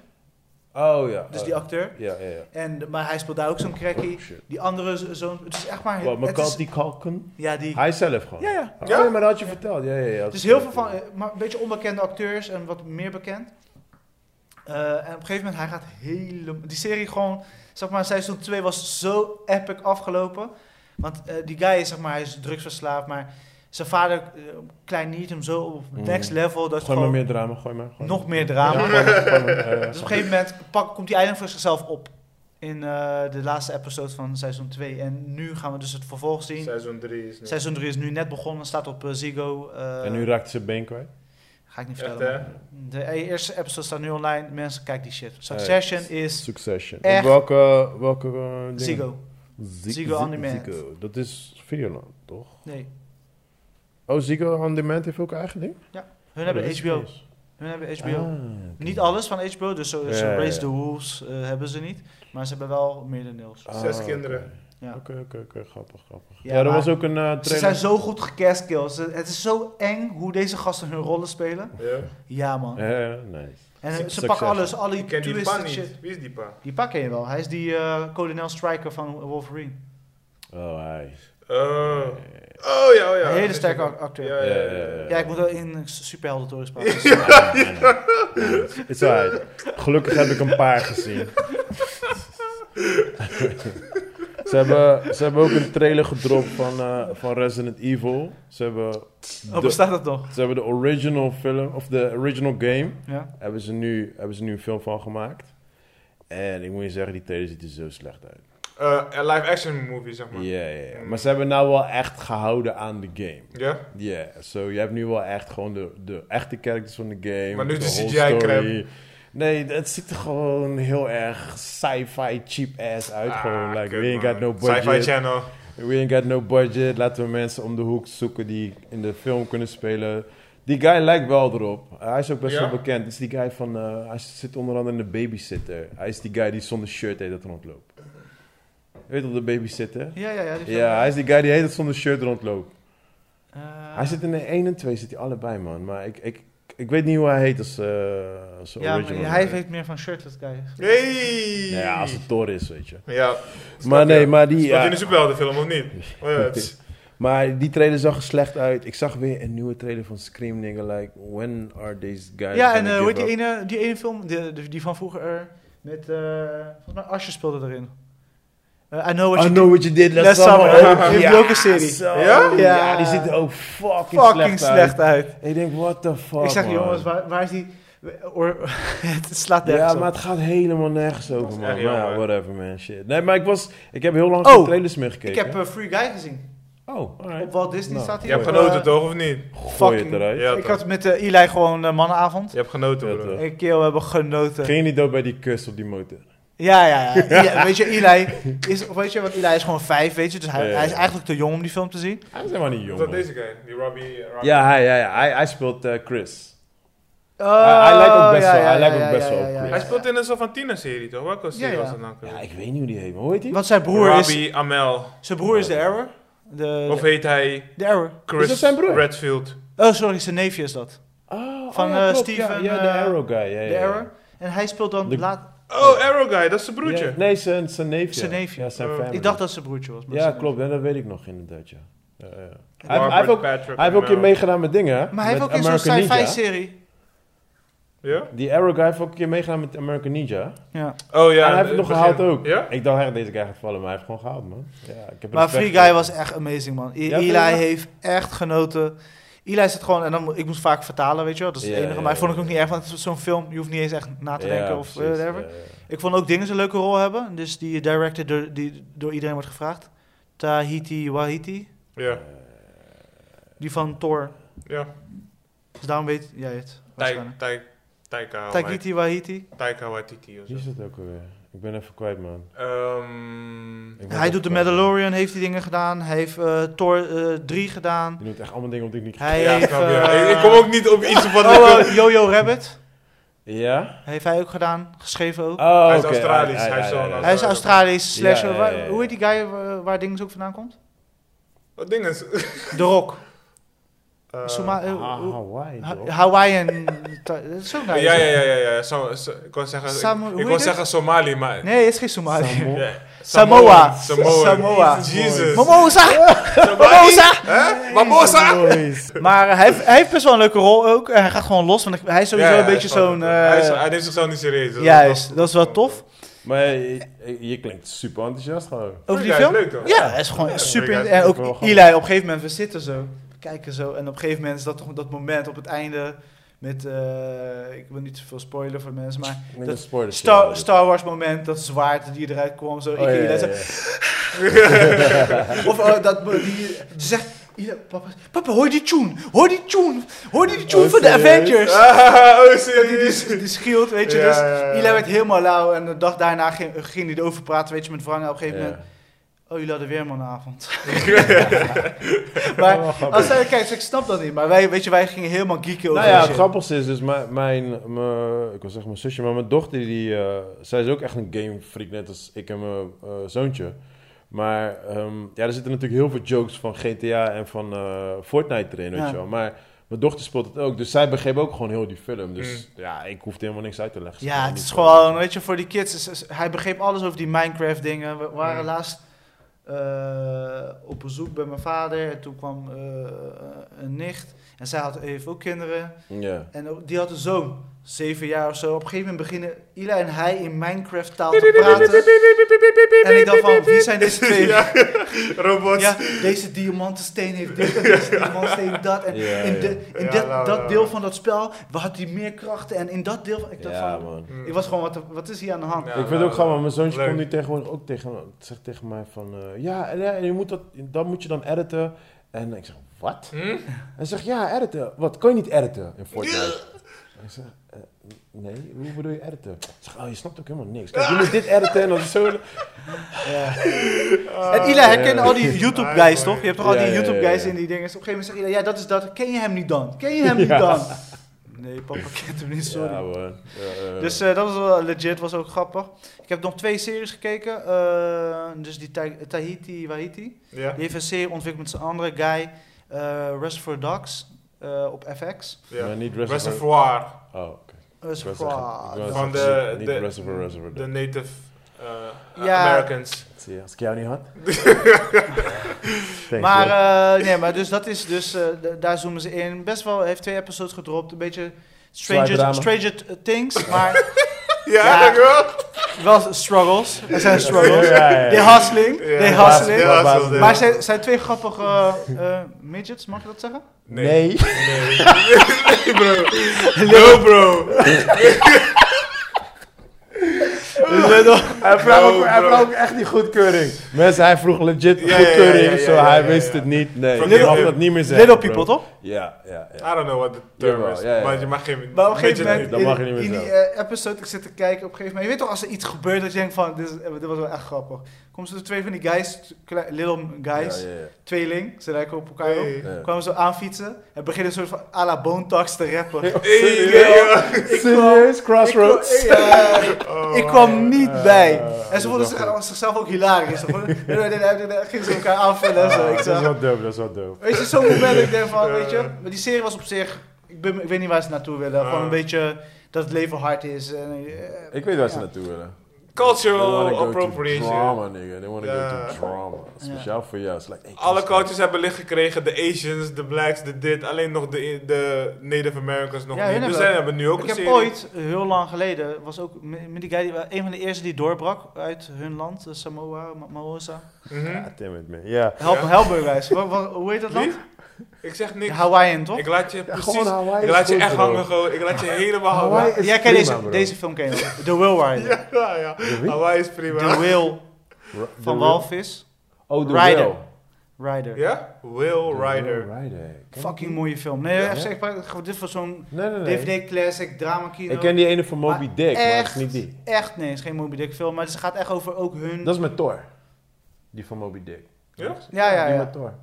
Oh ja. Dus oh, die ja. acteur. Ja, ja, ja. En, maar hij speelt daar ook zo'n crackie. Oh, shit. Die andere zo- zo'n... Het is echt maar... Wat, het is, McCarthy Culkin? ja, die... Hij zelf gewoon? Ja, ja. Oh, Ja? nee, maar dat had je verteld. Ja, ja, ja. Dus heel veel van, eh, maar een beetje onbekende acteurs en wat meer bekend. Eh, en op een gegeven moment, hij gaat helemaal... Die serie gewoon, zeg maar, seizoen 2 was zo epic afgelopen. Want eh, die guy is, zeg maar, hij is drugsverslaafd, maar zijn vader eh, kleineert hem zo op Mhm. next level. Dat Gooi gewoon maar meer drama, gooi maar. gooi nog maar. meer drama. Ja, gooi maar, gooi maar, eh, Dus op een gegeven moment pak, komt die eindelijk voor zichzelf op. In eh, de laatste episode van seizoen 2. En nu gaan we dus het vervolg zien. Seizoen 3 is nu. Seizoen 3 is nu net begonnen, staat op eh, Ziggo. eh, en nu raakt ze been kwijt. Ga ik niet Echt, vertellen. hè? De eerste episode staat nu online. Mensen, kijk die shit. Succession is Succession. Echt? Welke, welke eh, dingen? Ziggo. Zi- Ziggo Zi- On Demand. Ziggo. Dat is Videoland, toch? Nee, Oh, Ziggo On Demand heeft ook eigen ding? hun Oh, hebben HBO. Hun hebben HBO. Niet alles van HBO, dus zo, zo Ah. Ja, ja, Race ja. the Wolves eh, hebben ze niet. Maar ze hebben wel Ah, meerderdeels. Zes kinderen. Ja. Oh, Oké, oké, oké. Grappig, grappig. Ja, Ja, er maar- was ook een eh, Ze trailer. zijn zo goed gecastkills. Ze- Het is zo eng hoe deze gasten hun rollen spelen. Ja. Ja, man. Ja, nice. En eh, ze Succession. pakken alles, al die Ik ken die pa twisted shit. niet. Wie is die pa? Die pak ken je wel. Hij is die eh, kolonel Striker van Wolverine. Oh, hi. Oh. Oh ja, oh ja. Eh. Een hele Dat is sterke hem. ac- acteur. Ja, ja, ja. ja. Ja, ik moet wel in superhelden toren praten. It's alright. Gelukkig heb ik een paar gezien. ze, hebben, ze hebben ook een trailer gedropt van, eh, van Resident Evil. Ze hebben, Oh, de, bestaat dat nog? ze hebben de original film, of de original game, Ja. hebben ze, nu, hebben ze nu een film van gemaakt. En ik moet je zeggen, die trailer ziet er zo slecht uit. Eh, een live action movie, zeg Ja, maar. ja, ja. Maar ze hebben nou wel echt gehouden aan de game. Ja? Ja, so je hebt nu wel echt gewoon de, de echte characters van de game. Maar nu de whole CGI crap. story. Nee, het ziet er gewoon heel erg sci-fi cheap ass uit. gewoon, like, we ain't got no Ah, Sci-fi budget. channel. We ain't got no budget. Laten we mensen om de hoek zoeken die in de film kunnen spelen. Die guy lijkt wel erop. hij is ook best Ja? wel bekend. Het is die guy van, eh, hij zit onder andere in de babysitter. Hij is die guy die zonder shirt heet dat rondloopt. Je weet op de babysitter? Ja, ja, ja. die film. Ja, hij is die guy die heet dat zonder shirt rondloopt. Eh, Hij zit in de 1 en 2, zit hij allebei, man. Maar ik, ik, ik weet niet hoe hij heet als, eh als Ja, maar original. hij heeft meer van shirtless guy. Hey! Nou Ja, als het Thor is, weet je. Ja. Maar Snap nee, je? maar die, Speelt hij in ja, een superheldenfilm of niet? Oh ja, het is- maar die trailer zag er slecht uit. Ik zag weer een nieuwe trailer van Scream, nigga. Like, when are these guys Ja, en gonna eh, hoe heet die give up? ene, die ene film, de, de- die van vroeger, eh, met, eh volgens mij Asje speelde erin. Eh, I Know What I You know what you did last, Last summer. summer. Oh, Heeft die ook een serie? zo. Ja? ja? Ja. die ziet er ook fucking, Did. Fucking slecht, slecht uit. uit. Ik denk, what the fuck, ik zeg, man. jongens, waar, waar is die... Or, het slaat nergens Ja, op. maar het gaat helemaal nergens over, is man. echt Maar ja, jammer. whatever, man. Shit. Nee, maar ik was... Ik heb heel lang Oh, geen trailers meer gekeken. Ik heb eh, Free Guy gezien. Oh, Op Walt Disney Nou, staat hij. Je hebt op, genoten eh, toch, of niet? Gooi het fucking- eruit. Ja, ik toch. had met eh, Eli gewoon eh, mannenavond. Je hebt genoten, Ja, broer. toch. Ik keel hebben genoten. Ging je niet dood bij die kus op die motor? Ja, ja, ja. Ja, Weet je, Eli is, weet je, want Eli is gewoon vijf, weet je. Dus hij, Ja, ja. hij is eigenlijk te jong om die film te zien. Hij is helemaal niet Is jong, dat man. deze guy? Die Robbie... Robbie- Ja, hij, hij, hij, hij speelt eh, Chris. Oh, Hij- hij lijkt ook best ja, wel- ja, hij lijkt ja, ook ja, best ja, wel ja, op ja, Chris. Hij ja. speelt in een soort van tienerserie, toch? Welke serie ja. was dat dan? Ja, ik weet niet hoe die heet, man. Hoe heet die? Want zijn broer is, Robbie Amel. zijn broer is de error. De, Of heet hij de error. Chris dat zijn broer? Redfield? Oh, sorry, zijn neefje is dat. Oh, Van, oh, ja, eh, klopt, Steven, Ja, ja, de eh, Arrow guy. Ja, ja, De ja. error. En hij speelt dan De- laat, Oh, Arrow Guy, dat is zijn broertje. Ja, nee, zijn, zijn neefje. Zijn neefje. Oh. Ja, zijn Eh, family. Ik dacht dat zijn broertje was. maar Ja, zijn- klopt. Ja, dat weet ik nog inderdaad, ja. Ja, ja. Hij heeft- Hij, Margaret heeft ook, Patrick hij heeft ook Amell. weer meegedaan met dingen, hè? Maar hij heeft Met ook in zo'n American Ninja. sci-fi serie. Ja? Die Arrow guy heeft ook een keer meegedaan met American Ninja. Ja. Oh Ja, ja. hij heeft het nog begin. gehaald ook. Ja? Ik dacht echt, deze guy gaat vallen, maar hij heeft gewoon gehaald, man. Ja, ik heb Maar respect Free voor Guy hem. was echt amazing, man. I- Ja, vind je Eli dat? heeft echt genoten. Eli zit gewoon, en dan, mo- ik moest vaak vertalen, weet je wel. Dat is Ja, het enige. ja, Maar ik vond ja. het ook niet erg, want het is zo'n film. Je hoeft niet eens echt na te Ja, denken of precies, whatever. ja, ja. Ik vond ook Dinges een leuke rol hebben. Dus die director door, die door iedereen wordt gevraagd. Tahiti Wahiti. Ja. Die van Thor. Ja. Dus daarom weet jij het. Tai- waarschijnlijk. Tai- Oh, Taika Waititi. Tahiti Wahiti. Taika Waititi of zo. Wie is dat ook alweer? Ik ben even kwijt, man. Ehm, Ik ben Hij even doet de kwijt, man. Mandalorian, heeft die dingen gedaan. Hij heeft eh, Thor eh, 3 gedaan. Die doet echt allemaal dingen op die ik niet... Hij ja, heeft... snap je. eh, Ik- ik kom ook niet op iets van... oh, eh, Jojo Rabbit Ja? heeft hij ook gedaan. Geschreven ook. Oh, Hij is oké, Australisch, hij is zo'n- eh, Hij is Ja, Australisch slasher. ja, ja, ja. Waar- Hoe heet die guy eh, waar Dings ook vandaan komt? Wat ding is... De Rock. Eh, Soma- eh, Ah, hoe- Hawaii, Ha- toch? Hawaiian. ta- Dat is ook ja, nice. ja, ja, ja, ja. Som- so- ik wou zeggen, Samu- hoe ik, ik heet wou het? zeggen Somali, maar... Nee, het is geen Somalië. Samo- Ja. Samoa. Samoa. Samoa. Jesus. Momoza! Somali. Momoza! Hè? Mamosa. Boys. Maar eh, hij, heeft- hij heeft best wel een leuke rol ook. En Hij gaat gewoon los, want hij is sowieso Ja, een beetje hij is zo'n... wel- hij, is- eh, hij neemt zichzelf niet serieus. Dat is wel- Juist, dat is wel tof. Maar je, je- je klinkt super enthousiast gewoon. Over die Ja, film? Leuk, toch? Ja, hij is gewoon super... Free En Guy ook is wel Eli, op een gegeven moment, we zitten zo, we kijken zo. En op een gegeven moment is dat toch dat moment op het einde met... eh, ik wil niet te veel spoilen voor mensen, maar... Met Dat een spoiler Star, Star Wars moment, dat zwaard die eruit kwam, zo. Oh, ik ja, ja, Eli ja. zo- Of eh, dat die, ze zegt, Eli, papa, papa, hoor je die tune, hoor die tune, hoor je die tune Oh, van de serieus? Avengers. Ah, oh, Die, serieus. die, die schild, weet je. Ja, dus ja, ja. Eli werd helemaal lauw en de dag daarna ging, ging hij erover praten, weet je, met Wrang. En Op een gegeven moment, oh, jullie hadden weer mannenavond. maar als hij kijkt, ik snap dat niet. Maar wij, weet je, wij gingen helemaal geeken over Nou ja, die het shit. grappigste is dus mijn, mijn, mijn- ik wil zeggen mijn zusje, maar mijn dochter die, eh, zij is ook echt een game freak, net als ik en mijn eh, zoontje. Maar ehm, ja, er zitten natuurlijk heel veel jokes van GTA en van eh, Fortnite erin, weet Ja. je wel. Maar mijn dochter speelt het ook, dus zij begreep ook gewoon heel die film. Dus Mm. ja, ik hoefde helemaal niks uit te leggen. Ze Ja, kon het is niet gewoon, weet je, voor die kids. is- is- hij begreep alles over die Minecraft dingen. We waren Mm. laatst eh, op bezoek bij mijn vader. En toen kwam eh, een nicht. En zij had even ook kinderen. Ja. En ook- die had een zoon, zeven jaar of zo. Op een gegeven moment beginnen Ila en hij in Minecraft taal te praten. En ik dacht van, wie zijn deze twee? Ja, robots. Ja, deze diamantensteen heeft dit en deze diamantsteen heeft dat. En Ja, in, de, ja. in Ja, dat- nou, nou, dat deel nou. van dat spel had hij meer krachten. En in dat deel van... Ik dacht Ja, van, man. Hm. ik was gewoon, wat, wat is hier aan de hand? Ja, ik vind nou, het ook grappig, want mijn zoontje leuk. komt nu tegenwoordig ook tegen, zegt tegen mij van... eh, ja, en, eh, je moet dat, dat moet je dan editen. En ik zeg, wat? Hm? Hij zegt, ja, editen. Wat, kan je niet editen in Fortnite? En Ik zeg, eh, nee, hoe bedoel je editen? Ik zeg, oh, je snapt ook helemaal niks. Kijk, je moet dit editen en dat is zo... En Ila herkende al die Ah, YouTube-guys, mooi. toch? Je hebt toch al Ja, die ja, ja, YouTube-guys ja. in die dingen. Dus op een gegeven moment zegt Ila, ja, dat is dat. Ken je hem niet dan? Ken je hem niet Ja. dan? Nee, papa kent hem niet, sorry. Ja, man. Ja, eh. Dus eh, dat was wel legit, was ook grappig. Ik heb nog twee series gekeken. eh, dus die Ta- Tahiti Wahiti. Ja, Die heeft een serie ontwikkeld met zijn andere guy, eh Reservoir Dogs, eh, op FX. ja. Maar niet Reservoir... Reservoir, Oh, oké. Ik wou zeggen- ik Reservoir wou Dogs. Van zeggen, de- Niet de- Reservoir, Reservoir. de native eh, Ja. Americans. Zie je, als ik jou niet had... Thank Maar, you. eh, nee, maar dus dat is dus, eh, d- daar zoomen ze in. Best wel, heeft twee episodes gedropt. Een beetje Zwaar Stranger, drama. Stranger Things, maar Ja, Ja. dankjewel. wel struggles. Er zijn struggles. Ja, ja, ja. They hustling, Ja, they baas- hustling. ja, baas- Maar Maar zijn, zijn twee grappige eh, eh, midgets, mag je dat zeggen? Nee. Nee, Nee, bro. No, bro. Hij vroeg, No, ook, hij bro. vroeg ook echt die goedkeuring. Mensen, hij vroeg legit Ja, ja, ja, goedkeuring, ja, ja, zo ja, hij ja, wist ja. het niet. Nee, Van je Little- mag dat niet meer zeggen. Little bro. people, toch? Ja, ja, ja. I don't know what the term Jawel, is. ja, ja. Maar je mag geen... Maar op een gegeven beetje- moment, dat mag je niet meer in, in die eh, episode, ik zit te kijken, op een gegeven moment, je weet toch als er iets gebeurt dat je denkt van, dit, is- eh, dit was wel echt grappig. Komen ze twee van die guys, kle- little guys, Ja, ja, ja. tweeling, ze lijken op elkaar Hey. op. Ja. Kwamen ze aan fietsen en beginnen een soort van à la Bone Thugs te rappen. Hey, Serieus? yeah. Serieus? Crossroads? Ik, eh, Oh, ik kwam niet Eh, bij. dat En is ze wel vonden zich- goed. zichzelf ook hilarisch. Ze vonden- Gingen ze elkaar aanvullen en zo. Ah, Ik Dat is zag, wel dope, dat is wel dope. Weet je, zo'n moment dat ik denk van, Ja. weet je, maar die serie was op zich, ik, ben, ik weet niet waar ze naartoe willen. Ja. Gewoon een beetje dat het leven hard is. En, eh, Ik weet waar ze ja. naartoe willen. They wanna go Cultural to appropriation. Drama, nigga. They want to Ja. go to drama. Speciaal voor jou. It's like, hey, Alle kijk eens, cultures hebben licht gekregen. De Asians, de blacks, de dit. Alleen nog de, de Native Americans nog Ja, niet. hun Dus hebben- zij hebben nu ook ik een heb serie. ooit, heel lang geleden, was ook met met die guy, die, eh, een van de eerste die doorbrak uit hun land, eh, Samoa, Ma- Maosa. Mhm. Ja, Ah, damn it, man. Ja. Help, Ja. help me, guys. Wa- wa- hoe heet dat land? Wie? Ik zeg niks. Hawaiian, toch? Ik laat je Ja, precies... gewoon Hawaii. ik is laat je goed, echt bro. hangen gewoon. Ik laat je helemaal Hawaii hangen. is Jij kent prima, deze, bro. deze film, ken je wel. The Will Rider. Ja, ja. De wie? Hawaii is The prima. Will Ro- de van Ro- Walvis. Oh, de Rider. Will. Rider. Ja? Will De Rider. Will Rider. Ken je Fucking die? mooie film. Nee, Ja. even zeg maar, dit was zo'n Nee, nee, nee. DVD classic, drama kino. Ik ken die ene van Moby Maar Dick, maar het is echt- niet die. Echt, nee, het is geen Moby Dick film, maar het gaat echt over ook hun... Dat is met Thor. Die van Moby Dick. Ja? Ja, ja, Die ja. met Thor.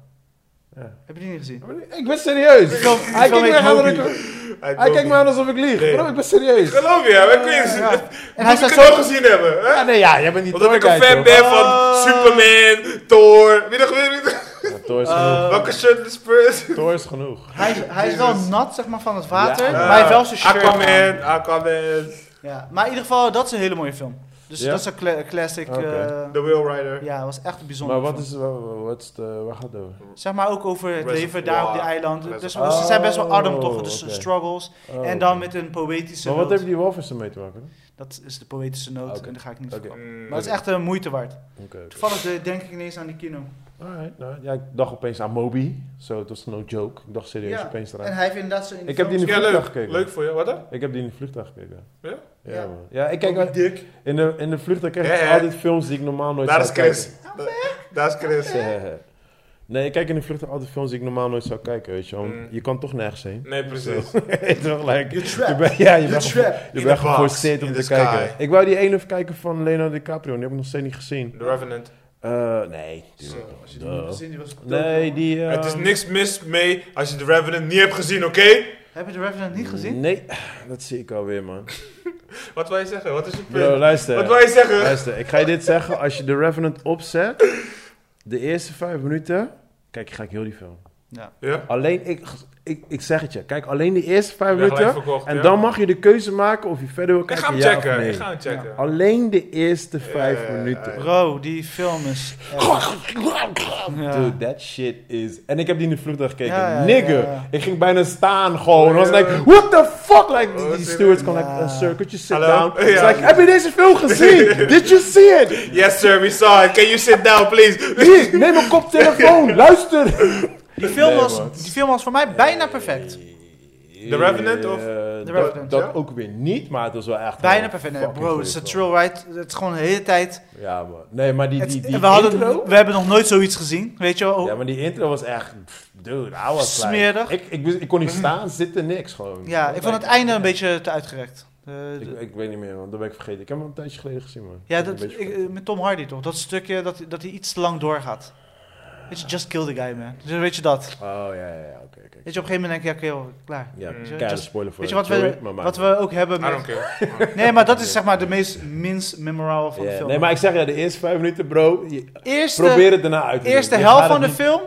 Ja. Heb je die niet gezien? Ik ben serieus. Hij film kijkt me heet aan Moby. alsof ik- Hij hij doet kijkt me aan alsof ik lieg. Nee. Bro, ik ben serieus. Geloof je, we kunnen Ja. het En hij moet staat ik het wel zo... gezien hebben. Hè? Ja, Ah, nee, ja, jij bent niet Omdat Thor ik een kijken, fan ben hoor. van Ah. Superman, Thor, wie nog meer, wie nog- Ja, Thor is genoeg. eh, welke shirt de Spurs. Thor is genoeg. Hij, is- hij is wel Jezus. nat, zeg maar, van het water, Ja. eh, maar hij heeft wel zijn shirt aan. Ah. Aquaman, Aquaman, Ja, maar in ieder geval, dat is een hele mooie film. Dus Ja? dat is een cla- classic... eh, Oké. The Will Rider. ja, was echt een bijzonder Maar wat is, wa- wa- wat is de, waar gaat het over? Zeg maar ook over het Reservoir. leven daar op die eiland. Reservoir. Dus ze zijn best wel arm toch, Oh, dus oké. struggles. Oh, en dan oké. met een poëtische Maar wat noot. hebben die walvissen ermee te maken? Dat is de poëtische noot Oké. en daar ga ik niet Oké. verklappen. Mm. Maar het is echt een moeite waard. Oké. oké. Toevallig eh, denk ik ineens aan die kino. Alright, nou, ja, ik dacht opeens aan Moby. Zo, het was no joke. Ik dacht serieus Ja, opeens eraan. En hij heeft inderdaad zo in Ik heb die in de Ja, vliegtuig leuk. gekeken. Leuk voor je, wat dan? Ik heb die in de vliegtuig gekeken. Ja? Ja, Ja. man. Ja, ik kijk wel- dik. in de, in de vliegtuig kijk ik Hè, hè? altijd films die ik normaal nooit Daar is zou kijken. Chris. Daar is Chris. Hè, hè, hè. Nee, ik kijk in de vliegtuig altijd films die ik normaal nooit zou kijken, weet je wel. Mm. Je kan toch nergens heen. Nee, precies. Toch, like, You're trapped. Je bent, ja, je You're bent, trapped. ge- je In bent the box, geforceerd om in te the kijken. sky. Ik wou die ene even kijken van Leonardo DiCaprio, die heb ik nog steeds niet gezien. The Revenant. Eh, nee. tuurlijk. Als je die niet Duh. hebt gezien, die was Nee, die... eh, Het is niks mis mee als je The Revenant niet hebt gezien, oké? Heb je de Revenant niet gezien? Nee, dat zie ik alweer, man. Wat wil je zeggen? Wat is je Bro, punt? luister. Wat wil je zeggen? Luister, ik ga je dit zeggen. Als je de Revenant opzet, de eerste vijf minuten... Kijk, ga ik heel die film. Ja? Alleen, ik, ik, ik zeg het je. Kijk, alleen die eerste vijf Ik ben gelijk minuten. verkocht, En ja. dan mag je de keuze maken of je verder wil Ik kijken. ga hem ja of checken. nee. Ik ga hem checken. Alleen de eerste vijf ja, ja. minuten. Bro, die film is... Ja. Dude, that shit is... En ik heb die in de vliegtuig gekeken. Ja, ja, Nigger. ja, ja. Ik ging bijna staan gewoon. I was Ja. like, what the fuck? Like, Oh, die serieus? stewards kan Ja. like, uh, sir, could you sit Hallo? down? Ja. It's like, heb je deze film gezien? Did you see it? Yes sir, we saw it. Can you sit down, please? Hier, neem een koptelefoon. Luister. Die film, Nee, man. was, die film was voor mij bijna perfect. The Revenant of- Eh, dat- Revenant, Dat, ja. ook weer niet, maar het was wel echt... Bijna een perfect. Nee, fucking bro, goeie het is een film. trail ride. Het is gewoon de hele tijd... Ja, man. Nee, maar die, Het- die, die we, hadden, intro... we hebben nog nooit zoiets gezien, weet je wel. Ja, maar die intro was echt... pff, Dude, I was like- Oh. Smerig. Ik, ik, wist- ik kon niet staan, zitten, niks gewoon. Ja, ik vond het Like, einde een beetje te uitgerekt. Eh, Ik, ik weet niet meer, want dat ben ik vergeten. Ik heb hem al een tijdje geleden gezien, man. Ja, Ik ben dat, een beetje ik, eh, met Tom Hardy toch? Dat stukje dat, dat hij iets te lang doorgaat. Weet je, just kill the guy, man. Dus weet je dat? vergeten. Oh, ja, ja, ja, oké, oké. Weet je, op een gegeven moment denk je, ja, oké, joh, klaar. Ja, Mm. keiharde Just- spoiler voor Weet je de wat we, story, maar maakt wat niet we ook hebben I don't met... care. Nee, maar dat is zeg maar de meest minst memorabele uit. van de Ja, film. Nee, maar ik zeg ja, de eerste vijf minuten, bro. je- eerste, probeer het daarna uit te doen. eerste Je helft gaat van de het film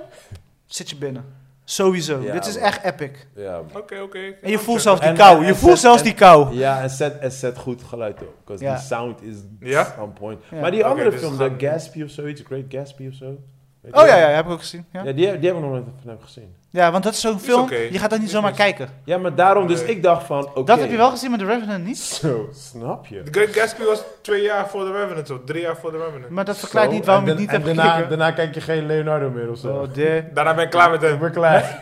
zit je binnen. Sowieso. Ja, Dit is man. echt epic. niet- Ja, man. Oké, oké. En je voelt zelfs die En- en- kou. Je en voelt zet- zelfs en- die kou. ja en, zet, en zet goed geluid op. Because Ja. die sound is Ja? on point. Ja. Maar die Oké, andere dus film, gaan The we- Gatsby of zoiets, Great Gatsby of zo. Weet je Oh ja, wel? ja, heb ik ook gezien. Ja, Ja, die, heb- die hebben we nog nooit van hem gezien. ja want dat is zo'n Is film, oké. je gaat dat niet Is zomaar mis. kijken. Ja, maar daarom dus Nee. ik dacht van, oké. Dat heb je wel gezien, maar The Revenant niet. Zo, snap je. The Great Gatsby was twee jaar voor The Revenant, of drie jaar voor The Revenant. Maar dat verklaart Zo, niet waarom en ik niet dan- heb en daarna, gekeken. daarna kijk je geen Leonardo meer of zo. Oh, de... Daarna ben ik klaar met Ik hem. ben klaar.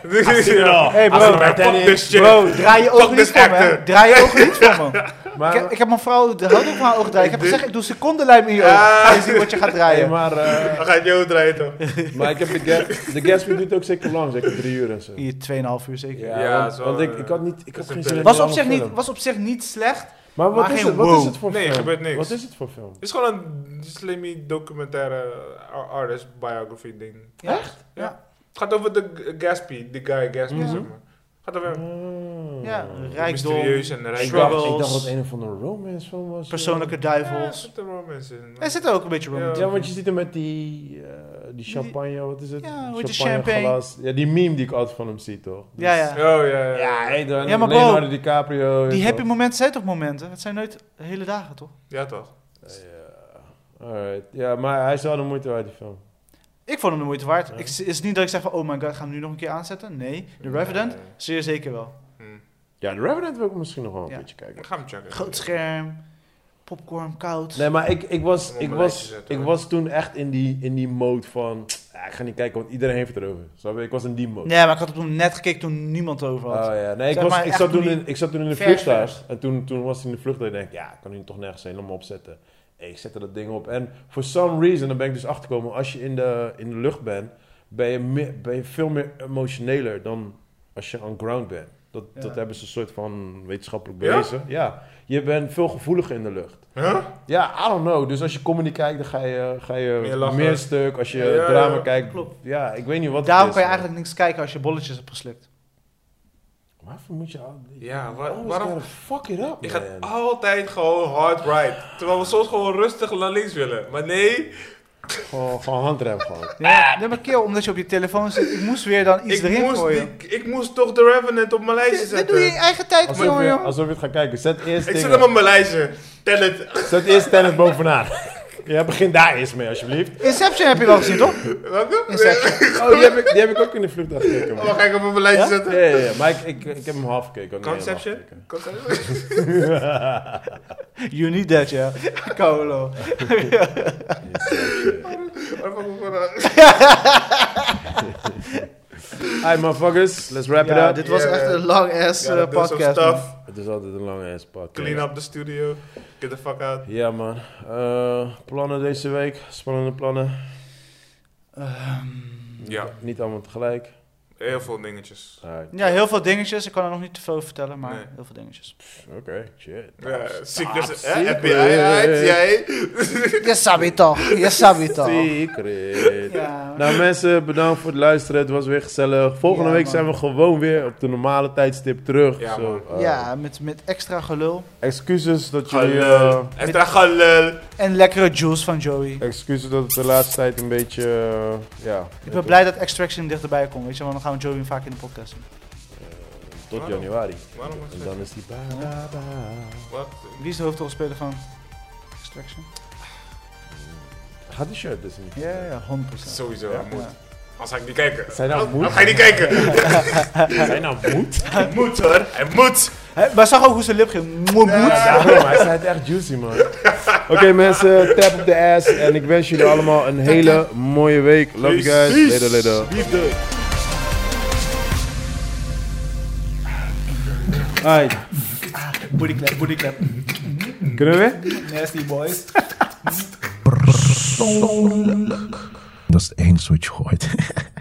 Hey, bro. Als ik ben, fuck this shit. Bro, draai je ogen Fuck niet this van me. hè. actor. Draai je ogen niet van me. Ik Maar, heb, ik heb mijn vrouw de hand op haar oog draaien. Ik heb gezegd, ik doe secondenlijm in je oog. Ja. Ga je zien wat je gaat hey, draaien. maar, eh, Dan ga je jou draaien toch. maar ik heb de, Ga- de Gatsby duurt ook zeker lang, zeker drie uur en zo. Hier, 2,5 uur zeker. Ja, Ja, want, zo, want ik, eh, ik had niet, dat ik had is geen een zin in Was een op, lange zich niet, film. was op zich niet slecht. Maar wat, maar is geen het, wat wow. is het voor Nee, film? gebeurt niks. Wat is het voor film? Het is gewoon een slimme documentaire eh, artist biography ding. Ja. Het gaat over de G- Gatsby, de guy Gatsby, Mhm. zeg maar. Het gaat over hem. Oh. Ja, Ik rijkdom, Mysterieus en rijk. dacht, struggles, ik dacht dat het een of andere romance film was. eh. persoonlijke Ja, er duivels. zitten romance in. Er zit ook een beetje romantiek. Ja, want je ziet hem met die, eh, die champagne, wat is het? Ehm, Ja, hoe heet die Champagneglas. Ja, die meme die ik altijd van hem zie, toch? Dus- Ja, ja. Oh ja, Ja, ja. hey, dan Ja, maar bro, Leonardo DiCaprio. Die weet happy momenten zijn toch momenten? Het zijn nooit hele dagen, toch? Ja, toch? wel. Ja, Alright. Ja, maar hij is wel de moeite waard, die film. Ik vond hem de moeite waard. Ja. Ik, is niet dat ik zeg van, oh my god, gaan we nu nog een keer aanzetten? Nee. The Revenant? Zeer zeker wel. Hm. Ja, The Revenant wil ik misschien nog wel een Ja. beetje kijken. Ik ga hem checken. Groot scherm, popcorn, koud. Nee, maar ik, ik, was, Om op ik, mijn was, lijstje zetten, ik hoor. was toen echt in die, in die mode van... "Ah, ik ga niet kijken, want iedereen heeft het erover. Snap je? Ik was in die mode. Nee, maar ik had het toen net gekeken toen niemand het over Oh had. ja, nee, ik, Zeg was, maar ik, echt zat toen toen in, ik zat toen in de vers, vliegtuig. En toen, toen was ik in de vliegtuig en ik denk ja, ik kan nu toch nergens helemaal opzetten. En ik zette dat ding op. En for some reason, dan ben ik dus achtergekomen, als je in de, in de lucht bent, ben je, me- ben je veel meer emotioneler dan als je on ground bent. Dat, Ja. dat hebben ze een soort van wetenschappelijk Ja? bewezen. Ja? je bent veel gevoeliger in de lucht. Huh? Ja, I don't know. Dus als je comedy kijkt, dan ga je, ga je Meer meer, lachen. stuk. Als je Ja, ja, drama ja. kijkt, Klopt. ja, ik weet niet wat het Daarom is, kan je maar- eigenlijk niks kijken als je bolletjes hebt geslikt. Waarvoor moet je al... Ja, you waar- always waarom- gotta fuck it up, Je man. gaat altijd gewoon hard right. Terwijl we soms gewoon rustig naar links willen. Maar nee, Gewoon, gewoon handrem gewoon. Ja, nee, maar keel, omdat je op je telefoon zit. Ik moest weer dan iets ik erin moest, gooien. die- ik moest toch de Revenant op mijn lijstje Dit, dit doe je in zetten. je eigen tijd, Alsof jongen, je, jongen. alsof je het gaat kijken. Zet eerst, Ik zet dingen- hem op mijn lijstje. Tenet. Zet eerst tennis bovenaan. ja, begin daar eerst mee, alsjeblieft. Inception heb je wel gezien, toch? Welke? Inception. Oh, die heb ik, die heb ik ook in de vliegtuig gekeken. man. Oh, ga ik hem op mijn lijstje Ja? zetten? Ja, ja, ja, maar ik, ik, ik heb hem half gekeken. ik had niet helemaal Conception? Conception? You need that, ja. Kolo. gekeken. Waarvan we voor- Hi, motherfuckers. Let's wrap Ja, it up. dit was Ja, echt ja. een lang ass eh, Ja, dat is some podcast. man. stuff. Het is altijd een lange ass podcast. Clean up the studio. Get the fuck out. Ja, man. Eh, plannen deze week. Spannende plannen. Ehm, Ja. Niet allemaal tegelijk. Heel veel dingetjes. Alright. ja, heel veel dingetjes. Ik kan er nog niet te veel over vertellen, maar Nee. heel veel dingetjes. Oké, shit. Ja, secret. secret. eh, FBI, uit, jij. Je sabi toch. Je sabi toch. Secret. Ja. Nou mensen, bedankt voor het luisteren. Het was weer gezellig. Volgende Ja, week man. zijn we gewoon weer op de normale tijdstip terug. Ja, Zo, man. eh, Ja, met, met extra gelul. Excuses dat jullie... eh, Galul. Extra galul. En lekkere juice van Joey. eh, excuses dat het de laatste tijd een beetje... eh, ja. Ik ben blij dat Extraction dichterbij komt, weet je, want dan gaan we Joey vaak in de podcast doen. Tot januari. Waarom was En het? dan is die... Ba, ba, ba. Wat? Wie is de hoofdrolspeler van Extraction? Gaat die shirt dus niet? Ja, ja, ja, 100%. Sowieso, Ja, hij moet. Anders ga ik niet kijken. Zijn nou Anders- moet? anders ga ik niet kijken. Zijn nou moed? Hij moet hoor, hij moet. Hè, maar zag ook hoe zijn lip ging. Moe, moe. Ja, daarom, maar hij zei het echt juicy, man. Oké, mensen, tap op de ass. En ik wens jullie allemaal een hele mooie week. Love you Peace. guys. Later, later. Liefde. Alright, Booty clap, booty clap. kunnen we weer? Nasty boys. persoonlijk. Dat is het enige wat je hoort.